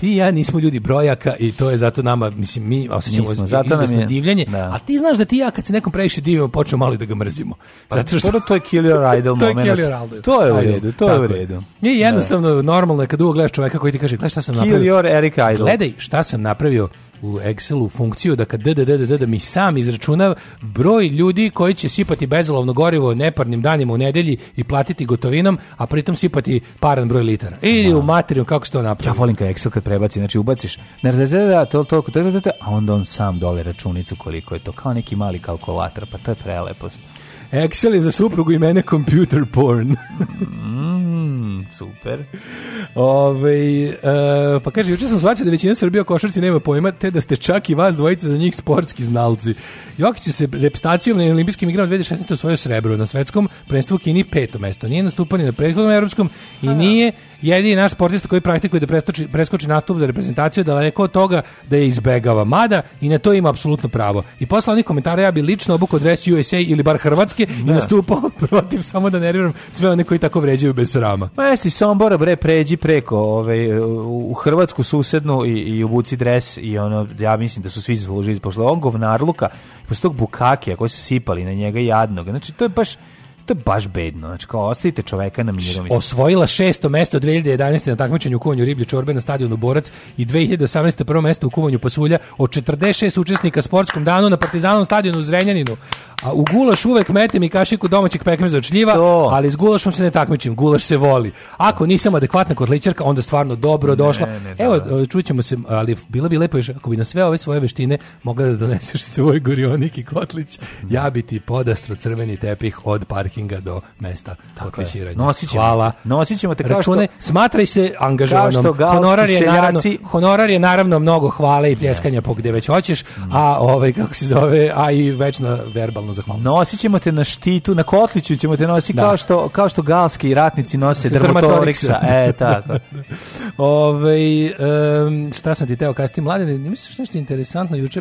Speaker 8: ti i ja nismo ljudi brojaka i to je zato nama, mislim, mi osjećamo
Speaker 9: Nismo,
Speaker 8: iz-
Speaker 9: zato nam
Speaker 8: izvesno
Speaker 9: je-
Speaker 8: divljenje,
Speaker 9: da.
Speaker 8: a ti znaš da ti i ja kad se nekom previše divimo počnemo malo i da ga mrzimo.
Speaker 9: Pa
Speaker 8: Zato što
Speaker 9: dobro, to je kill your idol
Speaker 8: to je
Speaker 9: moment.
Speaker 8: Kelly Raldo.
Speaker 9: To je u
Speaker 8: Idol,
Speaker 9: redu, to je
Speaker 8: tako
Speaker 9: u redu.
Speaker 8: Nije jednostavno, normalno je kad dugo gledaš čoveka koji ti kaže, gledaj šta sam
Speaker 9: Kill
Speaker 8: napravio.
Speaker 9: your Eric Idle.
Speaker 8: Gledaj šta sam napravio u Excelu funkciju da kad DDDDD mi sam izračuna broj ljudi koji će sipati bezolovno gorivo neparnim danima u nedelji i platiti gotovinom, a pritom sipati paran broj litara. Ili u materiju kako se to napravio.
Speaker 9: Ja volim kad Excel kad prebaci, znači ubaciš, ne da, da, da, to, to, to, da, da, a onda on sam dole računicu koliko je to, kao neki mali kalkulator, pa to je prelepo.
Speaker 8: Excel je za suprugu i mene computer porn.
Speaker 9: Mm, super.
Speaker 8: Ove, e, pa kaže, juče sam shvatio da većina Srbija o košarci nema pojma, te da ste čak i vas dvojica za njih sportski znalci. Jokić je se repstacijom na olimpijskim igrama 2016. osvojio srebro na svetskom prvenstvu u Kini peto mesto. Nije nastupao ni na prethodnom evropskom i nije jedini naš sportista koji praktikuje da preskoči, preskoči nastup za reprezentaciju, daleko od toga da je izbegava. Mada i na to ima apsolutno pravo. I posle onih komentara ja bi lično obukao dres USA ili bar Hrvatske i nastupao protiv samo da nerviram sve one koji tako vređaju bez srama.
Speaker 9: Ma Pa jesi Sombora bre pređi preko ovaj u u Hrvatsku susednu i, i obuci dres i ono ja mislim da su svi zaslužili posle on govnarluka i posle tog bukakija koji su sipali na njega jadnog. Znači to je baš to je baš bedno. Znači kao ostavite čoveka na miru. mislim.
Speaker 8: osvojila šesto mesto 2011. na takmičenju u kuvanju riblje čorbe na stadionu Borac i 2018. prvo mesto u kuvanju pasulja od 46 učesnika sportskom danu na Partizanom stadionu u Zrenjaninu. A u gulaš uvek metem i kašiku domaćeg pekmeza od šljiva,
Speaker 9: To.
Speaker 8: ali s gulašom se ne takmičim, gulaš se voli. Ako nisam adekvatna kotličarka, onda stvarno dobro došla.
Speaker 9: ne, da,
Speaker 8: Evo,
Speaker 9: da.
Speaker 8: e, čućemo se, ali bilo bi lepo još ako bi na sve ove svoje veštine mogla da doneseš i svoj gorionik i kotlić, ja bi ti podastro crveni tepih od parkinga do mesta kotlićiranja.
Speaker 9: Nosit ćemo
Speaker 8: Hvala.
Speaker 9: te. Nosit ćemo te kao
Speaker 8: Račune,
Speaker 9: što-
Speaker 8: smatraj se
Speaker 9: Kao što
Speaker 8: angažovanom.
Speaker 9: galski
Speaker 8: Honorar je, naravno,
Speaker 9: seljaci-
Speaker 8: honorar je Mm. naravno mnogo hvale i pljeskanja po gde već hoćeš, a ovaj, kako se zove, a i večna verbalna totalno zahvalnost.
Speaker 9: Nosit ćemo te na štitu, na kotliću ćemo te nositi
Speaker 8: Da.
Speaker 9: kao, što, kao što galski ratnici nose
Speaker 8: Dermatoriksa.
Speaker 9: dermatoriksa. E, tako.
Speaker 8: Ove, Ovaj, em, šta sam ti teo kazati, mladene, ne misliš nešto interesantno juče?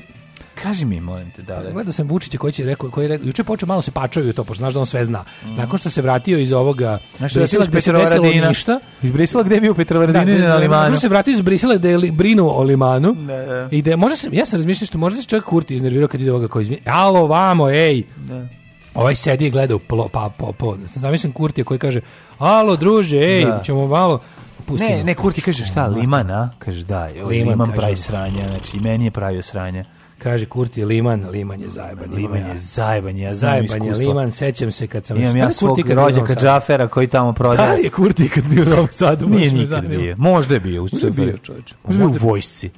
Speaker 9: Kaži mi, molim te, da li.
Speaker 8: Gledao sam Vučića koji će rekao, koji je rekao, juče je počeo malo se pačaju to, pošto znaš da on sve zna. Nakon što se vratio iz ovoga,
Speaker 9: Znaš što je
Speaker 8: Brisela
Speaker 9: iz
Speaker 8: gde se
Speaker 9: Petrova
Speaker 8: desilo
Speaker 9: Radina?
Speaker 8: ništa,
Speaker 9: Iz Brisela gde je bio
Speaker 8: Da,
Speaker 9: Petrovaradine
Speaker 8: da,
Speaker 9: na
Speaker 8: da,
Speaker 9: limanu?
Speaker 8: možda se vratio iz Brisela da je li- brinuo o limanu.
Speaker 9: Da, da.
Speaker 8: I da je- možda se, ja sam razmišljao što možda se čak Kurti iznervirao kad ide ovoga koji izmi. Alo, vamo, ej.
Speaker 9: Da.
Speaker 8: Ovaj sedi i gleda u plo, pa, po, po. Zamišljam Kurtija koji kaže, alo, druže, ej,
Speaker 9: Da.
Speaker 8: ćemo malo... Pusti
Speaker 9: Ne,
Speaker 8: me.
Speaker 9: ne, Kurti kaže šta, liman, a? Kaže da, joj,
Speaker 8: Liman,
Speaker 9: liman
Speaker 8: kaže.
Speaker 9: pravi sranja, znači i meni je pravio sranja.
Speaker 8: Kaže Kurti Liman, Liman je zajeban. imam
Speaker 9: Liman
Speaker 8: ja.
Speaker 9: je zajeban, ja znam
Speaker 8: Zajeban je
Speaker 9: iskustvo.
Speaker 8: Liman, sećam se kad sam...
Speaker 9: Imam
Speaker 8: Da li
Speaker 9: ja
Speaker 8: Kurti
Speaker 9: svog
Speaker 8: ikad bio u Novom
Speaker 9: rođaka
Speaker 8: Sadu?
Speaker 9: Džafera koji tamo prodaje.
Speaker 8: Da li je Kurti kad bio u Novom Sadu?
Speaker 9: Nije
Speaker 8: Baš me
Speaker 9: nikad
Speaker 8: zanima.
Speaker 9: bio. Možda je bio u
Speaker 8: Možda je
Speaker 9: Srbiji.
Speaker 8: bio, čoveče.
Speaker 9: Možda je bio
Speaker 8: Možda-
Speaker 9: u vojsci.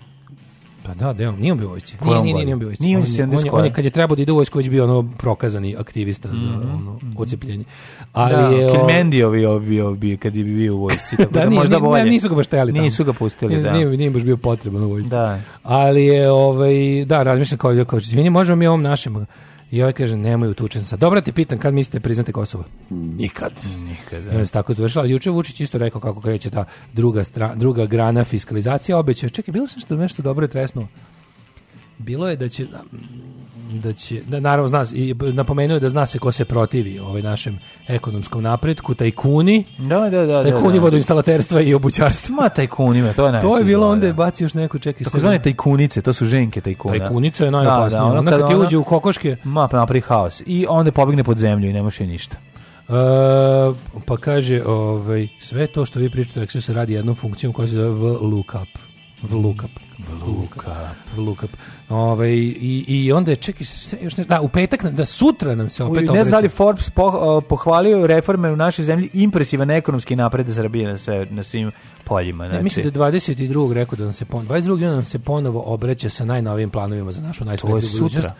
Speaker 8: Pa da, da, on nije on bio u vojsci.
Speaker 9: Kojom
Speaker 8: Nije, nije,
Speaker 9: godinu?
Speaker 8: nije, on bio u vojsci.
Speaker 9: Nije on
Speaker 8: on,
Speaker 9: 70
Speaker 8: je, on, je,
Speaker 9: koja?
Speaker 8: kad je trebao da ide u vojsku, već bio ono prokazani aktivista za ono, ocepljenje. Ali
Speaker 9: Mhm. da,
Speaker 8: je... o-
Speaker 9: Kilmendiovi ovi ovi kad je bio u vojsci, tako da,
Speaker 8: nije,
Speaker 9: možda
Speaker 8: nije- ne,
Speaker 9: bolje.
Speaker 8: nisu ga baš teli tamo.
Speaker 9: Nisu ga pustili,
Speaker 8: Nije-
Speaker 9: da.
Speaker 8: Nije, nije baš bio potreban u vojsku.
Speaker 9: Da.
Speaker 8: Ali je, ovaj, da, razmišljam kao, kao izvini, možemo mi ovom našem... I ovaj kaže, nemoj utučen sad. Dobro te pitan, kad mislite priznate Kosovo? Nikad.
Speaker 9: Nikad,
Speaker 8: I onda se E, tako završila. Ali Juče je Vučić isto rekao kako kreće ta druga, stra, druga grana fiskalizacije. Obećao, je- čekaj, bilo je nešto, nešto dobro je tresnuo. Bilo je da će da će, da naravno zna, se- i b- napomenuo je da zna se ko se protivi ovaj našem ekonomskom napretku, tajkuni,
Speaker 9: Da, da, Pa da.
Speaker 8: tajkuni
Speaker 9: da, da.
Speaker 8: vodoinstalaterstva i obućarstva.
Speaker 9: Ma tajkunima, to je najveće.
Speaker 8: to je bilo
Speaker 9: zlo,
Speaker 8: onda
Speaker 9: da.
Speaker 8: je bacio još neku čekaj.
Speaker 9: Tako
Speaker 8: sad-
Speaker 9: zvane tajkunice, to su ženke tajkuna.
Speaker 8: Tajkunica je najopasnija,
Speaker 9: ono
Speaker 8: ona kad ti uđe u kokoške.
Speaker 9: Ma, pa napravi haos. I onda pobegne pod zemlju i ne može joj ništa.
Speaker 8: E, pa kaže, ovaj, sve to što vi pričate o Excesu se radi jednom funkcijom koja se zove VLOOKUP. VLOOKUP. VLOOKUP. VLOOKUP. Ovaj, i, I onda je, čekaj, šta je još ne, da, u petak, nam- da sutra nam se opet
Speaker 9: ne znam da li
Speaker 8: obraća.
Speaker 9: Forbes po- pohvalio reforme u našoj zemlji, impresivan ekonomski napred Srbije na, sve, na svim poljima. Znači,
Speaker 8: Ne, mislim da je 22. rekao da nam se ponovo, 22. onda nam se ponovo obraća sa najnovijim planovima za našu najsvetliju
Speaker 9: To je
Speaker 8: budućnost.
Speaker 9: sutra.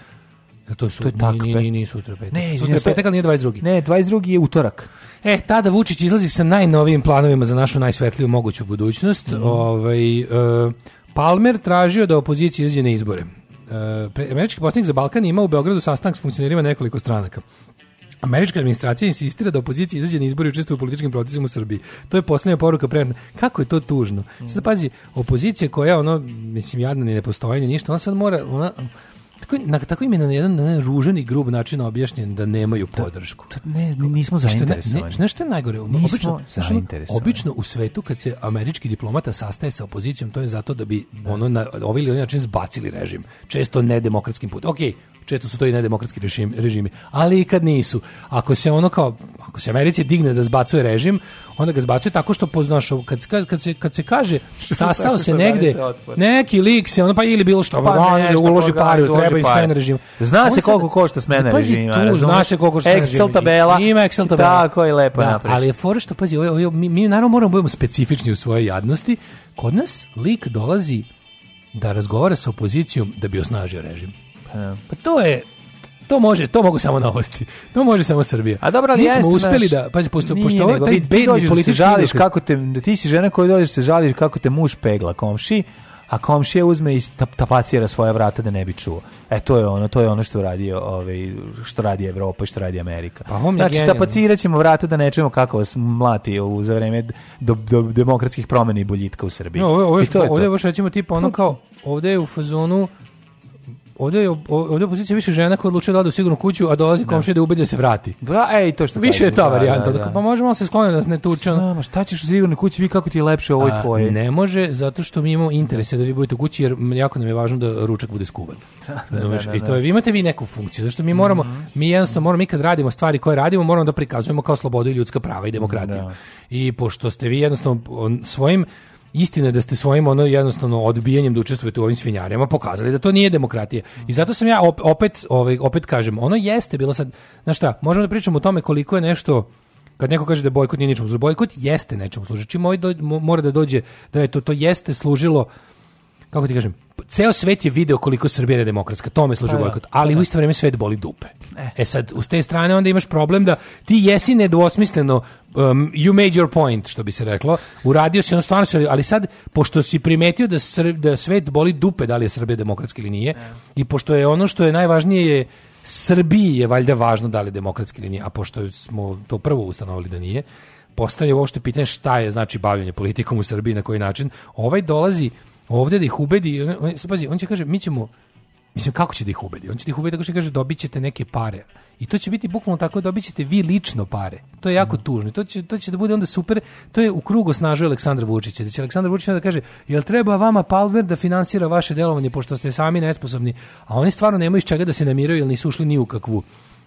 Speaker 8: E, To je, su,
Speaker 9: To je tako,
Speaker 8: nije,
Speaker 9: pe-
Speaker 8: nije, nije sutra petak.
Speaker 9: Ne,
Speaker 8: sutra
Speaker 9: izvinjam
Speaker 8: je
Speaker 9: se, to je-
Speaker 8: petak, ali nije 22.
Speaker 9: Ne, 22. je utorak.
Speaker 8: E, tada Vučić izlazi sa najnovijim planovima za našu najsvetliju moguću budućnost. Ovaj, e, Palmer tražio da opozicija izađe na izbore. E, pre- američki poslanik za Balkan ima u Beogradu sastanak s funkcionerima nekoliko stranaka. Američka administracija insistira da opozicija izađe na izbore i učestvuje u političkim procesima u Srbiji. To je posljednja poruka pre Kako je to tužno? Sad pazi, opozicija koja ono, mislim, jadna ni ne postoji ni ništa, ona sad mora, ona, tako, na, tako im je na jedan, na jedan ružan i grub način objašnjen da nemaju podršku.
Speaker 9: Ne, n- nismo
Speaker 8: Što je ne-
Speaker 9: zainteresovani.
Speaker 8: ne- znaš što je najgore?
Speaker 9: Nismo
Speaker 8: Obično, znaš, ono,
Speaker 9: zainteresovani.
Speaker 8: obično u svetu kad se američki diplomata sastaje sa opozicijom, to je zato da bi ono na ovaj ili onaj način zbacili režim. Često nedemokratskim putem. Ok, često su to i nedemokratski režim, režimi, ali i kad nisu. Ako se ono kao, ako se Americi digne da zbacuje režim, onda ga zbacuje tako što poznaš, ovo, kad, kad, kad, se, kad se kaže sastao
Speaker 9: Tako
Speaker 8: se
Speaker 9: što daje
Speaker 8: negde,
Speaker 9: se otpor.
Speaker 8: neki lik se, ono pa ili bilo što,
Speaker 9: Pa
Speaker 8: on
Speaker 9: nešto,
Speaker 8: uloži
Speaker 9: koga
Speaker 8: pare,
Speaker 9: uloži
Speaker 8: treba im
Speaker 9: pare.
Speaker 8: smena režima.
Speaker 9: Zna
Speaker 8: On
Speaker 9: se
Speaker 8: sad- Pa
Speaker 9: koliko košta smena
Speaker 8: Pazi
Speaker 9: režima,
Speaker 8: Tu, zna
Speaker 9: razumeš?
Speaker 8: se koliko košta smena
Speaker 9: Excel
Speaker 8: režima.
Speaker 9: tabela.
Speaker 8: Ima Excel tabela.
Speaker 9: Tako je, lepo
Speaker 8: da,
Speaker 9: napraviš.
Speaker 8: Ali je fora što, pazi, ovo- ovo- mi, mi naravno moramo budemo specifični u svojoj jadnosti. Kod nas lik dolazi da razgovara sa opozicijom da bi osnažio režim. Pa to je To može, to mogu samo novosti. To može samo Srbija.
Speaker 9: A dobro, ali
Speaker 8: Mi
Speaker 9: jeste,
Speaker 8: smo uspeli
Speaker 9: znaš,
Speaker 8: da, pazi, pošto,
Speaker 9: nije,
Speaker 8: pošto ovo je
Speaker 9: nego
Speaker 8: taj
Speaker 9: vidi, ti dođeš
Speaker 8: bedni
Speaker 9: da
Speaker 8: politički
Speaker 9: se žališ
Speaker 8: igrokaz.
Speaker 9: kako te, ti si žena koja dođeš da se žališ kako te muž pegla komši, a komšija uzme i tap- tapacira svoja vrata da ne bi čuo. E to je ono, to je ono što radi ovaj što radi Evropa i što radi Amerika.
Speaker 8: Pa on je
Speaker 9: znači
Speaker 8: genijalno.
Speaker 9: tapaciraćemo vrata da ne čujemo kako vas mlati u- za vreme do, do demokratskih promena i boljitka u Srbiji.
Speaker 8: No, ovo, je- ovo, je
Speaker 9: I to je
Speaker 8: ovdje je
Speaker 9: to. Pa-
Speaker 8: baš recimo tipa ono kao, ovdje je u fazonu, ovdje je, ovdje je pozicija više žena koja odlučuje da ode u sigurnu kuću, a dolazi komšija da ubedi da se vrati.
Speaker 9: Vra, ej, to što
Speaker 8: Više je
Speaker 9: kažeš,
Speaker 8: ta
Speaker 9: da,
Speaker 8: varijanta.
Speaker 9: da, da.
Speaker 8: Pa možemo se skloniti da se ne tuče. ono.
Speaker 9: Znam, a šta ćeš u sigurnoj kući, vi kako ti je lepše ovo je
Speaker 8: A,
Speaker 9: tvoje.
Speaker 8: Ne može, zato što mi imamo interese da vi budete u kući, jer jako nam je važno da ručak bude skuvan. Razumeš?
Speaker 9: da, Mhm. da,
Speaker 8: I to je, vi imate vi neku funkciju, zato što mi moramo, mi jednostavno moramo, mi kad radimo stvari koje radimo, moramo da prikazujemo kao slobodu i ljudska prava i demokratiju. I pošto ste vi jednostavno on, svojim, Istina je da ste svojim ono jednostavno odbijanjem da učestvujete u ovim svinjarima pokazali da to nije demokratija. I zato sam ja op- opet ovaj opet kažem, ono jeste bilo sad, znaš šta, možemo da pričamo o tome koliko je nešto kad neko kaže da bojkot nije ničemu služi, bojkot jeste nečemu služi. Čim ovaj doj- mo- mora da dođe, da je to, to jeste služilo, kako ti kažem, ceo svet je video koliko Srbija je demokratska, tome služi
Speaker 9: Pa da,
Speaker 8: bojkot, ali u isto vrijeme svet boli dupe. E sad, s te strane onda imaš problem da ti jesi nedvosmisleno, um, you made your point, što bi se reklo, uradio si ono stvarno, si- ali sad, pošto si primetio da,
Speaker 9: E.
Speaker 8: Sr- da svet boli dupe da li je Srbija demokratska ili nije, i pošto je ono što je najvažnije je Srbiji je valjda važno da li je demokratski ili nije, a pošto smo to prvo ustanovili da nije, postaje uopšte pitanje šta je znači bavljenje politikom u Srbiji, na koji način. Ovaj dolazi ovdje da ih ubedi, on, on, sad pazi, on će kaže, mi ćemo, mislim kako će da ih ubedi? On će da ih ubedi tako što kaže dobit ćete neke pare. I to će biti bukvalno tako dobit ćete vi lično pare. To je jako tužno. I To će, to će da bude onda super. To je u krugu osnažuje Aleksandra Vučića. Da će Aleksandar Vučić onda da kaže jel treba vama Palver da finansira vaše delovanje pošto ste sami nesposobni. A oni stvarno nemaju iz čega da se namiraju jer nisu ušli ni u kakvu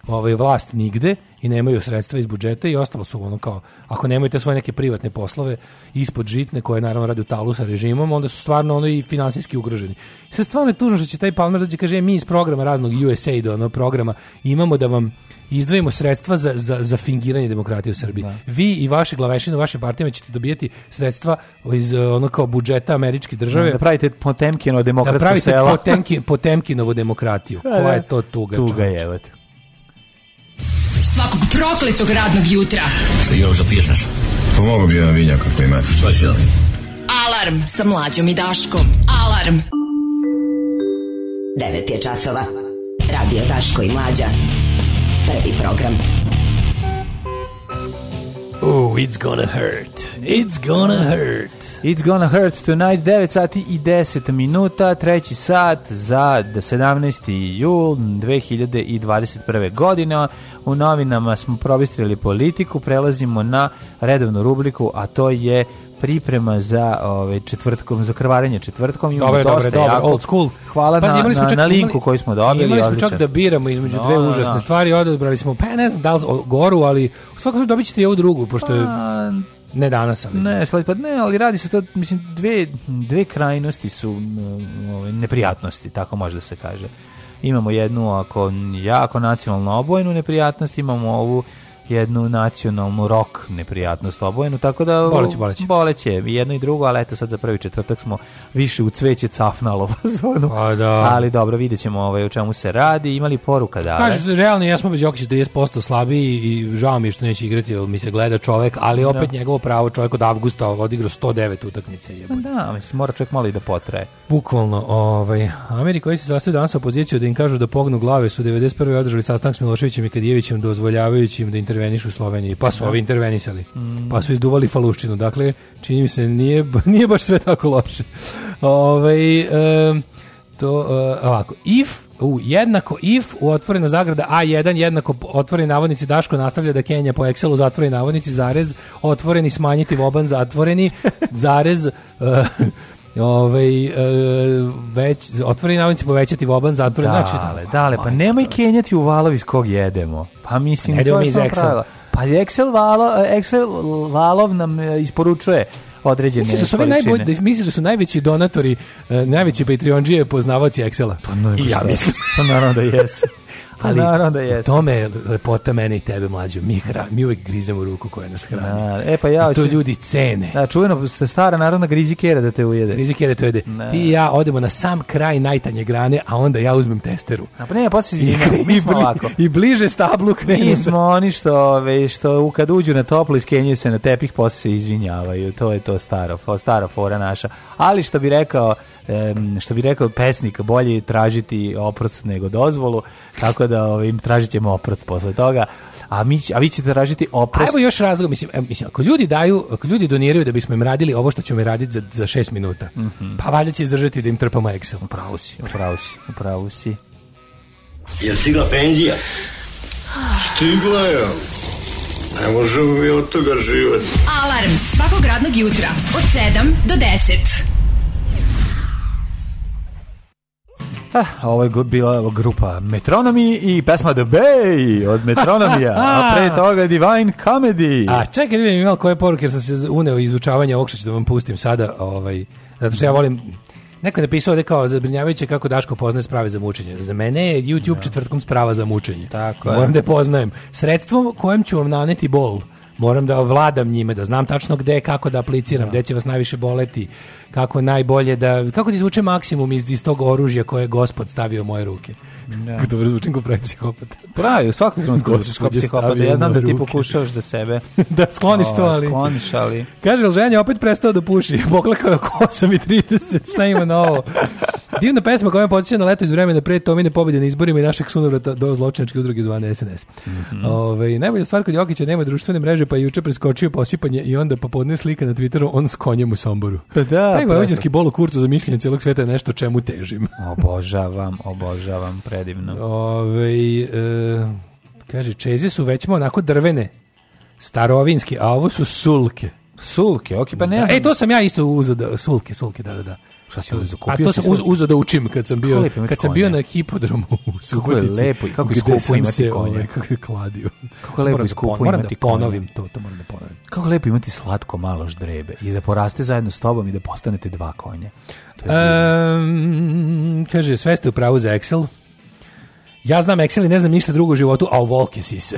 Speaker 8: ovaj, vlast nigde i nemaju sredstva iz budžeta i ostalo su ono kao, ako nemaju te svoje neke privatne poslove ispod žitne koje naravno radi u talu sa režimom, onda su stvarno ono i finansijski ugroženi. I sad stvarno je tužno što će taj Palmer dođe i kaže, "E, mi iz programa raznog USAID ono, programa imamo da vam izdvojimo sredstva za, za, za fingiranje demokratije u Srbiji. Vi i vaše glavešine, vaše partijama ćete dobijeti sredstva iz eh, ono kao budžeta američke države
Speaker 9: Da pravite Potemkino
Speaker 8: da
Speaker 9: demokratsko
Speaker 8: pravite
Speaker 9: selo.
Speaker 8: Potemki- Potemkinovu demokratiju.
Speaker 9: E,
Speaker 8: Koja je to tuga?
Speaker 9: Tuga
Speaker 8: čoveče?
Speaker 9: je, evo te.
Speaker 5: Svakog prokletog radnog jutra.
Speaker 16: Još da piješ nešto? Pomogu Pa bi jedan vinjak ako imate. Pa ću
Speaker 5: Alarm sa mlađom i Daškom. Alarm.
Speaker 17: 9 je časova. Radio Daško i Mlađa. Prvi program.
Speaker 8: Oh, it's gonna hurt. It's gonna hurt.
Speaker 9: It's gonna hurt tonight, 9 sati i 10 minuta, treći sat za 17. jul 2021. godine. U novinama smo probistrili politiku, prelazimo na redovnu rubriku, a to je priprema za ovaj četvrtkom za krvarenje četvrtkom Imamo
Speaker 8: Dobro, dobro,
Speaker 9: dosta
Speaker 8: dobro,
Speaker 9: jako-
Speaker 8: old school.
Speaker 9: hvala
Speaker 8: Pazi,
Speaker 9: na,
Speaker 8: imali smo
Speaker 9: na,
Speaker 8: čak-
Speaker 9: na
Speaker 8: imali-
Speaker 9: linku koju smo dobili
Speaker 8: Imali smo
Speaker 9: odličan.
Speaker 8: čak da biramo između
Speaker 9: No,
Speaker 8: dve
Speaker 9: no,
Speaker 8: užasne
Speaker 9: no.
Speaker 8: stvari, odabrali smo, pa ne znam da li o- goru, ali u svakom slučaju dobit ćete i ovu drugu, pošto je
Speaker 9: Pa,
Speaker 8: ne danas, ali...
Speaker 9: Ne, slat- pa ne, ali radi se to, mislim, dve, dve krajnosti su mm, ove, neprijatnosti, tako može da se kaže. Imamo jednu ako jako nacionalno obojenu neprijatnost, imamo ovu jednu nacionalnu rok neprijatnost obojenu, tako da...
Speaker 8: Boleće, boleće.
Speaker 9: Boleće, i jedno i drugo, ali eto sad za prvi četvrtak smo više u cveće cafnalo fazonu.
Speaker 8: Pa da.
Speaker 9: Ali dobro, vidjet ćemo ovaj, o čemu se radi, imali poruka da...
Speaker 8: Kaže, realno, ja smo bez Jokića 30% slabiji i žao mi je što neće igrati, jer mi se gleda čovek, ali opet
Speaker 9: Da.
Speaker 8: njegovo pravo čovek od avgusta odigrao 109 utakmice, jebo.
Speaker 9: Da, mislim, mora čovjek malo i da potraje.
Speaker 8: Bukvalno, ovaj, Ameri koji se sastaju danas sa opozicijom da im kažu da pognu glave su 91. održali sastanak s Miloševićem i Kadijevićem dozvoljavajući im da intervenišu u Sloveniji. Pa su
Speaker 9: Da.
Speaker 8: ovi intervenisali.
Speaker 9: Mm.
Speaker 8: Pa su izduvali faluščinu. Dakle, čini mi se, nije, nije baš sve tako loše. Ovaj, em, to, eh, ovako, if u jednako if u otvorena zagrada A1 jednako po- otvoreni navodnici Daško nastavlja da Kenja po Excelu zatvoreni navodnici zarez otvoreni smanjiti voban zatvoreni zarez eh, ovaj eh, već otvoreni navodnici povećati voban zatvoreni
Speaker 9: Dale,
Speaker 8: znači
Speaker 9: dale, pa nemoj kenjati u valov iz kog jedemo. Pa mislim,
Speaker 8: Ne
Speaker 9: to
Speaker 8: idemo
Speaker 9: je
Speaker 8: mi iz
Speaker 9: osnovno
Speaker 8: Excela.
Speaker 9: pravilo. Pa Excel, valo, Excel valov nam e, isporučuje određene
Speaker 8: Misliš da su ovi
Speaker 9: količine.
Speaker 8: najbolji, da misliš da su najveći donatori, eh, najveći Patreonđije poznavaoci Excela? Pa I ja
Speaker 9: šta?
Speaker 8: mislim.
Speaker 9: Pa naravno da jesu. Pa
Speaker 8: Ali
Speaker 9: naravno da
Speaker 8: u
Speaker 9: jesu.
Speaker 8: tome je lepota mene i tebe, mlađo. Mi, hra, mi uvek grizemo ruku koja nas hrani.
Speaker 9: Da, e, pa ja
Speaker 8: I to
Speaker 9: hoću-
Speaker 8: ljudi cene.
Speaker 9: Da, čuveno ste stara narodna grizi kera da te ujede.
Speaker 8: Rizik je da to jede. Ti i ja odemo na sam kraj najtanje grane, a onda ja uzmem testeru.
Speaker 9: A pa ne, posle zima, mi smo
Speaker 8: bli-
Speaker 9: ovako.
Speaker 8: i bliže stablu krenu.
Speaker 9: Mi smo oni što, ove, što u- kad uđu na toplo iskenjuju se na tepih, posle se izvinjavaju. To je to staro, fo- stara fora naša. Ali što bi rekao, em, što bi rekao pesnik, bolje je tražiti oprost nego dozvolu, tako da ove, im tražit ćemo oprost posle toga. A, mi, će- a vi ćete tražiti
Speaker 8: A
Speaker 9: oprost.
Speaker 8: evo još razlog, mislim, em, mislim, ako ljudi daju, ako ljudi doniraju da bismo im radili ovo što ćemo im raditi za, za šest minuta,
Speaker 9: Mhm.
Speaker 8: pa valjda će izdržati da im trpamo Excel.
Speaker 9: Upravo si, upravo si, upravo si.
Speaker 1: Jel stigla penzija? Stigla je. Ne možemo mi od toga živjeti.
Speaker 5: Alarm svakog radnog jutra od 7 do 10.
Speaker 9: Ah, ovo je gl- bila grupa Metronomy i pesma The Bay od Metronomija, a pre toga Divine Comedy.
Speaker 8: A čekaj, da vidim imali koje poruke, jer sam se uneo u izučavanje ovog što ću da vam pustim sada, ovaj, zato što ja volim... Neko je napisao ovde kao zabrinjavajuće kako Daško poznaje sprave za mučenje. Za mene je YouTube četvrtkom sprava za mučenje. Tako
Speaker 9: je.
Speaker 8: Moram da je poznajem. Sredstvom kojem ću vam naneti bol, moram da vladam njime, da znam tačno gde, kako da apliciram, gde će vas najviše boleti, kako najbolje da, kako da izvučem maksimum iz, iz tog oružja koje je gospod stavio u moje ruke.
Speaker 9: Da.
Speaker 8: Dobro zvučim kao pravi psihopata.
Speaker 9: Pravi, u svakom trenutku
Speaker 8: Gospod
Speaker 9: zvučiš kao
Speaker 8: je
Speaker 9: psihopata.
Speaker 8: stavio
Speaker 9: Ja znam
Speaker 8: na
Speaker 9: da ti
Speaker 8: ruke.
Speaker 9: pokušavaš da sebe...
Speaker 8: da skloniš to,
Speaker 9: Ovaj,
Speaker 8: ali...
Speaker 9: Skloniš, ali...
Speaker 8: Kaže, jel ženja opet prestao da puši? Poklekao je oko 8 i 30, šta ima novo? Divna pesma koja me podsjeća na leto iz vremena pre Tomine pobjede na izborima i našeg sunovrata do zločinačke udruge zvane SNS.
Speaker 9: Mhm.
Speaker 8: Ove, Ovaj, najbolja stvar kod Jokića nema društvene mreže, pa je juče preskočio posipanje i onda popodne slika na Twitteru on s konjem u Somboru.
Speaker 9: Pa da,
Speaker 8: Taj
Speaker 9: prosto.
Speaker 8: vojvođanski bol u kurcu za mišljenje cijelog sveta je nešto čemu težim.
Speaker 9: Obožavam, obožavam, predivno.
Speaker 8: Ove, e, kaže, čeze su većma onako drvene, starovinske, a ovo su sulke.
Speaker 9: Sulke, ok, pa ne
Speaker 8: da,
Speaker 9: znam.
Speaker 8: E, to sam ja isto uzeo da, sulke, sulke, da, da, da.
Speaker 9: Šta si uzeo?
Speaker 8: A
Speaker 9: Kupio
Speaker 8: to
Speaker 9: si
Speaker 8: sam uz,
Speaker 9: sulke?
Speaker 8: uzeo da učim kad sam bio,
Speaker 9: lepo imati
Speaker 8: kad sam
Speaker 9: konje.
Speaker 8: bio na hipodromu u Subotici.
Speaker 9: lepo i kako je
Speaker 8: gde
Speaker 9: skupo
Speaker 8: sam
Speaker 9: imati
Speaker 8: se,
Speaker 9: konje.
Speaker 8: ovaj, kako se kladio.
Speaker 9: Kako je lepo
Speaker 8: Moram
Speaker 9: i
Speaker 8: da
Speaker 9: skupo
Speaker 8: pon- moram
Speaker 9: imati
Speaker 8: da ponovim
Speaker 9: konje.
Speaker 8: to, to moram da ponovim.
Speaker 9: Kako je lepo imati slatko malo ždrebe i da poraste zajedno s tobom i da postanete dva konja. To je
Speaker 8: Ehm, kaže, sve ste u pravu za Excel. Ja znam Excel i ne znam ništa drugo u životu, a o volke sise.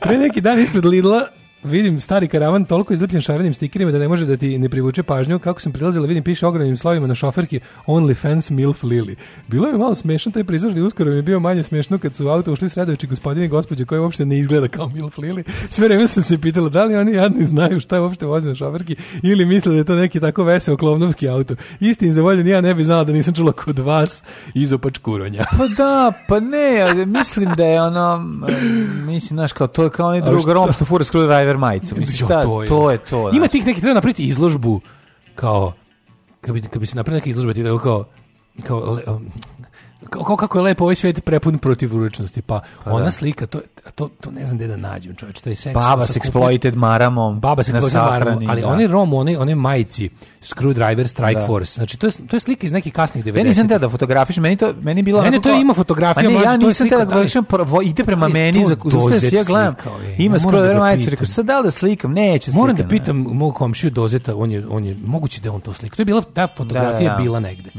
Speaker 8: Pre neki dan ispred Lidla vidim stari karavan toliko izlepljen šarenim stikerima da ne može da ti ne privuče pažnju. Kako sam prilazila, vidim piše ogromnim slovima na šoferki OnlyFans Milf Lili. Bilo je malo smešno taj prizor i uskoro mi je bio manje smešno kad su u auto ušli sredovići gospodine i gospođe koji uopšte ne izgleda kao Milf Lili. Sve vreme sam se pitala da li oni jadni znaju šta je uopšte vozi na šoferki ili misle da je to neki tako veseo klovnovski auto. Istin za volju ni ja ne bi znala da nisam čula kod vas izopač kuronja.
Speaker 9: Pa da, pa ne, ali mislim da je ono, em, mislim, znaš, kao to je kao onaj
Speaker 8: A
Speaker 9: drugo
Speaker 8: šta-
Speaker 9: rom što fura screwdriver majicu. Mislim,
Speaker 8: Jo,
Speaker 9: šta,
Speaker 8: to je.
Speaker 9: to je to.
Speaker 8: Ima tih nekih, treba napraviti izložbu kao, kad bi, kad bi se napravila neka izložba, ti tako kao, kao, le- um, kao, kao kako je lepo ovaj svijet prepun protivručnosti. Pa,
Speaker 9: Pa
Speaker 8: ona
Speaker 9: da.
Speaker 8: slika, to, je- to, to ne znam gde da nađem, čovječ, to je seks.
Speaker 9: Baba
Speaker 8: sa
Speaker 9: se
Speaker 8: kupić-
Speaker 9: exploited maramom.
Speaker 8: Baba se
Speaker 9: na
Speaker 8: eksplodira
Speaker 9: sahrani,
Speaker 8: ali
Speaker 9: da.
Speaker 8: onaj rom, onaj, onaj majici, Screwdriver Strike
Speaker 9: Da.
Speaker 8: Force, znači to je, to je slika iz nekih kasnih 90.
Speaker 9: Ja nisam teo da fotografiš, meni to meni je bilo
Speaker 8: Ne, ne,
Speaker 9: onako
Speaker 8: to
Speaker 9: kao-
Speaker 8: ima fotografija,
Speaker 9: Pa ne,
Speaker 8: mlađe,
Speaker 9: ja
Speaker 8: to je
Speaker 9: nisam
Speaker 8: slika,
Speaker 9: teo da
Speaker 8: da li-
Speaker 9: gledam, prvo ide prema
Speaker 8: ali je
Speaker 9: meni,
Speaker 8: to
Speaker 9: za zaustavio se
Speaker 8: dozet
Speaker 9: ja gledam.
Speaker 8: slika, ej,
Speaker 9: Ima
Speaker 8: ja moram da
Speaker 9: scroll
Speaker 8: ga
Speaker 9: majicu,
Speaker 8: pitam.
Speaker 9: rekao sad da li da slikam, neću slikam.
Speaker 8: Moram da pitam mog komšiju Dozeta, on je, on je, moguće da je on to slika. To je bila, ta fotografija
Speaker 9: Da, Mhm. da, da.
Speaker 8: bila negde.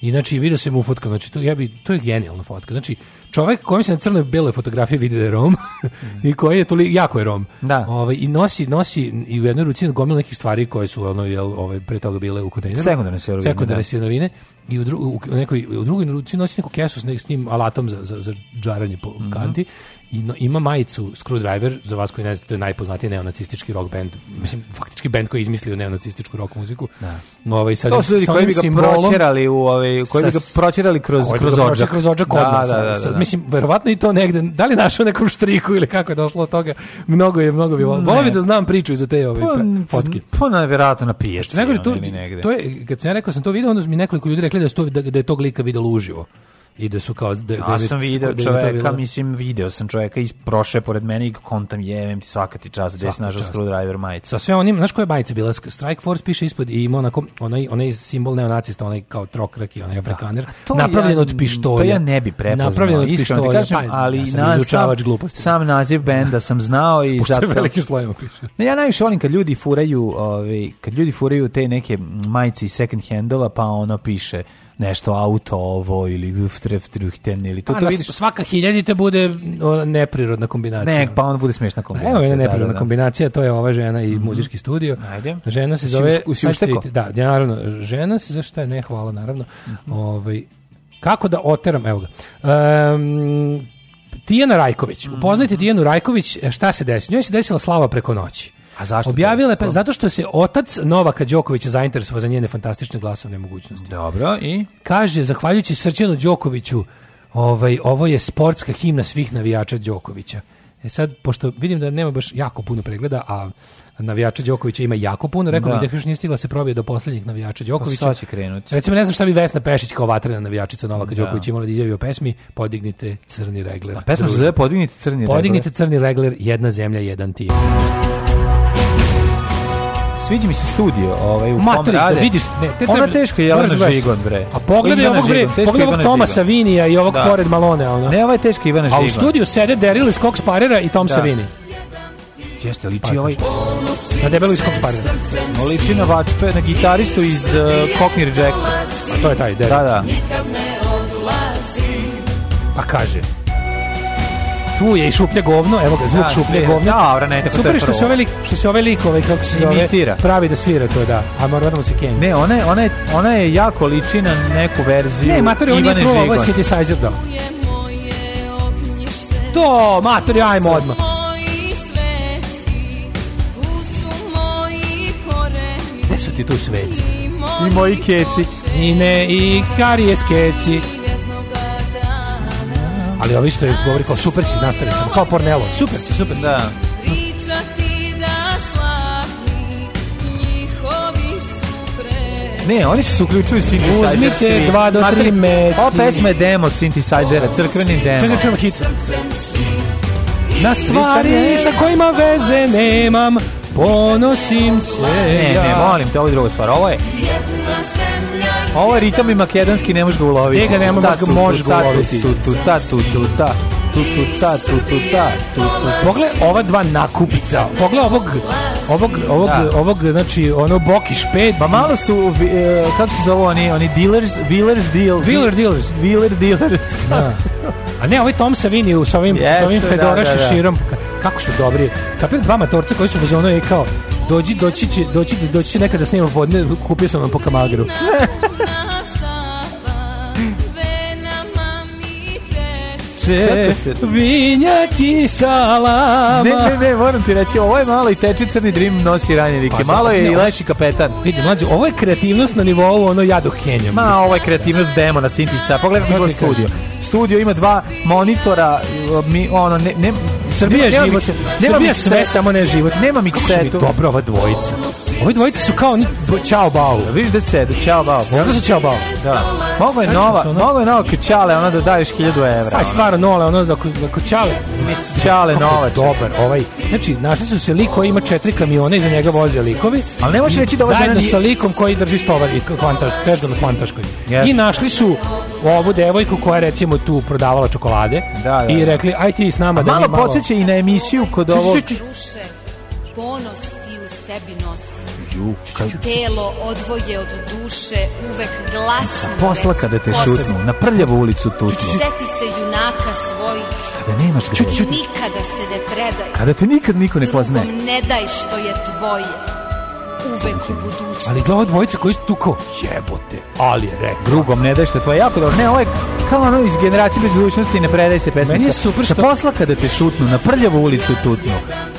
Speaker 8: I znači, vidio se mu fotka, znači, to, ja bi, to je genijalna fotka. Znači, čovek kojem se na crnoj beloj fotografiji vidi da je Rom i koji je toli, jako je Rom.
Speaker 9: Mhm. Da.
Speaker 8: Ovaj, I nosi, nosi i u jednoj ruci gomilu nekih stvari koje su ono, jel, ovaj, pre toga bile u kontejneru.
Speaker 9: Sekundarne sirovine,
Speaker 8: Sekundarne
Speaker 9: da.
Speaker 8: sirovine. I u, dru, u, u nekoj, u drugoj ruci nosi neku kesu s, ne, s njim alatom za, za, za džaranje po
Speaker 9: Mhm.
Speaker 8: kanti. I no- ima majicu Screwdriver, za vas koji ne znate, to je najpoznatiji neonacistički rock band. Mislim, faktički band koji je izmislio neonacističku rock muziku. Da. Ovaj, sad
Speaker 9: To su ljudi
Speaker 8: sa
Speaker 9: koji
Speaker 8: onim
Speaker 9: bi ga
Speaker 8: simbolom-
Speaker 9: proćerali u ovaj koji bi
Speaker 8: sa-
Speaker 9: ga proćerali kroz
Speaker 8: koji bi ga
Speaker 9: kroz
Speaker 8: proćerali
Speaker 9: odžak.
Speaker 8: kroz odžak kod nas. Sa- Mislim, verovatno i to negde, da li našao nekom štriku ili kako je došlo od toga, mnogo je, mnogo bi volao. Volao bi da znam priču iza te ove
Speaker 9: Pa,
Speaker 8: pre- fotke.
Speaker 9: Pa na verovatno na pijaci.
Speaker 8: Nego
Speaker 9: ono,
Speaker 8: to,
Speaker 9: ili negde.
Speaker 8: to je, kad sam ja rekao sam to video, onda su mi nekoliko ljudi rekli da, su to, da, da je tog lika videlo uživo. I da su kao... Da, da
Speaker 9: Ja
Speaker 8: im je-
Speaker 9: sam video
Speaker 8: da im je to
Speaker 9: čoveka,
Speaker 8: bilo-
Speaker 9: mislim, video sam čoveka i prošao je pored mene i kontam jevem ti svaka ti čast gde si
Speaker 8: Svaka
Speaker 9: našao
Speaker 8: čast.
Speaker 9: screwdriver majicu.
Speaker 8: Sa sve onim, znaš koja je majica bila? Strike Force piše ispod i ima onako, onaj, onaj simbol neonacista, onaj kao trokraki, onaj afrikaner,
Speaker 9: To
Speaker 8: napravljen
Speaker 9: ja-
Speaker 8: od pištolja.
Speaker 9: To ja ne bi prepoznao.
Speaker 8: Napravljen od
Speaker 9: iskreno ti
Speaker 8: pištolja,
Speaker 9: kažem,
Speaker 8: pa,
Speaker 9: ali
Speaker 8: ja sam
Speaker 9: na-
Speaker 8: izučavač
Speaker 9: sam,
Speaker 8: gluposti.
Speaker 9: Sam naziv benda sam znao i
Speaker 8: Pošto je
Speaker 9: zato...
Speaker 8: velikim slovima piše.
Speaker 9: Ne, ja najviše volim kad ljudi furaju, ovaj, kad ljudi furaju te neke majice iz second handova, pa ono piše nešto auto ovo ili Luftreftruchten ili to,
Speaker 8: A,
Speaker 9: to
Speaker 8: Pa, na
Speaker 9: vidiš.
Speaker 8: Svaka hiljadite bude o, neprirodna kombinacija.
Speaker 9: Ne, pa onda bude smešna kombinacija.
Speaker 8: Evo jedna
Speaker 9: da,
Speaker 8: neprirodna
Speaker 9: da, da.
Speaker 8: kombinacija, to je ova žena i muzički studio.
Speaker 9: Ajde.
Speaker 8: Žena se
Speaker 9: Si
Speaker 8: zove...
Speaker 9: uš- si
Speaker 8: sad ćete
Speaker 9: ušteko?
Speaker 8: vidjeti, Da, ja, naravno. Žena se, zašto je, ne, hvala, naravno.
Speaker 9: Mhm.
Speaker 8: Ovaj, kako da oteram, evo ga. Ehm, Tijana Rajković.
Speaker 9: Mhm.
Speaker 8: Upoznajte Tijanu Rajković, e, šta se desi? Njoj se desila slava preko noći.
Speaker 9: A zašto?
Speaker 8: Objavila je, pa, zato što se otac Novaka Đokovića zainteresovao za njene fantastične glasovne mogućnosti.
Speaker 9: Dobro, i?
Speaker 8: Kaže, zahvaljujući Srđanu Đokoviću, ovaj, ovo je sportska himna svih navijača Đokovića. E sad, pošto vidim da nema baš jako puno pregleda, a navijača Đokovića ima jako puno, rekao
Speaker 9: Da. Pa
Speaker 8: bih da još nije stigla da se probije do posljednjih navijača Đokovića.
Speaker 9: sad će krenuti.
Speaker 8: Recimo, ne znam šta bi Vesna Pešić kao vatrena navijačica Novaka
Speaker 9: Da.
Speaker 8: Đokovića imala da izjavi o pesmi Podignite crni regler. A
Speaker 9: Pesma se zove Podignite crni regler.
Speaker 8: Podignite crni regler, jedna zemlja, jedan tim.
Speaker 9: Sviđa mi se studio ovaj, u kom
Speaker 8: Matori, da
Speaker 9: rade.
Speaker 8: vidiš, ne, te
Speaker 9: Ona
Speaker 8: treba-
Speaker 9: teško je Jelena
Speaker 8: moraš da gledaš.
Speaker 9: Žigon, bre.
Speaker 8: A pogledaj
Speaker 9: Ivana
Speaker 8: ovog, bre,
Speaker 9: Žigon, teško
Speaker 8: pogledaj ovog
Speaker 9: Ivana
Speaker 8: Tomasa
Speaker 9: Žigon.
Speaker 8: Vinija i ovog
Speaker 9: Da.
Speaker 8: pored Malone, ono.
Speaker 9: Ne, ovo je teško Ivana
Speaker 8: A
Speaker 9: Žigon.
Speaker 8: u studiju sede Daryl iz Cox Parera i Tom
Speaker 9: Da.
Speaker 8: Savini.
Speaker 9: Jeste, liči ovaj...
Speaker 8: Na debelu iz Cox Parera.
Speaker 9: On liči na vačpe, na gitaristu iz uh, Cockney Reject.
Speaker 8: A to je taj, Daryl.
Speaker 9: Da, da.
Speaker 8: Pa kaže. Tu je i šuplje govno, evo ga, zvuk
Speaker 9: Da,
Speaker 8: šuplje
Speaker 9: ne,
Speaker 8: govno.
Speaker 9: da, dobro, ne, tako to je
Speaker 8: Super je što
Speaker 9: prvo.
Speaker 8: se ovaj lik, što se ovaj lik, ovaj, kako se zove,
Speaker 9: Imitira.
Speaker 8: pravi da svira to, da. A moramo se kenji.
Speaker 9: Ne, ona je, ona, je, ona je jako liči na neku verziju
Speaker 8: Ne, matori, on je
Speaker 9: Ivane
Speaker 8: trulo, ovo je
Speaker 9: Žigon.
Speaker 8: synthesizer dao. To, matori, ajmo odmah.
Speaker 18: sveci, tu su moji koreni
Speaker 8: Gde su ti tu sveci?
Speaker 18: i moja
Speaker 9: I moji keci.
Speaker 8: Ine i karijes keci. Ali ovi što je govori kao super si, nastavi sam, kao Pornelo, super si, super si. Da.
Speaker 19: Pričati da slavni njihovi su pre
Speaker 9: Ne, oni su se uključuju synthesizer.
Speaker 8: Uzmite
Speaker 9: svi.
Speaker 8: dva do
Speaker 9: Znate,
Speaker 8: tri meci. znači,
Speaker 9: Ova pesma je demo synthesizera, crkveni demo.
Speaker 8: Čekaj, čujemo hit.
Speaker 19: srcem svi
Speaker 8: Na stvari sa kojima veze nemam, ponosim se.
Speaker 9: Ne, ne, molim te, ovo je druga stvar. Ovo je,
Speaker 19: jedna zemlja
Speaker 9: ovo je Pa ovaj ritam i makedonski, ne možeš ga uloviti.
Speaker 8: Njega ne možeš
Speaker 9: Ta,
Speaker 8: ga-
Speaker 9: tu, tu,
Speaker 8: možeš ga
Speaker 9: ta, tu,
Speaker 8: uloviti.
Speaker 9: Tu, tu, ta, tu, tu, ta. Tu, tu, ta, tu, tu, ta. Tu, tu, ta.
Speaker 8: Pogle ova dva nakupca. Pogle ovog ovog ovog
Speaker 9: Da.
Speaker 8: ovog znači ono Boki šped.
Speaker 9: Pa malo su, vi- e, kako se zove oni, oni dealers, wheelers deal.
Speaker 8: Wheeler dealers.
Speaker 9: Wheeler dealers.
Speaker 8: Da. A ne, ovaj Tom Savini u- sa ovim,
Speaker 9: Jeste,
Speaker 8: sa ovim
Speaker 9: da,
Speaker 8: Fedora
Speaker 9: da, da.
Speaker 8: širom. Kako su dobri. Kapir dva matorca koji su bez ono je kao dođi, doći će, doći, doći će nekada snimam podne, kupio sam vam po kamagru.
Speaker 19: puna sava Venama mi teče
Speaker 9: Kako se-
Speaker 8: vinjak i salama.
Speaker 9: Ne, ne, ne, moram ti reći, ovo je malo i teče crni dream nosi ranje vike.
Speaker 8: Pa,
Speaker 9: Malo je
Speaker 8: ne,
Speaker 9: i
Speaker 8: ovo-
Speaker 9: leši kapetan.
Speaker 8: Vidi, mlađe, ovo je kreativnost na nivou ono jadu henjam.
Speaker 9: Ma, ovo je kreativnost demona Sintisa. Pogledaj kako je
Speaker 8: Odlično.
Speaker 9: studio. Studio ima dva monitora, mi, ono, ne, ne,
Speaker 8: Srbija je
Speaker 9: nema
Speaker 8: život.
Speaker 9: mikse- nema
Speaker 8: Srbija je
Speaker 9: mikse-
Speaker 8: sve, samo ne život.
Speaker 9: Nema mi
Speaker 8: Kako su mi dobra ova dvojica. Ove dvojice su kao oni bo- čao bau.
Speaker 9: Viš da se, da ćao bao.
Speaker 8: Jel da su čao bau?
Speaker 9: Da. Mogu je nova, mogu je nova kćale, ona da daješ 1000 evra.
Speaker 8: Aj, stvarno nole, ono, ako, ako čale, mislim,
Speaker 9: Ćale
Speaker 8: kako je
Speaker 9: Novač.
Speaker 8: Dobar, ovaj. Znači, našli su se lik koji ima četiri kamiona, iza njega voze likovi.
Speaker 9: Ali ne možeš reći da ova žena
Speaker 8: Zajedno
Speaker 9: nije-
Speaker 8: sa likom koji drži stovar i kvantaš, težda na kvantaškoj.
Speaker 9: Jeste.
Speaker 8: I našli su ovu devojku koja je recimo tu prodavala čokolade
Speaker 9: Da, da,
Speaker 8: i
Speaker 9: da.
Speaker 8: rekli, aj ti s nama da
Speaker 9: Malo
Speaker 8: mi pa malo...
Speaker 9: podsjeća i na emisiju kod ovo...
Speaker 18: Ovaj Duše, ponos ti u sebi nosi. Telo odvoje od duše, uvek glasno.
Speaker 9: Posla kada te
Speaker 18: Posebno.
Speaker 9: šutnu, na prljavu ulicu tutnu,
Speaker 18: Seti se junaka svojih.
Speaker 9: kada nemaš gde.
Speaker 18: I Nikada se ne predaj.
Speaker 9: Kada te nikad niko ne klazne.
Speaker 18: Drugom ne daj što je tvoje. Uvek u budućnosti.
Speaker 8: Ali glava dvojica koji su tu kao, jebote, ali je rekao.
Speaker 9: Drugom ne daj što je tvoje jako dobro. Ne, ovo je kao ono iz generacije bez budućnosti ne predaj se pesma.
Speaker 8: Meni je super
Speaker 9: Sa
Speaker 8: što-
Speaker 9: posla kada te šutnu, na prljavu ulicu tutnu,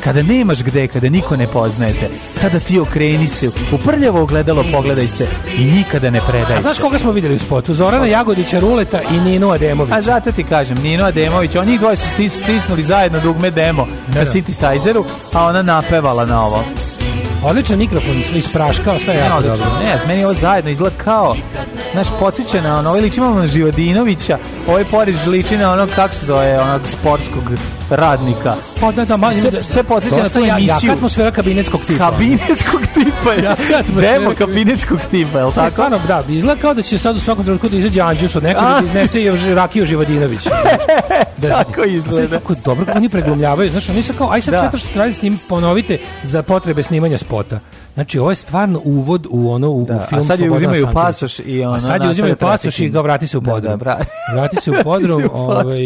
Speaker 9: kada nemaš gde, kada niko ne poznajete, tada ti okreni se, u prljavo ogledalo pogledaj se i nikada ne predaj
Speaker 8: A znaš
Speaker 9: se.
Speaker 8: koga smo vidjeli u spotu? Zorana Jagodića, Ruleta i Ninu Ademovića.
Speaker 9: A zato ti kažem, Nino Ademović, oni dvoje su stis, stisnuli zajedno dugme demo na synthesizeru, a ona napevala na ovo.
Speaker 8: Odličan mikrofon iz praška, sve je
Speaker 9: Ne,
Speaker 8: jako
Speaker 9: odlično.
Speaker 8: dobro.
Speaker 9: Ne, znam, meni je ovo zajedno izgleda kao, znaš, podsjeća na ono, ovaj liči malo na Živodinovića, ovaj poriž liči na ono, kako se zove, onog sportskog radnika.
Speaker 8: Pa da, da, manj,
Speaker 9: Sve, sve podsjeća na tu
Speaker 8: Jaka
Speaker 9: emisiju.
Speaker 8: atmosfera kabinetskog tipa.
Speaker 9: Kabinetskog tipa je.
Speaker 8: Jaka atmosfera
Speaker 9: Demo
Speaker 8: kabinetskog-
Speaker 9: kabinetskog tipa, je li
Speaker 8: Tako?
Speaker 9: tako?
Speaker 8: Pa Stvarno, da, izgleda kao da će sad u svakom trenutku da izađe Anđus od nekog
Speaker 9: A.
Speaker 8: da ti iznese i Jož- Rakiju Živadinović. znaš. Da,
Speaker 9: Tako izgleda.
Speaker 8: Kako dobro, kako oni preglumljavaju. Znaš, oni sad kao, aj sad
Speaker 9: Da.
Speaker 8: sve to što ste radili s njim ponovite za potrebe snimanja spota. Znači, ovo je stvarno uvod u ono, u, u
Speaker 9: Da,
Speaker 8: film
Speaker 9: a sad joj
Speaker 8: Slobodana
Speaker 9: uzimaju
Speaker 8: Stankovića.
Speaker 9: pasoš i ono,
Speaker 8: A sad joj
Speaker 9: nastavlja
Speaker 8: uzimaju pasoš
Speaker 9: trafiti.
Speaker 8: i ga vrati se u
Speaker 9: Da,
Speaker 8: podrum.
Speaker 9: da, vrati.
Speaker 8: vrati se u podrum. ovaj,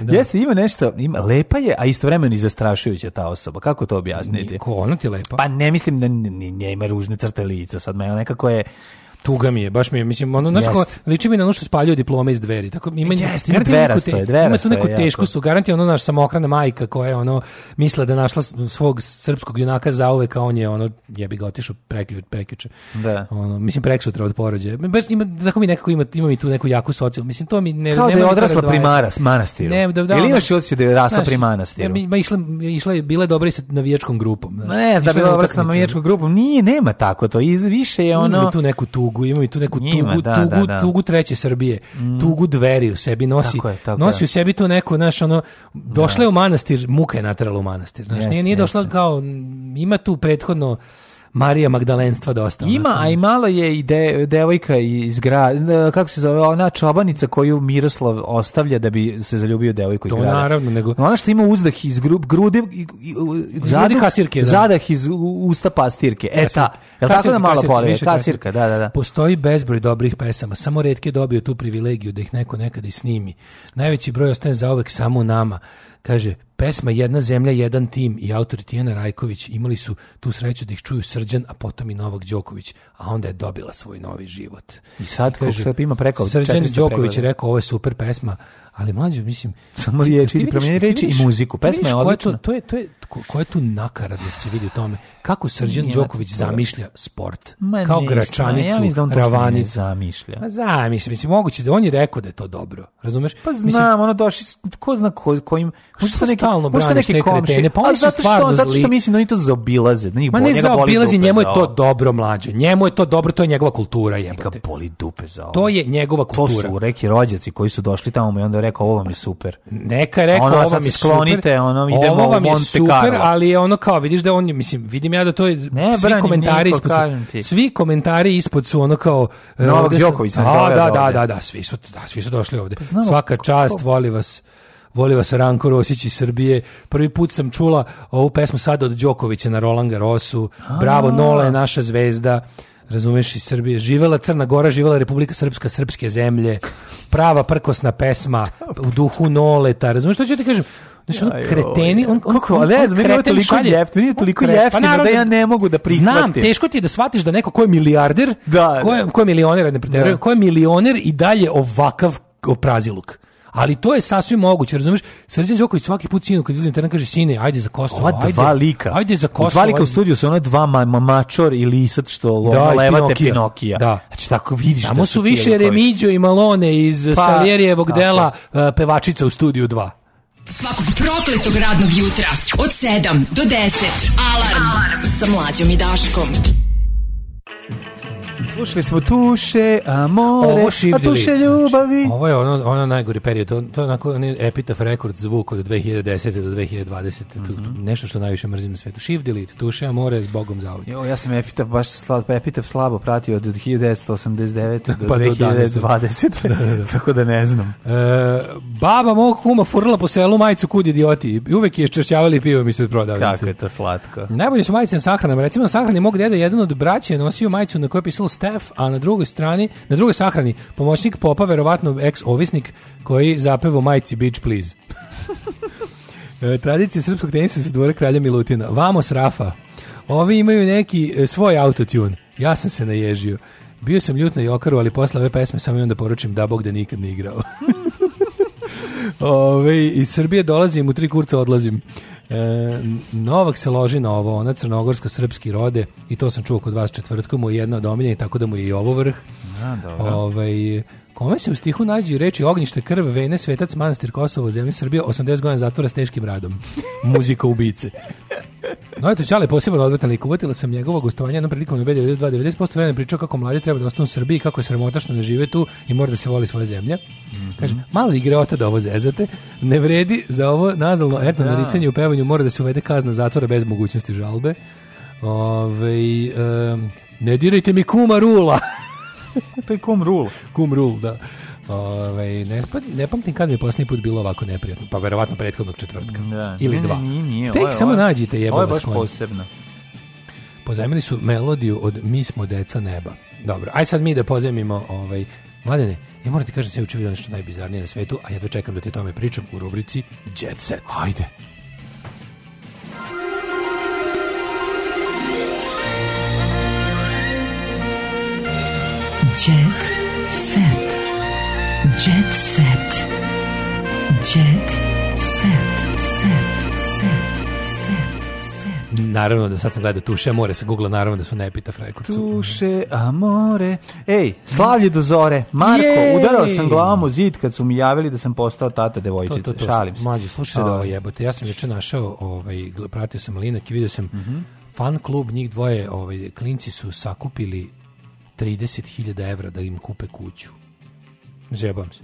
Speaker 8: da.
Speaker 9: Jeste, ima nešto, ima, lepa je, a istovremeno i zastrašujuća ta osoba. Kako to objasniti?
Speaker 8: Ko, ono ti je lepa.
Speaker 9: Pa ne mislim da n- n- nje ima ružne crte lica, sad me nekako je...
Speaker 8: Tuga mi je, baš mi je, mislim, ono, znaš,
Speaker 9: Jest.
Speaker 8: kao, liči mi na ono što spaljuje diplome iz dveri, tako, ima,
Speaker 9: Jest, ima
Speaker 8: garanti neku
Speaker 9: dverasto je,
Speaker 8: te- ima
Speaker 9: dverasto
Speaker 8: tu
Speaker 9: je
Speaker 8: neku
Speaker 9: jako.
Speaker 8: tešku su, garanti ono, naš samohrana majka koja je, ono, misla da je našla s- svog srpskog junaka zauvek, a on je, ono, jebi ga otišao preklju, preključe,
Speaker 9: Da.
Speaker 8: ono, mislim, preksutra od porođaja, baš ima, tako mi nekako ima, ima mi tu neku jaku socijalnu, mislim, to mi ne,
Speaker 9: Kao da
Speaker 8: ne
Speaker 9: je odrasla pri maras, manastiru.
Speaker 8: Ne, da, da,
Speaker 9: Ili
Speaker 8: ono-
Speaker 9: imaš osjećaj da je rasla
Speaker 8: Znaš,
Speaker 9: pri
Speaker 8: ja
Speaker 9: manastiru?
Speaker 8: bi- ma išla, išla je, bila je dobra i sa navijačkom grupom. znaš.
Speaker 9: Ne,
Speaker 8: Išla
Speaker 9: znam da
Speaker 8: je
Speaker 9: bi
Speaker 8: na
Speaker 9: dobro
Speaker 8: utakmice.
Speaker 9: sa navijačkom grupom. Nije, nema tako to. I više je
Speaker 8: Ima mi
Speaker 9: ono...
Speaker 8: tu neku tugu, ima mi tu neku
Speaker 9: Ima,
Speaker 8: tugu,
Speaker 9: da,
Speaker 8: tugu,
Speaker 9: da, da.
Speaker 8: tugu treće Srbije, tugu dveri u sebi nosi.
Speaker 9: Tako je, tako
Speaker 8: nosi
Speaker 9: je.
Speaker 8: u sebi tu neku, znaš, ono, došla je u manastir, muka je natrala u manastir. Znaš,
Speaker 9: Jeste,
Speaker 8: nije, nije došla kao, m, ima tu prethodno Marija Magdalenstva dosta. ono.
Speaker 9: Ima, a i malo je i de, devojka iz grada, kako se zove, ona čobanica koju Miroslav ostavlja da bi se zaljubio devojku iz
Speaker 8: To
Speaker 9: grada.
Speaker 8: naravno, nego-
Speaker 9: Ona što ima uzdah iz gru, grude, i- i- u- zadah,
Speaker 8: kasirke, da.
Speaker 9: zadah iz u- usta pastirke. E
Speaker 8: Kasirke.
Speaker 9: ta, je li tako
Speaker 8: Kasirke,
Speaker 9: da malo
Speaker 8: kasirke,
Speaker 9: pole?
Speaker 8: više
Speaker 9: Kasirka, da, da, da.
Speaker 8: Postoji bezbroj dobrih pesama, samo redke dobio tu privilegiju da ih neko nekada i snimi. Najveći broj ostane zauvek samo u nama. Kaže, pesma Jedna zemlja, jedan tim i autor Tijena Rajković imali su tu sreću da ih čuju Srđan, a potom i Novak Đoković, a onda je dobila svoj novi život.
Speaker 9: I sad, kako sad ima preko
Speaker 8: Srđan
Speaker 9: 400
Speaker 8: Đoković je
Speaker 9: pregleda.
Speaker 8: rekao, ovo je super pesma, ali mlađe, mislim...
Speaker 9: Samo
Speaker 8: ti- ti
Speaker 9: riječi,
Speaker 8: vidiš-
Speaker 9: promijenje
Speaker 8: ti
Speaker 9: riječi i
Speaker 8: vidiš-
Speaker 9: muziku.
Speaker 8: ti vidiš
Speaker 9: Pesma je
Speaker 8: koja to-
Speaker 9: odlična.
Speaker 8: To je, to je, ko- koja tu nakaradost se vidi u tome. Kako Srđan
Speaker 9: Nije,
Speaker 8: Đoković
Speaker 9: to je-
Speaker 8: zamišlja sport.
Speaker 9: Ma
Speaker 8: Kao
Speaker 9: ništa, ja
Speaker 8: gračanicu,
Speaker 9: mislim da on to
Speaker 8: ravanicu. Pa
Speaker 9: ne zamišlja.
Speaker 8: Ma zamisli, mislim, moguće da on je rekao da je to dobro. Razumeš?
Speaker 9: Pa
Speaker 8: Mislim, Pa
Speaker 9: znam, ono došli, s- ko zna ko, kojim... Možda
Speaker 8: Što
Speaker 9: su neki,
Speaker 8: stalno
Speaker 9: možda su
Speaker 8: braniš
Speaker 9: neki
Speaker 8: te
Speaker 9: komšije.
Speaker 8: kretene? Pa
Speaker 9: A
Speaker 8: oni su
Speaker 9: zato što-
Speaker 8: stvarno
Speaker 9: Zato
Speaker 8: zli.
Speaker 9: što mislim da oni to zaobilaze. Njih
Speaker 8: Ma
Speaker 9: bo-
Speaker 8: ne
Speaker 9: njega boli
Speaker 8: zaobilazi,
Speaker 9: dupe
Speaker 8: njemu je
Speaker 9: za
Speaker 8: to
Speaker 9: ovo.
Speaker 8: dobro mlađe. Njemu je to dobro, to je njegova kultura, jebote. Neka
Speaker 9: boli dupe za ovo.
Speaker 8: To je njegova kultura.
Speaker 9: To su neki rođaci koji su došli tamo i onda je rekao ovo vam je super.
Speaker 8: Neka je rekao,
Speaker 9: Ono,
Speaker 8: ovo
Speaker 9: sad
Speaker 8: vam je
Speaker 9: se sklonite,
Speaker 8: super,
Speaker 9: ono, idemo
Speaker 8: ovo vam
Speaker 9: u
Speaker 8: je
Speaker 9: Monte
Speaker 8: super,
Speaker 9: Carlo.
Speaker 8: ali je ono kao, vidiš da on, mislim, vidim ja da to je, svi
Speaker 9: branim
Speaker 8: komentari
Speaker 9: niko,
Speaker 8: ispod su-
Speaker 9: kažem ti.
Speaker 8: svi komentari ispod su ono kao... e,
Speaker 9: Novak
Speaker 8: ovde su-
Speaker 9: Đoković nas
Speaker 8: A,
Speaker 9: doveo
Speaker 8: da,
Speaker 9: ovde. Pa
Speaker 8: da, da, da, svi su, da, svi su došli ovde.
Speaker 9: znamo
Speaker 8: Svaka čast, voli vas. Voli vas Ranko Rosić iz Srbije. Prvi put sam čula ovu pesmu sad od Đokovića na Roland Garrosu. Bravo, Nola je naša zvezda. Razumeš iz Srbije. Živela Crna Gora, živela Republika Srpska, srpske zemlje. Prava prkosna pesma u duhu Noleta. Razumeš što ću ti kažem? Znači, ono
Speaker 9: Aj,
Speaker 8: kreteni, on, on,
Speaker 9: Kako, ali ne znam, meni je ovo
Speaker 8: kreten
Speaker 9: toliko
Speaker 8: šalje-
Speaker 9: jeft- meni je toliko
Speaker 8: on kre-
Speaker 9: jeftino
Speaker 8: naravno
Speaker 9: da ja ne mogu da
Speaker 8: Znam,
Speaker 9: prihvatim.
Speaker 8: teško ti je da shvatiš da neko ko je milijarder,
Speaker 9: Da,
Speaker 8: ko, je,
Speaker 9: da.
Speaker 8: ko je milioner, ne preterujem,
Speaker 9: Da.
Speaker 8: ko je milioner i dalje ovakav opraziluk. Ali to je sasvim moguće, razumiješ? Srđan Đoković svaki put sinu kad izlazi na teren kaže sine, ajde za Kosovo,
Speaker 9: Ova
Speaker 8: ajde.
Speaker 9: dva lika.
Speaker 8: Ajde za
Speaker 9: U
Speaker 8: Kosovo.
Speaker 9: Dva lika u
Speaker 8: ajde.
Speaker 9: studiju su ona dva ma, ma- mačor i lisat što loma
Speaker 8: iz
Speaker 9: levate
Speaker 8: Pinokija.
Speaker 9: Pinokija.
Speaker 8: Da.
Speaker 9: Znači tako vidiš
Speaker 8: Samo
Speaker 9: da
Speaker 8: su
Speaker 9: ti
Speaker 8: više
Speaker 9: likovi.
Speaker 8: Remigio i Malone iz
Speaker 9: Pa,
Speaker 8: Saljerijevog
Speaker 9: tako.
Speaker 8: dela e, pevačica u studiju 2.
Speaker 5: Svakog prokletog radnog jutra od 7 do 10. Alarm, Alarm. sa mlađom i Daškom.
Speaker 9: Slušali smo tuše, amore,
Speaker 8: Ovo
Speaker 9: a
Speaker 8: šivdili. znači.
Speaker 9: tuše ljubavi.
Speaker 8: Ovo je ono, ono najgori period. To, to je onako onaj epitaf rekord zvuk od 2010. do 2020. Tu- tu
Speaker 9: Mhm.
Speaker 8: nešto što najviše mrzim na svetu. Shift delete, tuše amore s Bogom zauvijek.
Speaker 9: Jo, ja sam Epitaf baš slabo, Epitaf slabo pratio od 1989. do
Speaker 8: Pa do danas.
Speaker 9: 2020. tako da ne znam.
Speaker 8: E, baba mog kuma furla po selu majicu kud idioti. I Uvek je češćavali pivom ispred prodavnice.
Speaker 9: Kako je to slatko.
Speaker 8: Najbolje su majice na sahranama. Recimo na sahrani mog deda jedan od braća je nosio majicu na kojoj je pisalo Stef, a na drugoj strani, na drugoj sahrani, pomoćnik popa, verovatno ex-ovisnik koji zapeva u majici Beach Please. E, Tradicija srpskog tenisa se dvore kralja Milutina. Vamos Rafa. Ovi imaju neki e, svoj autotune. Ja sam se naježio. Bio sam ljut na Jokaru, ali posle ove pesme samo imam da poručim da Bog da nikad ne igrao. Ove, iz Srbije dolazim, u tri kurca odlazim. E, Novak se loži na ovo, ona crnogorsko-srpski rode i to sam čuo kod vas četvrtkom, mu je jedna od omiljenih, tako da mu je i ovo vrh.
Speaker 9: A, dobro.
Speaker 8: Ovaj, kome se u stihu nađe reči ognjište, krv, vene, svetac, manastir, Kosovo, zemlja Srbija, 80 godina zatvora s teškim radom. Muzika ubice. No eto, Čale je posebno odvratan lik. Uvatila sam njegovo gostovanje jednom prilikom na B92, 90% vremena pričao kako mladi treba da ostanu u Srbiji, kako je sramota što ne žive tu i mora da se voli svoja zemlja.
Speaker 9: Mhm.
Speaker 8: Kaže, malo igreota da ovo zezate, ne vredi za ovo nazalno etno
Speaker 9: Da.
Speaker 8: naricanje u pevanju, mora da se uvede kazna zatvora bez mogućnosti žalbe. Ove, ne dirajte mi kuma rula.
Speaker 9: to je kom rule.
Speaker 8: Kum rule, da. Ove, ne, pa, ne pamtim kad mi je posljednji put bilo ovako neprijatno, pa verovatno prethodnog četvrtka.
Speaker 9: Da.
Speaker 8: Ili
Speaker 9: Ne,
Speaker 8: dva.
Speaker 9: ne, nije, nije.
Speaker 8: Tek
Speaker 9: Ovo je-
Speaker 8: samo
Speaker 9: ovo je-
Speaker 8: nađite jebo
Speaker 9: Ovo je
Speaker 8: vas
Speaker 9: baš
Speaker 8: konj.
Speaker 9: posebno.
Speaker 8: Pozajmili su melodiju od Mi smo deca neba. Dobro, aj sad mi da pozajmimo ovaj, Mladene, ja moram ti kažem sve učinio nešto najbizarnije na svetu, a ja dočekam da ti o tome pričam u rubrici Jet Set. Hajde.
Speaker 5: Jet set. Jet set. Jet set. Set. Set. Set. Set.
Speaker 8: Naravno da sad sam gledao tuše, more se googla, naravno da su ne pita frekurcu.
Speaker 9: Tuše, amore. Ej, slavlje do zore. Marko,
Speaker 8: Jej!
Speaker 9: udarao sam glavom u zid kad su mi javili da sam postao tata
Speaker 8: To,
Speaker 9: devojčice.
Speaker 8: to, to.
Speaker 9: Šalim se.
Speaker 8: Mlađe, slušaj se da
Speaker 9: A,
Speaker 8: ovo jebote. Ja sam juče našao, ovaj, gle- pratio sam Linak i vidio sam fan klub, njih dvoje ovaj, klinci su sakupili 30.000 evra da im kupe kuću. Zjebam se.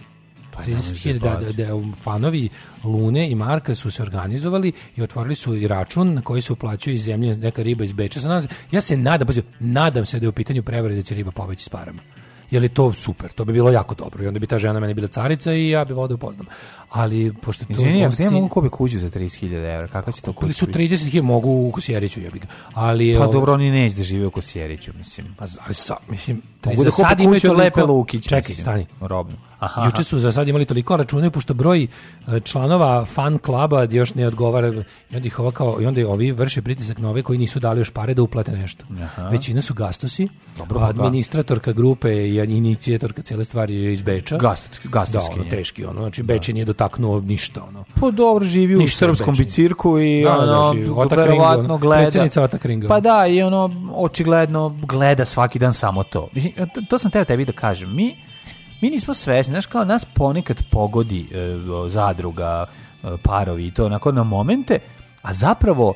Speaker 9: Pa ne možeš
Speaker 8: 30.000 da, da, da, um, fanovi Lune i Marka su se organizovali i otvorili su i račun na koji se uplaćuje iz zemlje neka riba iz Beča. Sad nadam se- Ja se nadam, pazi, nadam se da je u pitanju prevare da će riba pobeći s parama. Jer je to super, to bi bilo jako dobro. I onda bi ta žena meni bila carica i ja bi vodu upoznam. Ali, pošto to...
Speaker 9: Izvini, ako ti ja
Speaker 8: Osti-
Speaker 9: mogu kupiti kuću za 30.000 evra, kakva će to kuća
Speaker 8: Kupili su
Speaker 9: biti?
Speaker 8: 30.000, mogu u Kosjeriću, jebi ga. Ali, je
Speaker 9: Pa
Speaker 8: ovo-
Speaker 9: dobro, oni neće da žive u Kosjeriću, mislim.
Speaker 8: Pa, za- ali sa, mislim,
Speaker 9: Mogu da
Speaker 8: za sad
Speaker 9: kupe
Speaker 8: imaju
Speaker 9: kuću od
Speaker 8: toliko-
Speaker 9: Lepe Lukić.
Speaker 8: Čekaj,
Speaker 9: mislim,
Speaker 8: stani.
Speaker 9: Robno. Aha,
Speaker 8: Juče su za sad imali toliko računaju, pošto broj e, članova fan klaba još ne odgovara. I onda, ih ova kao, I onda ovi vrše pritisak na ove koji nisu dali još pare da uplate nešto.
Speaker 9: Aha.
Speaker 8: Većina su gastosi,
Speaker 9: Dobro, pa
Speaker 8: a administratorka grupe i inicijatorka cele stvari je iz Beča.
Speaker 9: Gast- gastoski
Speaker 8: Da, ono,
Speaker 9: je.
Speaker 8: teški. Ono, znači, Beč je nije dotaknuo ništa. Ono.
Speaker 9: Pa dobro živi u
Speaker 8: Ništa
Speaker 9: srpskom
Speaker 8: veće.
Speaker 9: bicirku i
Speaker 8: Da, da,
Speaker 9: ono,
Speaker 8: živi. Otak Ringo,
Speaker 9: verovatno
Speaker 8: ono,
Speaker 9: gleda.
Speaker 8: predsjednica Otak Ringa.
Speaker 9: Pa da, i ono, očigledno gleda svaki dan samo to. Mislim, to, to sam teo tebi da kažem. Mi, mi nismo svesni, znaš, kao nas ponekad pogodi e, o, zadruga, e, parovi i to, onako na momente, a zapravo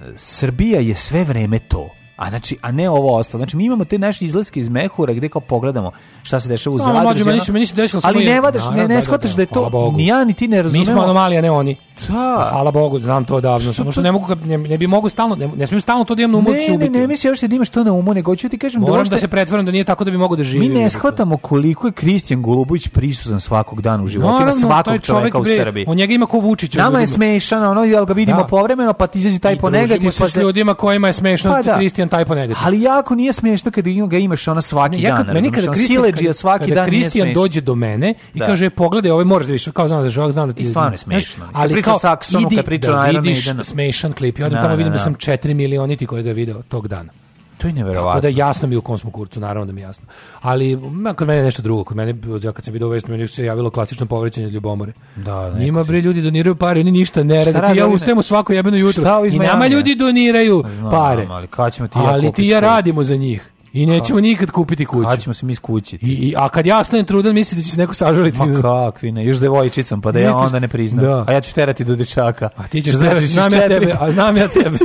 Speaker 9: e, Srbija je sve vreme to. A znači, a ne ovo ostalo. Znači, mi imamo te naše izlaske iz mehura gde kao pogledamo šta se dešava u
Speaker 8: Samo,
Speaker 9: zadruzi.
Speaker 8: mlađe, meni
Speaker 9: ono.
Speaker 8: se- meni se desilo samo
Speaker 9: Ali ne
Speaker 8: jedno.
Speaker 9: vadaš, ne,
Speaker 8: Naravno, da,
Speaker 9: ne
Speaker 8: da,
Speaker 9: shvataš
Speaker 8: da,
Speaker 9: da je
Speaker 8: hvala
Speaker 9: to,
Speaker 8: Bogu.
Speaker 9: ni ja, ni ti ne razumemo.
Speaker 8: Mi smo ono anomalija, ne oni.
Speaker 9: Da.
Speaker 8: Pa Hvala Bogu, znam to odavno. Samo što ne mogu, kad- ne, ne bi mogu stalno, ne, ne smijem stalno to da imam na umu. da ću se
Speaker 9: Ne, ne,
Speaker 8: ubiti.
Speaker 9: ne misli još da imaš to na umu, nego ću ti kažem da,
Speaker 8: Moram
Speaker 9: uopšte
Speaker 8: da se pretvaram da nije tako da bi mogu da
Speaker 9: mi
Speaker 8: živim.
Speaker 9: ne shvatamo koliko je Kristijan Golubović prisutan svakog dana u životima
Speaker 8: Naravno, taj
Speaker 9: svakog
Speaker 8: čovek,
Speaker 9: čoveka u
Speaker 8: bre,
Speaker 9: Srbiji.
Speaker 8: On njega ima ko Vučića.
Speaker 9: Nama je
Speaker 8: ljudima.
Speaker 9: smešan, ono, jel ga vidimo
Speaker 8: Da.
Speaker 9: povremeno, pa ti izađe taj po
Speaker 8: Družimo
Speaker 9: negativ.
Speaker 8: se
Speaker 9: pa
Speaker 8: s ljudima kojima je smešno
Speaker 9: Pa da.
Speaker 8: Kristijan taj po negativ.
Speaker 9: Ali jako nije smešno kada ga imaš ono svaki
Speaker 8: Ja kad,
Speaker 9: dan,
Speaker 8: meni
Speaker 9: razumeš,
Speaker 8: kada
Speaker 9: ono,
Speaker 8: Kristijan,
Speaker 9: sileđija svaki
Speaker 8: kada
Speaker 9: dan
Speaker 8: Kristijan
Speaker 9: nije smešno.
Speaker 8: dođe do mene i
Speaker 9: Da.
Speaker 8: kaže pogledaj ovaj moraš da više kao znam da žao znam da ti
Speaker 9: I stvarno je
Speaker 8: znaš,
Speaker 9: smešno. Kad
Speaker 8: ali
Speaker 9: priča
Speaker 8: kao
Speaker 9: o Saksonu,
Speaker 8: idi
Speaker 9: kad priča
Speaker 8: da
Speaker 9: o Iron
Speaker 8: vidiš
Speaker 9: Maidenu.
Speaker 8: smešan klip i
Speaker 9: Da,
Speaker 8: odem tamo
Speaker 9: da,
Speaker 8: vidim da
Speaker 9: da.
Speaker 8: sam 4 milioniti koji ga je video tog dana.
Speaker 9: To je
Speaker 8: Tako da
Speaker 9: neverovatno.
Speaker 8: jasno mi je u kom smo kurcu, naravno da mi je jasno. Ali ma, kod mene je nešto drugo, kod mene ja kad sam video vest, meni se javilo klasično povrećenje ljubomore.
Speaker 9: Da, ne.
Speaker 8: Njima bre ljudi doniraju pare, oni ništa ne
Speaker 9: Šta
Speaker 8: rade.
Speaker 9: rade
Speaker 8: Ti ja
Speaker 9: ovi ne-
Speaker 8: ustajem u svako jebeno jutro
Speaker 9: Šta ovi iz
Speaker 8: i nama
Speaker 9: Majamija? Pa
Speaker 8: ljudi doniraju
Speaker 9: Znam,
Speaker 8: pare.
Speaker 9: ali kad ćemo ti i ja
Speaker 8: Ali ti
Speaker 9: kupiti
Speaker 8: i ja
Speaker 9: kuću?
Speaker 8: radimo za njih. I nećemo nikad kupiti kuću.
Speaker 9: Kad Pa ćemo se mi skućiti?
Speaker 8: I, i- a kad ja stanem trudan, mislim da će se neko sažaliti.
Speaker 9: Ma kakvi ne, još devojčicom, pa da ja
Speaker 8: Misliš-
Speaker 9: onda ne priznam.
Speaker 8: Da.
Speaker 9: A ja ću terati do dečaka. A
Speaker 8: Pa ti ćeš terati, znam ja tebe, a znam ja tebe.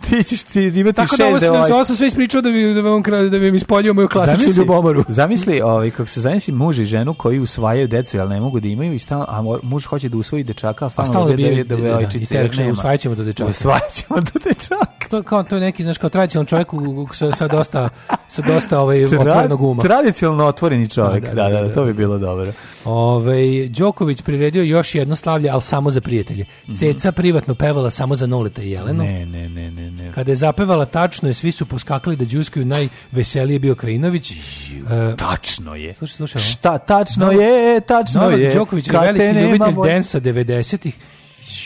Speaker 9: ti ćeš ti imati
Speaker 8: Tako
Speaker 9: šest
Speaker 8: da ovo, sam-
Speaker 9: devojčica.
Speaker 8: ovo sam sve ispričao da bi, da bi, on kra- da bi mi ispoljio moju klasičnu
Speaker 9: Zamisli-
Speaker 8: ljubomoru.
Speaker 9: Zamisli, ovaj, kako se zamisli muž i ženu koji usvajaju decu, ali ne mogu da imaju, i stalno, a mo- muž hoće da usvoji dečaka, a
Speaker 8: Pa
Speaker 9: stalno,
Speaker 8: stalno
Speaker 9: da
Speaker 8: bi
Speaker 9: je
Speaker 8: da,
Speaker 9: da,
Speaker 8: da,
Speaker 9: da,
Speaker 8: da, i terek što usvajat ćemo do dečaka.
Speaker 9: Usvajat ćemo do dečaka.
Speaker 8: To je kao to je neki znaš kao tradicionalan čovjek u- u- sa, sa dosta sa dosta ovaj otvorenog uma.
Speaker 9: Tradicionalno otvoreni čovjek, da, da, da, to bi bilo dobro.
Speaker 8: Ovaj Đoković priredio još jedno slavlje, ali samo za prijatelje. Ceca privatno pevala samo za Noleta i Jelenu.
Speaker 9: Mhm. Ne, ne, ne, ne, ne.
Speaker 8: Kada je zapevala tačno je, svi su poskakali da đuskaju najveseliji je bio Krajinović. E,
Speaker 9: Tačno je.
Speaker 8: Slušaj, slušaj. ovo.
Speaker 9: Šta, tačno je, tačno
Speaker 8: Novak
Speaker 9: je.
Speaker 8: Đoković je
Speaker 9: kad te
Speaker 8: veliki
Speaker 9: nema
Speaker 8: ljubitelj
Speaker 9: bolje.
Speaker 8: densa 90-ih.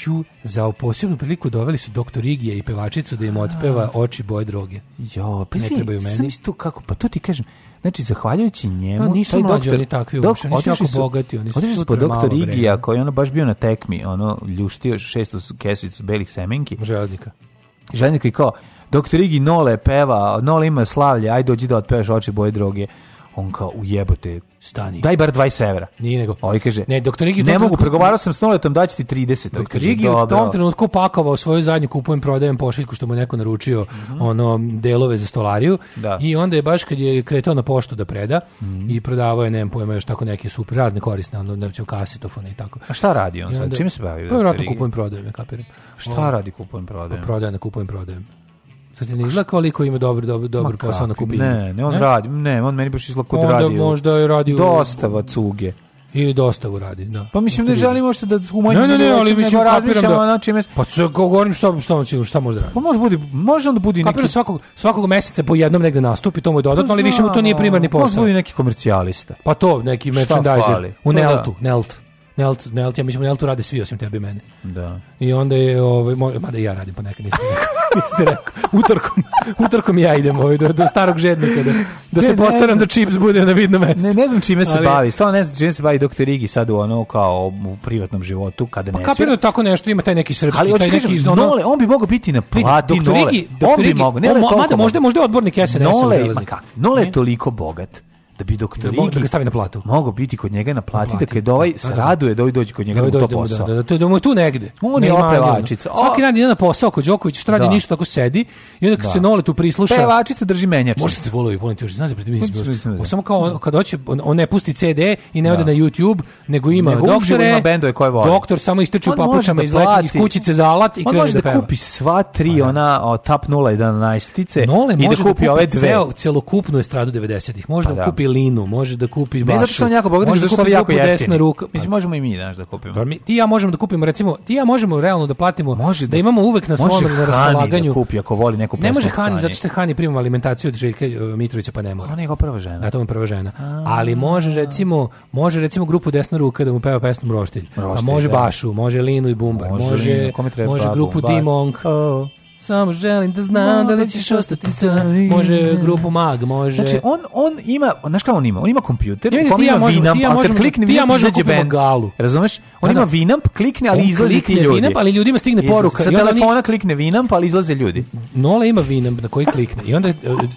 Speaker 8: Ju, za ovu posebnu priliku doveli su doktor Igija i pevačicu da im otpeva oči boje droge.
Speaker 9: Jo, pa
Speaker 8: Ne
Speaker 9: si-
Speaker 8: trebaju meni.
Speaker 9: zamisli to kako, pa to ti kažem. Znači, zahvaljujući njemu...
Speaker 8: Pa nisu
Speaker 9: taj
Speaker 8: mlađi
Speaker 9: doktor-
Speaker 8: oni takvi
Speaker 9: dok-
Speaker 8: uopšte, oni su
Speaker 9: otišli
Speaker 8: jako bogati, oni su
Speaker 9: otišli
Speaker 8: sutra
Speaker 9: po doktor
Speaker 8: malo
Speaker 9: Igija,
Speaker 8: vreme.
Speaker 9: koji je ono baš bio na tekmi, ono, ljuštio šestu kesicu belih semenki.
Speaker 8: Željnika.
Speaker 9: Željnika i kao, doktor Igi Nole peva, Nole ima slavlje, aj dođi da otpevaš oči boje droge. On kao, ujebote,
Speaker 8: Stani.
Speaker 9: daj bar 20 evra.
Speaker 8: Nije nego.
Speaker 9: Ovi kaže,
Speaker 8: Ne, doktor Igi u
Speaker 9: ne
Speaker 8: tom
Speaker 9: mogu,
Speaker 8: trenutku-
Speaker 9: pregovarao sam s Noletom, daći ti 30. Ovi
Speaker 8: Doktor
Speaker 9: kaže,
Speaker 8: Igi je u tom
Speaker 9: "Dobro."
Speaker 8: trenutku pakovao svoju zadnju kupujem prodajem pošiljku što mu je neko naručio ono delove za stolariju
Speaker 9: Mhm. Da. Mhm.
Speaker 8: i onda je baš kad je kretao na poštu da preda i prodavao je nemam pojma još tako neke super razne korisne ono neću kasetofone i tako.
Speaker 9: A šta radi on
Speaker 8: I
Speaker 9: sad?
Speaker 8: onda-
Speaker 9: Čime se bavi?
Speaker 8: Pa
Speaker 9: doktor
Speaker 8: verovatno
Speaker 9: Igi?
Speaker 8: kupujem prodajem, ja kapiram.
Speaker 9: Šta radi kupujem prodajem?
Speaker 8: Prodajem, kupujem prodajem. Sad ti ne izgleda koliko ima dobro, dobro, dobro
Speaker 9: Ma
Speaker 8: posao na
Speaker 9: kakvi,
Speaker 8: kupinu.
Speaker 9: Ne, ne, on radi, ne, on meni baš izgleda kod
Speaker 8: Onda
Speaker 9: radio.
Speaker 8: možda je radio u-
Speaker 9: Dostava cuge.
Speaker 8: Ili dostavu radi, da.
Speaker 9: Pa mislim
Speaker 8: Doktor
Speaker 9: ne
Speaker 8: Igi.
Speaker 9: želimo uopšte da umanjimo
Speaker 8: Ne, ne, ne, ali mislim
Speaker 9: razmišljamo
Speaker 8: kapiram da.
Speaker 9: ono čime...
Speaker 8: Pa sve govorim šta šta on sigurno šta može da radi.
Speaker 9: Pa može budi, može onda budi neki...
Speaker 8: Kapiram svakog svakog meseca po jednom negde nastupi, to mu je dodatno, ali više mu to nije primarni
Speaker 9: Može
Speaker 8: posao.
Speaker 9: budi neki komercijalista.
Speaker 8: Pa to neki
Speaker 9: fali?
Speaker 8: merchandiser
Speaker 9: Pa
Speaker 8: u
Speaker 9: da.
Speaker 8: Neltu, Nelt. Nelt, Nelt, ja mislim u Neltu rade svi osim tebe i mene.
Speaker 9: Da.
Speaker 8: I onda je, ovaj, moj, mada i ja radim ponekad, nisam rekao. Niste rekao. Utorkom, utorkom ja idem ovaj, do, do starog žednika, da, da
Speaker 9: Ne,
Speaker 8: se
Speaker 9: ne
Speaker 8: postaram
Speaker 9: znam.
Speaker 8: da čips bude na vidnom mestu.
Speaker 9: Ne, ne znam čime se
Speaker 8: Ali-
Speaker 9: bavi, stvarno ne znam čime se bavi doktor Igi sad u ono kao u privatnom životu kada ne
Speaker 8: Kapirno tako nešto, ima taj neki srpski,
Speaker 9: Ali
Speaker 8: taj
Speaker 9: hoćeš
Speaker 8: neki...
Speaker 9: kažem,
Speaker 8: ono-
Speaker 9: Nole, on bi mogao biti na
Speaker 8: Vidi,
Speaker 9: plati,
Speaker 8: doktor
Speaker 9: Nole.
Speaker 8: Igi-
Speaker 9: on
Speaker 8: doktor
Speaker 9: bi
Speaker 8: Igi-
Speaker 9: mogao.
Speaker 8: on
Speaker 9: Nele,
Speaker 8: mo-
Speaker 9: toliko
Speaker 8: mada možda-
Speaker 9: bogat.
Speaker 8: možda je odbornik SNS-a
Speaker 9: Nole, ma
Speaker 8: železnik.
Speaker 9: kak, Nole je toliko bogat da bi doktor
Speaker 8: Da mo-
Speaker 9: Igi
Speaker 8: da ga stavi na platu.
Speaker 9: Mogao biti kod njega na plati, da
Speaker 8: plati,
Speaker 9: kad ovaj
Speaker 8: da,
Speaker 9: se
Speaker 8: da.
Speaker 9: raduje da ovaj dođe kod njega
Speaker 8: Da,
Speaker 9: u
Speaker 8: da,
Speaker 9: to
Speaker 8: da,
Speaker 9: posao.
Speaker 8: da, da, to je da mu je tu negde.
Speaker 9: On
Speaker 8: Ne
Speaker 9: je
Speaker 8: ima
Speaker 9: ova
Speaker 8: ono.
Speaker 9: pevačica.
Speaker 8: Svaki
Speaker 9: A-
Speaker 8: dan ide na posao kod Đoković, što radi
Speaker 9: Da.
Speaker 8: ništa, tako sedi i onda kad
Speaker 9: Da.
Speaker 8: se Nole tu prisluša...
Speaker 9: Pevačica drži menjačnicu.
Speaker 8: Možda se volovi, volim ti još, znaš da pred tim nisam
Speaker 9: Hoćeš
Speaker 8: bio.
Speaker 9: mislim da.
Speaker 8: On Samo kao on, kad hoće, on, on ne pusti CD i ne ode
Speaker 9: Da.
Speaker 8: na YouTube, nego ima
Speaker 9: Nego uživo
Speaker 8: doktore,
Speaker 9: ima bendove koje voli.
Speaker 8: doktor samo istrči u
Speaker 9: On može
Speaker 8: papučama
Speaker 9: da
Speaker 8: iz, leti, iz
Speaker 9: plati.
Speaker 8: kućice za alat i
Speaker 9: On
Speaker 8: krene
Speaker 9: može
Speaker 8: da
Speaker 9: da,
Speaker 8: peva.
Speaker 9: kupi sva tri ona o, tap 0 i 11
Speaker 8: Nole
Speaker 9: i da
Speaker 8: može
Speaker 9: kupi ove dve.
Speaker 8: ceo, celokupnu estradu 90-ih. Može
Speaker 9: Pa
Speaker 8: da
Speaker 9: da.
Speaker 8: kupi linu, može da kupi
Speaker 9: Ne
Speaker 8: bašu.
Speaker 9: zato što on jako bogat,
Speaker 8: može
Speaker 9: nego zato što
Speaker 8: kupi
Speaker 9: je jako
Speaker 8: grupu
Speaker 9: jeftin.
Speaker 8: Desna ruka.
Speaker 9: Mislim, možemo i mi danas da kupimo.
Speaker 8: Dobro, mi, ti i ja možemo da kupimo, recimo, ti i ja možemo realno da platimo, da, imamo uvek na svom
Speaker 9: Može
Speaker 8: na
Speaker 9: Hani da
Speaker 8: raspolaganju.
Speaker 9: kupi ako voli neku pesmu.
Speaker 8: ne može Hani,
Speaker 9: Hani.
Speaker 8: zato što je Hani primao alimentaciju od Željka e, Mitrovića, pa ne mora.
Speaker 9: Ona je njegova prva žena.
Speaker 8: Da, to mu je prva žena. Ali može recimo, može recimo grupu Desna ruka da mu peva pesmu Mroštilj. a
Speaker 9: Mroštilj,
Speaker 8: može
Speaker 9: da.
Speaker 8: Bašu, može Linu i Bumbar,
Speaker 9: Može
Speaker 8: može,
Speaker 9: Linu,
Speaker 8: može,
Speaker 9: kome treba Pa Babu,
Speaker 8: grupu
Speaker 9: Bar-
Speaker 8: Dimong. Samo želim da znam da li ćeš ostati sam. Može grupu Mag, može...
Speaker 9: Znači, on, on ima, znaš kao on ima? On ima kompjuter,
Speaker 8: Ja
Speaker 9: ja,
Speaker 8: mislim,
Speaker 9: on
Speaker 8: ti i
Speaker 9: ima
Speaker 8: ja
Speaker 9: Vinamp,
Speaker 8: možemo- ti i ja
Speaker 9: ali kad
Speaker 8: možemo-
Speaker 9: klikne
Speaker 8: ti i ja
Speaker 9: Vinamp,
Speaker 8: možemo
Speaker 9: izađe
Speaker 8: kupimo
Speaker 9: band.
Speaker 8: Galu.
Speaker 9: Razumeš? On
Speaker 8: Da, da.
Speaker 9: ima Vinamp, klikne, ali
Speaker 8: On
Speaker 9: izlaze ti
Speaker 8: klikne
Speaker 9: ljudi.
Speaker 8: Winamp, ali ljudima stigne
Speaker 9: Izlaze.
Speaker 8: poruka
Speaker 9: Sa
Speaker 8: i onda oni-
Speaker 9: telefona klikne Vinamp, ali izlaze ljudi.
Speaker 8: Nola ima Winamp na koji klikne i onda e,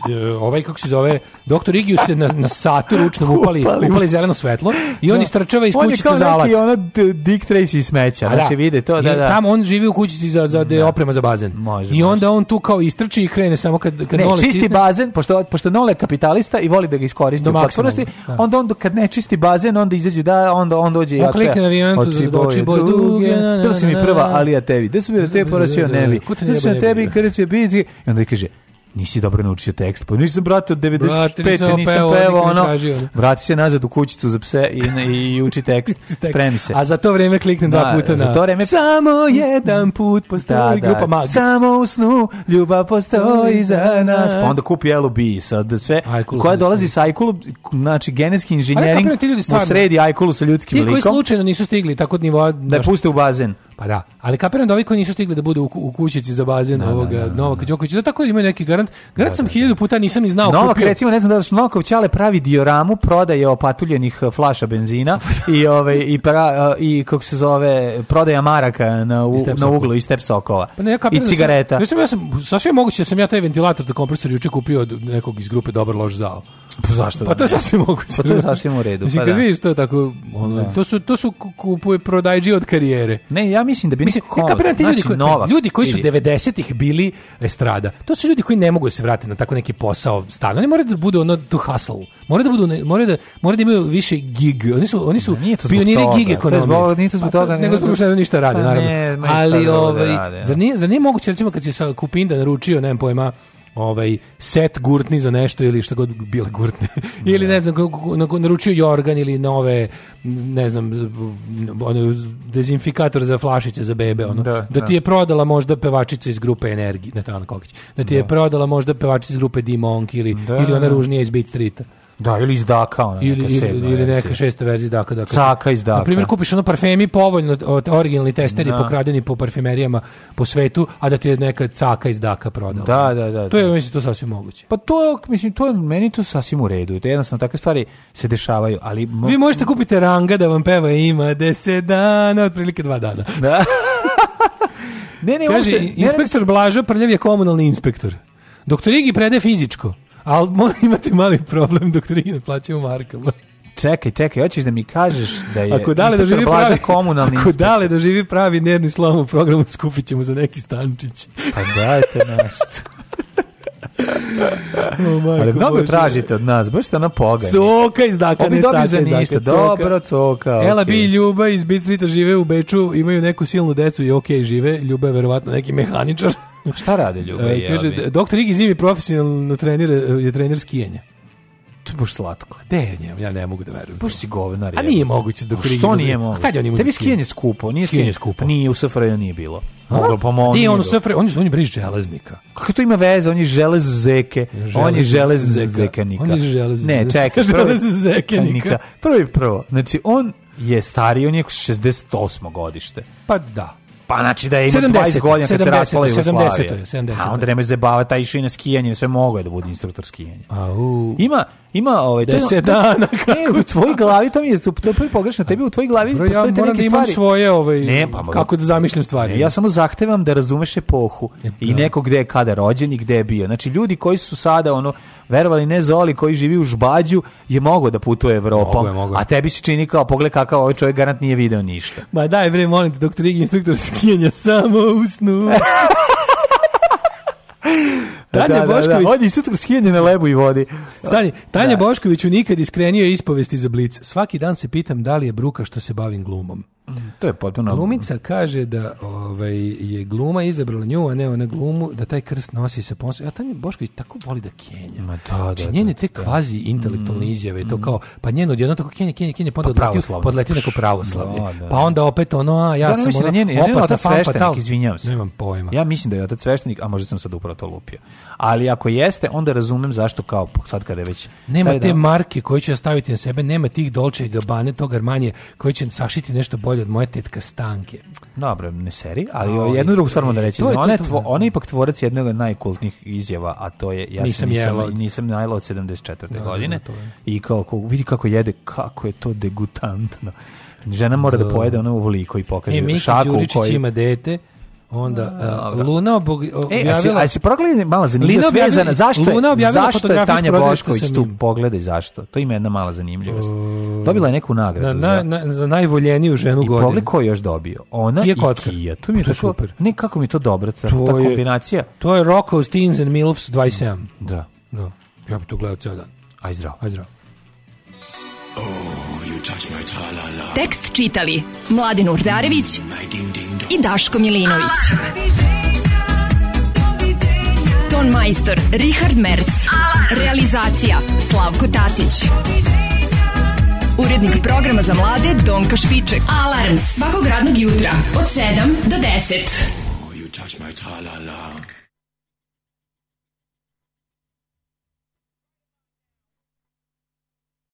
Speaker 8: e, ovaj, kako se zove, doktor Igiju se na, na satu ručnom upali,
Speaker 9: Upali
Speaker 8: upali,
Speaker 9: mu.
Speaker 8: zeleno svetlo i on
Speaker 9: Da.
Speaker 8: istračava iz
Speaker 9: On je
Speaker 8: kućice
Speaker 9: kao
Speaker 8: za alat.
Speaker 9: neki ono D- Dick Tracy iz smeća,
Speaker 8: A
Speaker 9: znači vide to, da,
Speaker 8: I
Speaker 9: da.
Speaker 8: Tamo on živi u kućici za, za da je oprema za bazen. I onda on tu kao istrči i krene samo kad, kad
Speaker 9: ne,
Speaker 8: Nola
Speaker 9: čisti
Speaker 8: stisne-
Speaker 9: bazen, pošto, pošto Nole je kapitalista i voli da ga iskoristi
Speaker 8: Do
Speaker 9: u potpunosti,
Speaker 8: maksimalno, da.
Speaker 9: onda on kad ne čisti bazen, onda izađe da, onda on dođe i
Speaker 8: On klikne na Vinampu za oči boje duge, na, na, na,
Speaker 9: Da si mi
Speaker 8: na,
Speaker 9: prva,
Speaker 8: na.
Speaker 9: ali ja tebi. Da su mi da te porasio nevi.
Speaker 8: Ko te
Speaker 9: Da
Speaker 8: jeba
Speaker 9: su na
Speaker 8: ne
Speaker 9: tebi
Speaker 8: bi,
Speaker 9: kada će biti. I onda kaže, nisi dobro naučio tekst. Pa nisam, brate, od 95.
Speaker 8: Brate, nisam
Speaker 9: nisam
Speaker 8: pevao,
Speaker 9: pevao,
Speaker 8: nikad ne
Speaker 9: ono.
Speaker 8: tražio, ono.
Speaker 9: Vrati se nazad u kućicu za pse i, i uči tekst. Spremi se.
Speaker 8: A za to vreme klikne dva
Speaker 9: Da,
Speaker 8: puta na...
Speaker 9: za to vreme-
Speaker 8: Samo jedan put postoji
Speaker 9: Da, da.
Speaker 8: grupa mag.
Speaker 9: Samo u snu ljubav postoji za nas. Pa onda kupi LOB sad sve. koja dolazi sa Ajkulu, znači genetski inženjering
Speaker 8: kapiraju ti ljudi
Speaker 9: u
Speaker 8: stvarno.
Speaker 9: sredi Ajkulu sa ljudskim
Speaker 8: Ti koji
Speaker 9: likom.
Speaker 8: slučajno nisu stigli tako od nivoa... Da
Speaker 9: je puste u bazen.
Speaker 8: Pa da, ali kapiram da ovi koji nisu stigli da budu u, ku- u kućici za bazen ovoga Novaka Đokovića, da tako imaju neki garant. Garant sam hiljadu puta nisam ni znao
Speaker 9: Novak,
Speaker 8: kupio.
Speaker 9: recimo, ne znam da li znaš, Novakov Ćale pravi dioramu, prodaje opatuljenih eh, flaša benzina i, ovaj, i, pra, eh, i kako se zove, prodaja maraka na, u,
Speaker 8: step
Speaker 9: na
Speaker 8: sokova.
Speaker 9: uglu i step sokova.
Speaker 8: Pa ne, ja kapiram
Speaker 9: I
Speaker 8: da
Speaker 9: cigareta.
Speaker 8: Sam, ja sam, ja sam, sasvim je moguće da sam ja taj ventilator za kompresor juče kupio od nekog iz grupe Dobar loš zao.
Speaker 9: Pa zašto?
Speaker 8: Pa to je sasvim moguće.
Speaker 9: Pa to je sasvim u redu.
Speaker 8: Mislim,
Speaker 9: pa
Speaker 8: kad
Speaker 9: da.
Speaker 8: vidiš to tako, ono,
Speaker 9: Da.
Speaker 8: to su, to su ku- kupuje prodajđi od karijere.
Speaker 9: Ne, ja mislim da bi
Speaker 8: Mislim,
Speaker 9: neko-
Speaker 8: ja kapiram ti ljudi,
Speaker 9: znači,
Speaker 8: koji,
Speaker 9: Novak,
Speaker 8: ljudi koji su
Speaker 9: vidi.
Speaker 8: 90-ih bili estrada. To su ljudi koji ne mogu da se vratiti na tako neki posao stalno. Oni moraju da budu ono to hustle. Moraju da budu ne- moraju da moraju da imaju više gig. Oni su oni su
Speaker 9: Nije to zbog
Speaker 8: pioniri
Speaker 9: toga.
Speaker 8: gig
Speaker 9: To je
Speaker 8: ekonomije.
Speaker 9: zbog- nije to zbog
Speaker 8: Pa
Speaker 9: toga,
Speaker 8: Nego
Speaker 9: nego
Speaker 8: zbog što ne ništa rade,
Speaker 9: Pa
Speaker 8: naravno.
Speaker 9: ne, ma i šta
Speaker 8: Ali
Speaker 9: drugo da
Speaker 8: ovaj
Speaker 9: rade,
Speaker 8: zar nije, zar nije moguće recimo kad si sa Kupinda naručio, nemam pojma, ovaj set gurtni za nešto ili šta god bile gurtne ili ne znam kako- kako- kako naručio jorgan ili nove ne znam ono, dezinfikator za flašice za bebe ono
Speaker 9: Da,
Speaker 8: da,
Speaker 9: da.
Speaker 8: ti je prodala možda pevačica iz grupe Energi ne to je Ana Kokić da ti je prodala možda pevačica iz grupe Dimonk ili ili
Speaker 9: da.
Speaker 8: ona ružnija iz Beat Streeta
Speaker 9: Da, ili iz Daka, ona
Speaker 8: ili,
Speaker 9: Pa neka
Speaker 8: ili,
Speaker 9: sedma
Speaker 8: ili neka
Speaker 9: verzija.
Speaker 8: šesta verzija dakle, dakle,
Speaker 9: Caka iz Daka.
Speaker 8: Na primjer, kupiš ono parfemi povoljno od originalni testeri
Speaker 9: Da.
Speaker 8: pokradeni po parfumerijama po svetu, a da ti je neka caka iz Daka prodala.
Speaker 9: Da, da, da,
Speaker 8: To je, ono-
Speaker 9: da.
Speaker 8: mislim, to sasvim moguće.
Speaker 9: Pa to, mislim, to je meni to sasvim u redu. To je Jednostavno, takve stvari se dešavaju, ali... mo-
Speaker 8: Vi možete kupiti ranga da vam peva ima deset dana, otprilike dva dana.
Speaker 9: Da. ne, ne,
Speaker 8: Kaže,
Speaker 9: E, uopšte, ne, ne,
Speaker 8: inspektor Blaža Prljav je komunalni inspektor. Doktor Igi prede fizičko, ali mora imati mali problem, doktor Igi ne plaća u markama.
Speaker 9: Čekaj, čekaj, hoćeš da mi kažeš da je
Speaker 8: Ako dale
Speaker 9: E, inspektor
Speaker 8: doživi
Speaker 9: Blaža
Speaker 8: pravi
Speaker 9: komunalni
Speaker 8: Ako dale doživi pravi nervni slom u programu skupit ćemo za neki stančić.
Speaker 9: Pa dajte nas.
Speaker 8: O, majko
Speaker 9: Ali mnogo
Speaker 8: Božja.
Speaker 9: tražite od nas, baš ste ona pogani.
Speaker 8: Coka iz Daka,
Speaker 9: Ovi
Speaker 8: ne
Speaker 9: dobiju
Speaker 8: caka
Speaker 9: za
Speaker 8: iz Daka,
Speaker 9: ništa,
Speaker 8: coka.
Speaker 9: dobro, coka,
Speaker 8: Ela
Speaker 9: okej.
Speaker 8: Bi i Ljuba iz Bistrita žive u Beču, imaju neku silnu decu i okej žive. Ljuba je verovatno neki mehaničar.
Speaker 9: Šta rade Ljuba i
Speaker 8: E, kaže,
Speaker 9: Ela Bi?
Speaker 8: doktor Igi Zimi profesionalno trenira, je trener skijenja.
Speaker 9: To je baš slatko.
Speaker 8: Gde je njemu? Ja ne mogu da verujem.
Speaker 9: Baš si govnar.
Speaker 8: A
Speaker 9: jebote.
Speaker 8: nije moguće da
Speaker 9: A
Speaker 8: Kurigi
Speaker 9: Što
Speaker 8: uzme-
Speaker 9: nije
Speaker 8: A
Speaker 9: moguće?
Speaker 8: kad je on imao
Speaker 9: Tebi
Speaker 8: za skijanje?
Speaker 9: skijanje skupo. Nije
Speaker 8: Skijanje skupo.
Speaker 9: Nije, u SFRJ nije bilo. Moglo pa mo-
Speaker 8: Nije ono on u
Speaker 9: bilo.
Speaker 8: SFRJ, on je on je briž železnika.
Speaker 9: Kako to ima veze? On je želez zeke. on je želez
Speaker 8: zeka.
Speaker 9: zekenika.
Speaker 8: On je želez-
Speaker 9: Ne, čekaj. prvo-
Speaker 8: želez zekenika.
Speaker 9: Prvi prvo. Znači, on je stariji, on je 68. godište.
Speaker 8: Pa da.
Speaker 9: Pa znači da je ima
Speaker 8: 70,
Speaker 9: 20 godina kad se
Speaker 8: 70,
Speaker 9: raspala
Speaker 8: 70,
Speaker 9: Jugoslavija.
Speaker 8: 70.
Speaker 9: A onda nemoj zabava, taj išao i na skijanje, sve mogo je da bude instruktor skijanja.
Speaker 8: Au.
Speaker 9: Ima, ima ovaj... to je-
Speaker 8: Deset dana,
Speaker 9: Ne, u tvojoj glavi, to mi je, to je prvi pogrešno, tebi u tvojoj glavi
Speaker 8: Bro,
Speaker 9: Bro,
Speaker 8: ja
Speaker 9: postoje te
Speaker 8: moram
Speaker 9: neke
Speaker 8: da imam
Speaker 9: stvari.
Speaker 8: svoje, ovaj,
Speaker 9: Ne, pa, moram-
Speaker 8: kako da zamišljam stvari.
Speaker 9: Ne, E, ja samo zahtevam da razumeš epohu
Speaker 8: E,
Speaker 9: i neko gde je kada rođen i gde je bio. Znači, ljudi koji su sada, ono, verovali ne Zoli, koji živi u Žbađu, je mogao da putuje Evropom,
Speaker 8: Mogo je, mogo je.
Speaker 9: a tebi se čini kao, pogled kakav ovaj čovjek garant nije video ništa.
Speaker 8: Ma daj bre, molim te, doktor Igi, instruktor skijenja samo u snu. Tanja Bošković,
Speaker 9: Odi sutra skijanje na lebu i vodi.
Speaker 8: stani, Tanja Bošković u nikad iskrenio je ispovesti za Blic. Svaki dan se pitam da li je bruka što se bavim glumom.
Speaker 9: To je potpuno...
Speaker 8: Glumica kaže da ovaj, je gluma izabrala nju, a ne ona glumu, da taj krst nosi sa ponosom. A Tanja Bošković tako voli da kenja. Ma
Speaker 9: da, da, Mm,
Speaker 8: njene te kvazi intelektualne izjave, to kao, pa njeno odjedno tako kenja, kenja, kenja, pa onda
Speaker 9: Pa
Speaker 8: odletio,
Speaker 9: pravoslavno.
Speaker 8: podletio neko pravoslavlje.
Speaker 9: Da, da.
Speaker 8: Pa onda opet ono, a ja
Speaker 9: Da, ne
Speaker 8: sam
Speaker 9: mislim
Speaker 8: ono,
Speaker 9: da njeni- ja ne,
Speaker 8: opasna
Speaker 9: otac
Speaker 8: fan fatal.
Speaker 9: sveštenik, izvinjavam se.
Speaker 8: Nemam pojma.
Speaker 9: Ja mislim da je otac sveštenik, a možda sam sad upravo to lupio. Ali ako jeste, onda razumem zašto kao sad kada je već...
Speaker 8: Nema
Speaker 9: taj
Speaker 8: te
Speaker 9: dan-
Speaker 8: marke koje ću ja staviti na sebe, nema tih Dolce i Gabbane, tog Armanije, koji će sašiti nešto bolje od moje tetka Stanke.
Speaker 9: Dobro, ne seri, ali
Speaker 8: Ali,
Speaker 9: jednu drugu stvar moram da reći.
Speaker 8: to je- to je
Speaker 9: ona, je
Speaker 8: to,
Speaker 9: tvo-
Speaker 8: da.
Speaker 9: ona je ipak tvorac jednog od najkultnih izjava, a to je ja se nisam,
Speaker 8: Nisam
Speaker 9: nisam,
Speaker 8: jela od-
Speaker 9: najela od 74.
Speaker 8: Da, da,
Speaker 9: godine.
Speaker 8: da, to je.
Speaker 9: I kao, ko- vidi kako jede, kako je to degutantno. Žena mora da,
Speaker 8: Da.
Speaker 9: pojede ono ovoliko i pokaže
Speaker 8: E, Mika
Speaker 9: šaku u
Speaker 8: Đuričić
Speaker 9: kojoj...
Speaker 8: ima dete, onda a, Luna obog,
Speaker 9: E, a si,
Speaker 8: objavila...
Speaker 9: a si progledaj mala
Speaker 8: Lina
Speaker 9: zanimljiva
Speaker 8: objavila-
Speaker 9: svezana. Zašto
Speaker 8: Luna
Speaker 9: je,
Speaker 8: objavila
Speaker 9: zašto je
Speaker 8: fotografiju s
Speaker 9: Tanja
Speaker 8: porodilišta
Speaker 9: Bošković
Speaker 8: sa
Speaker 9: tu?
Speaker 8: njim.
Speaker 9: Pogledaj zašto. To ima jedna mala zanimljivost. Dobila je neku
Speaker 8: Na,
Speaker 9: nagradu. za-
Speaker 8: na, na, za najvoljeniju ženu
Speaker 9: I
Speaker 8: godine.
Speaker 9: pogledaj ko je još dobio. Ona
Speaker 8: Kija
Speaker 9: i
Speaker 8: Kotkar.
Speaker 9: Kija. To mi je
Speaker 8: Pa To je
Speaker 9: tako,
Speaker 8: super.
Speaker 9: Ne, kako mi je to dobro. Ta, ta
Speaker 8: je-
Speaker 9: kombinacija.
Speaker 8: To je Rocko's Teens and Milfs 27.
Speaker 9: Da.
Speaker 8: Da. Ja bi to gledao ceo dan.
Speaker 9: Aj zdravo.
Speaker 8: Aj zdravo.
Speaker 5: Tekst čitali Mladin Urdarević i Daško Milinović. Ton majstor Richard Merc. Realizacija Slavko Tatić. Urednik programa za mlade Donka Špiček. Alarms svakog radnog jutra od 7 do 10.
Speaker 20: You touch my tra-la-la.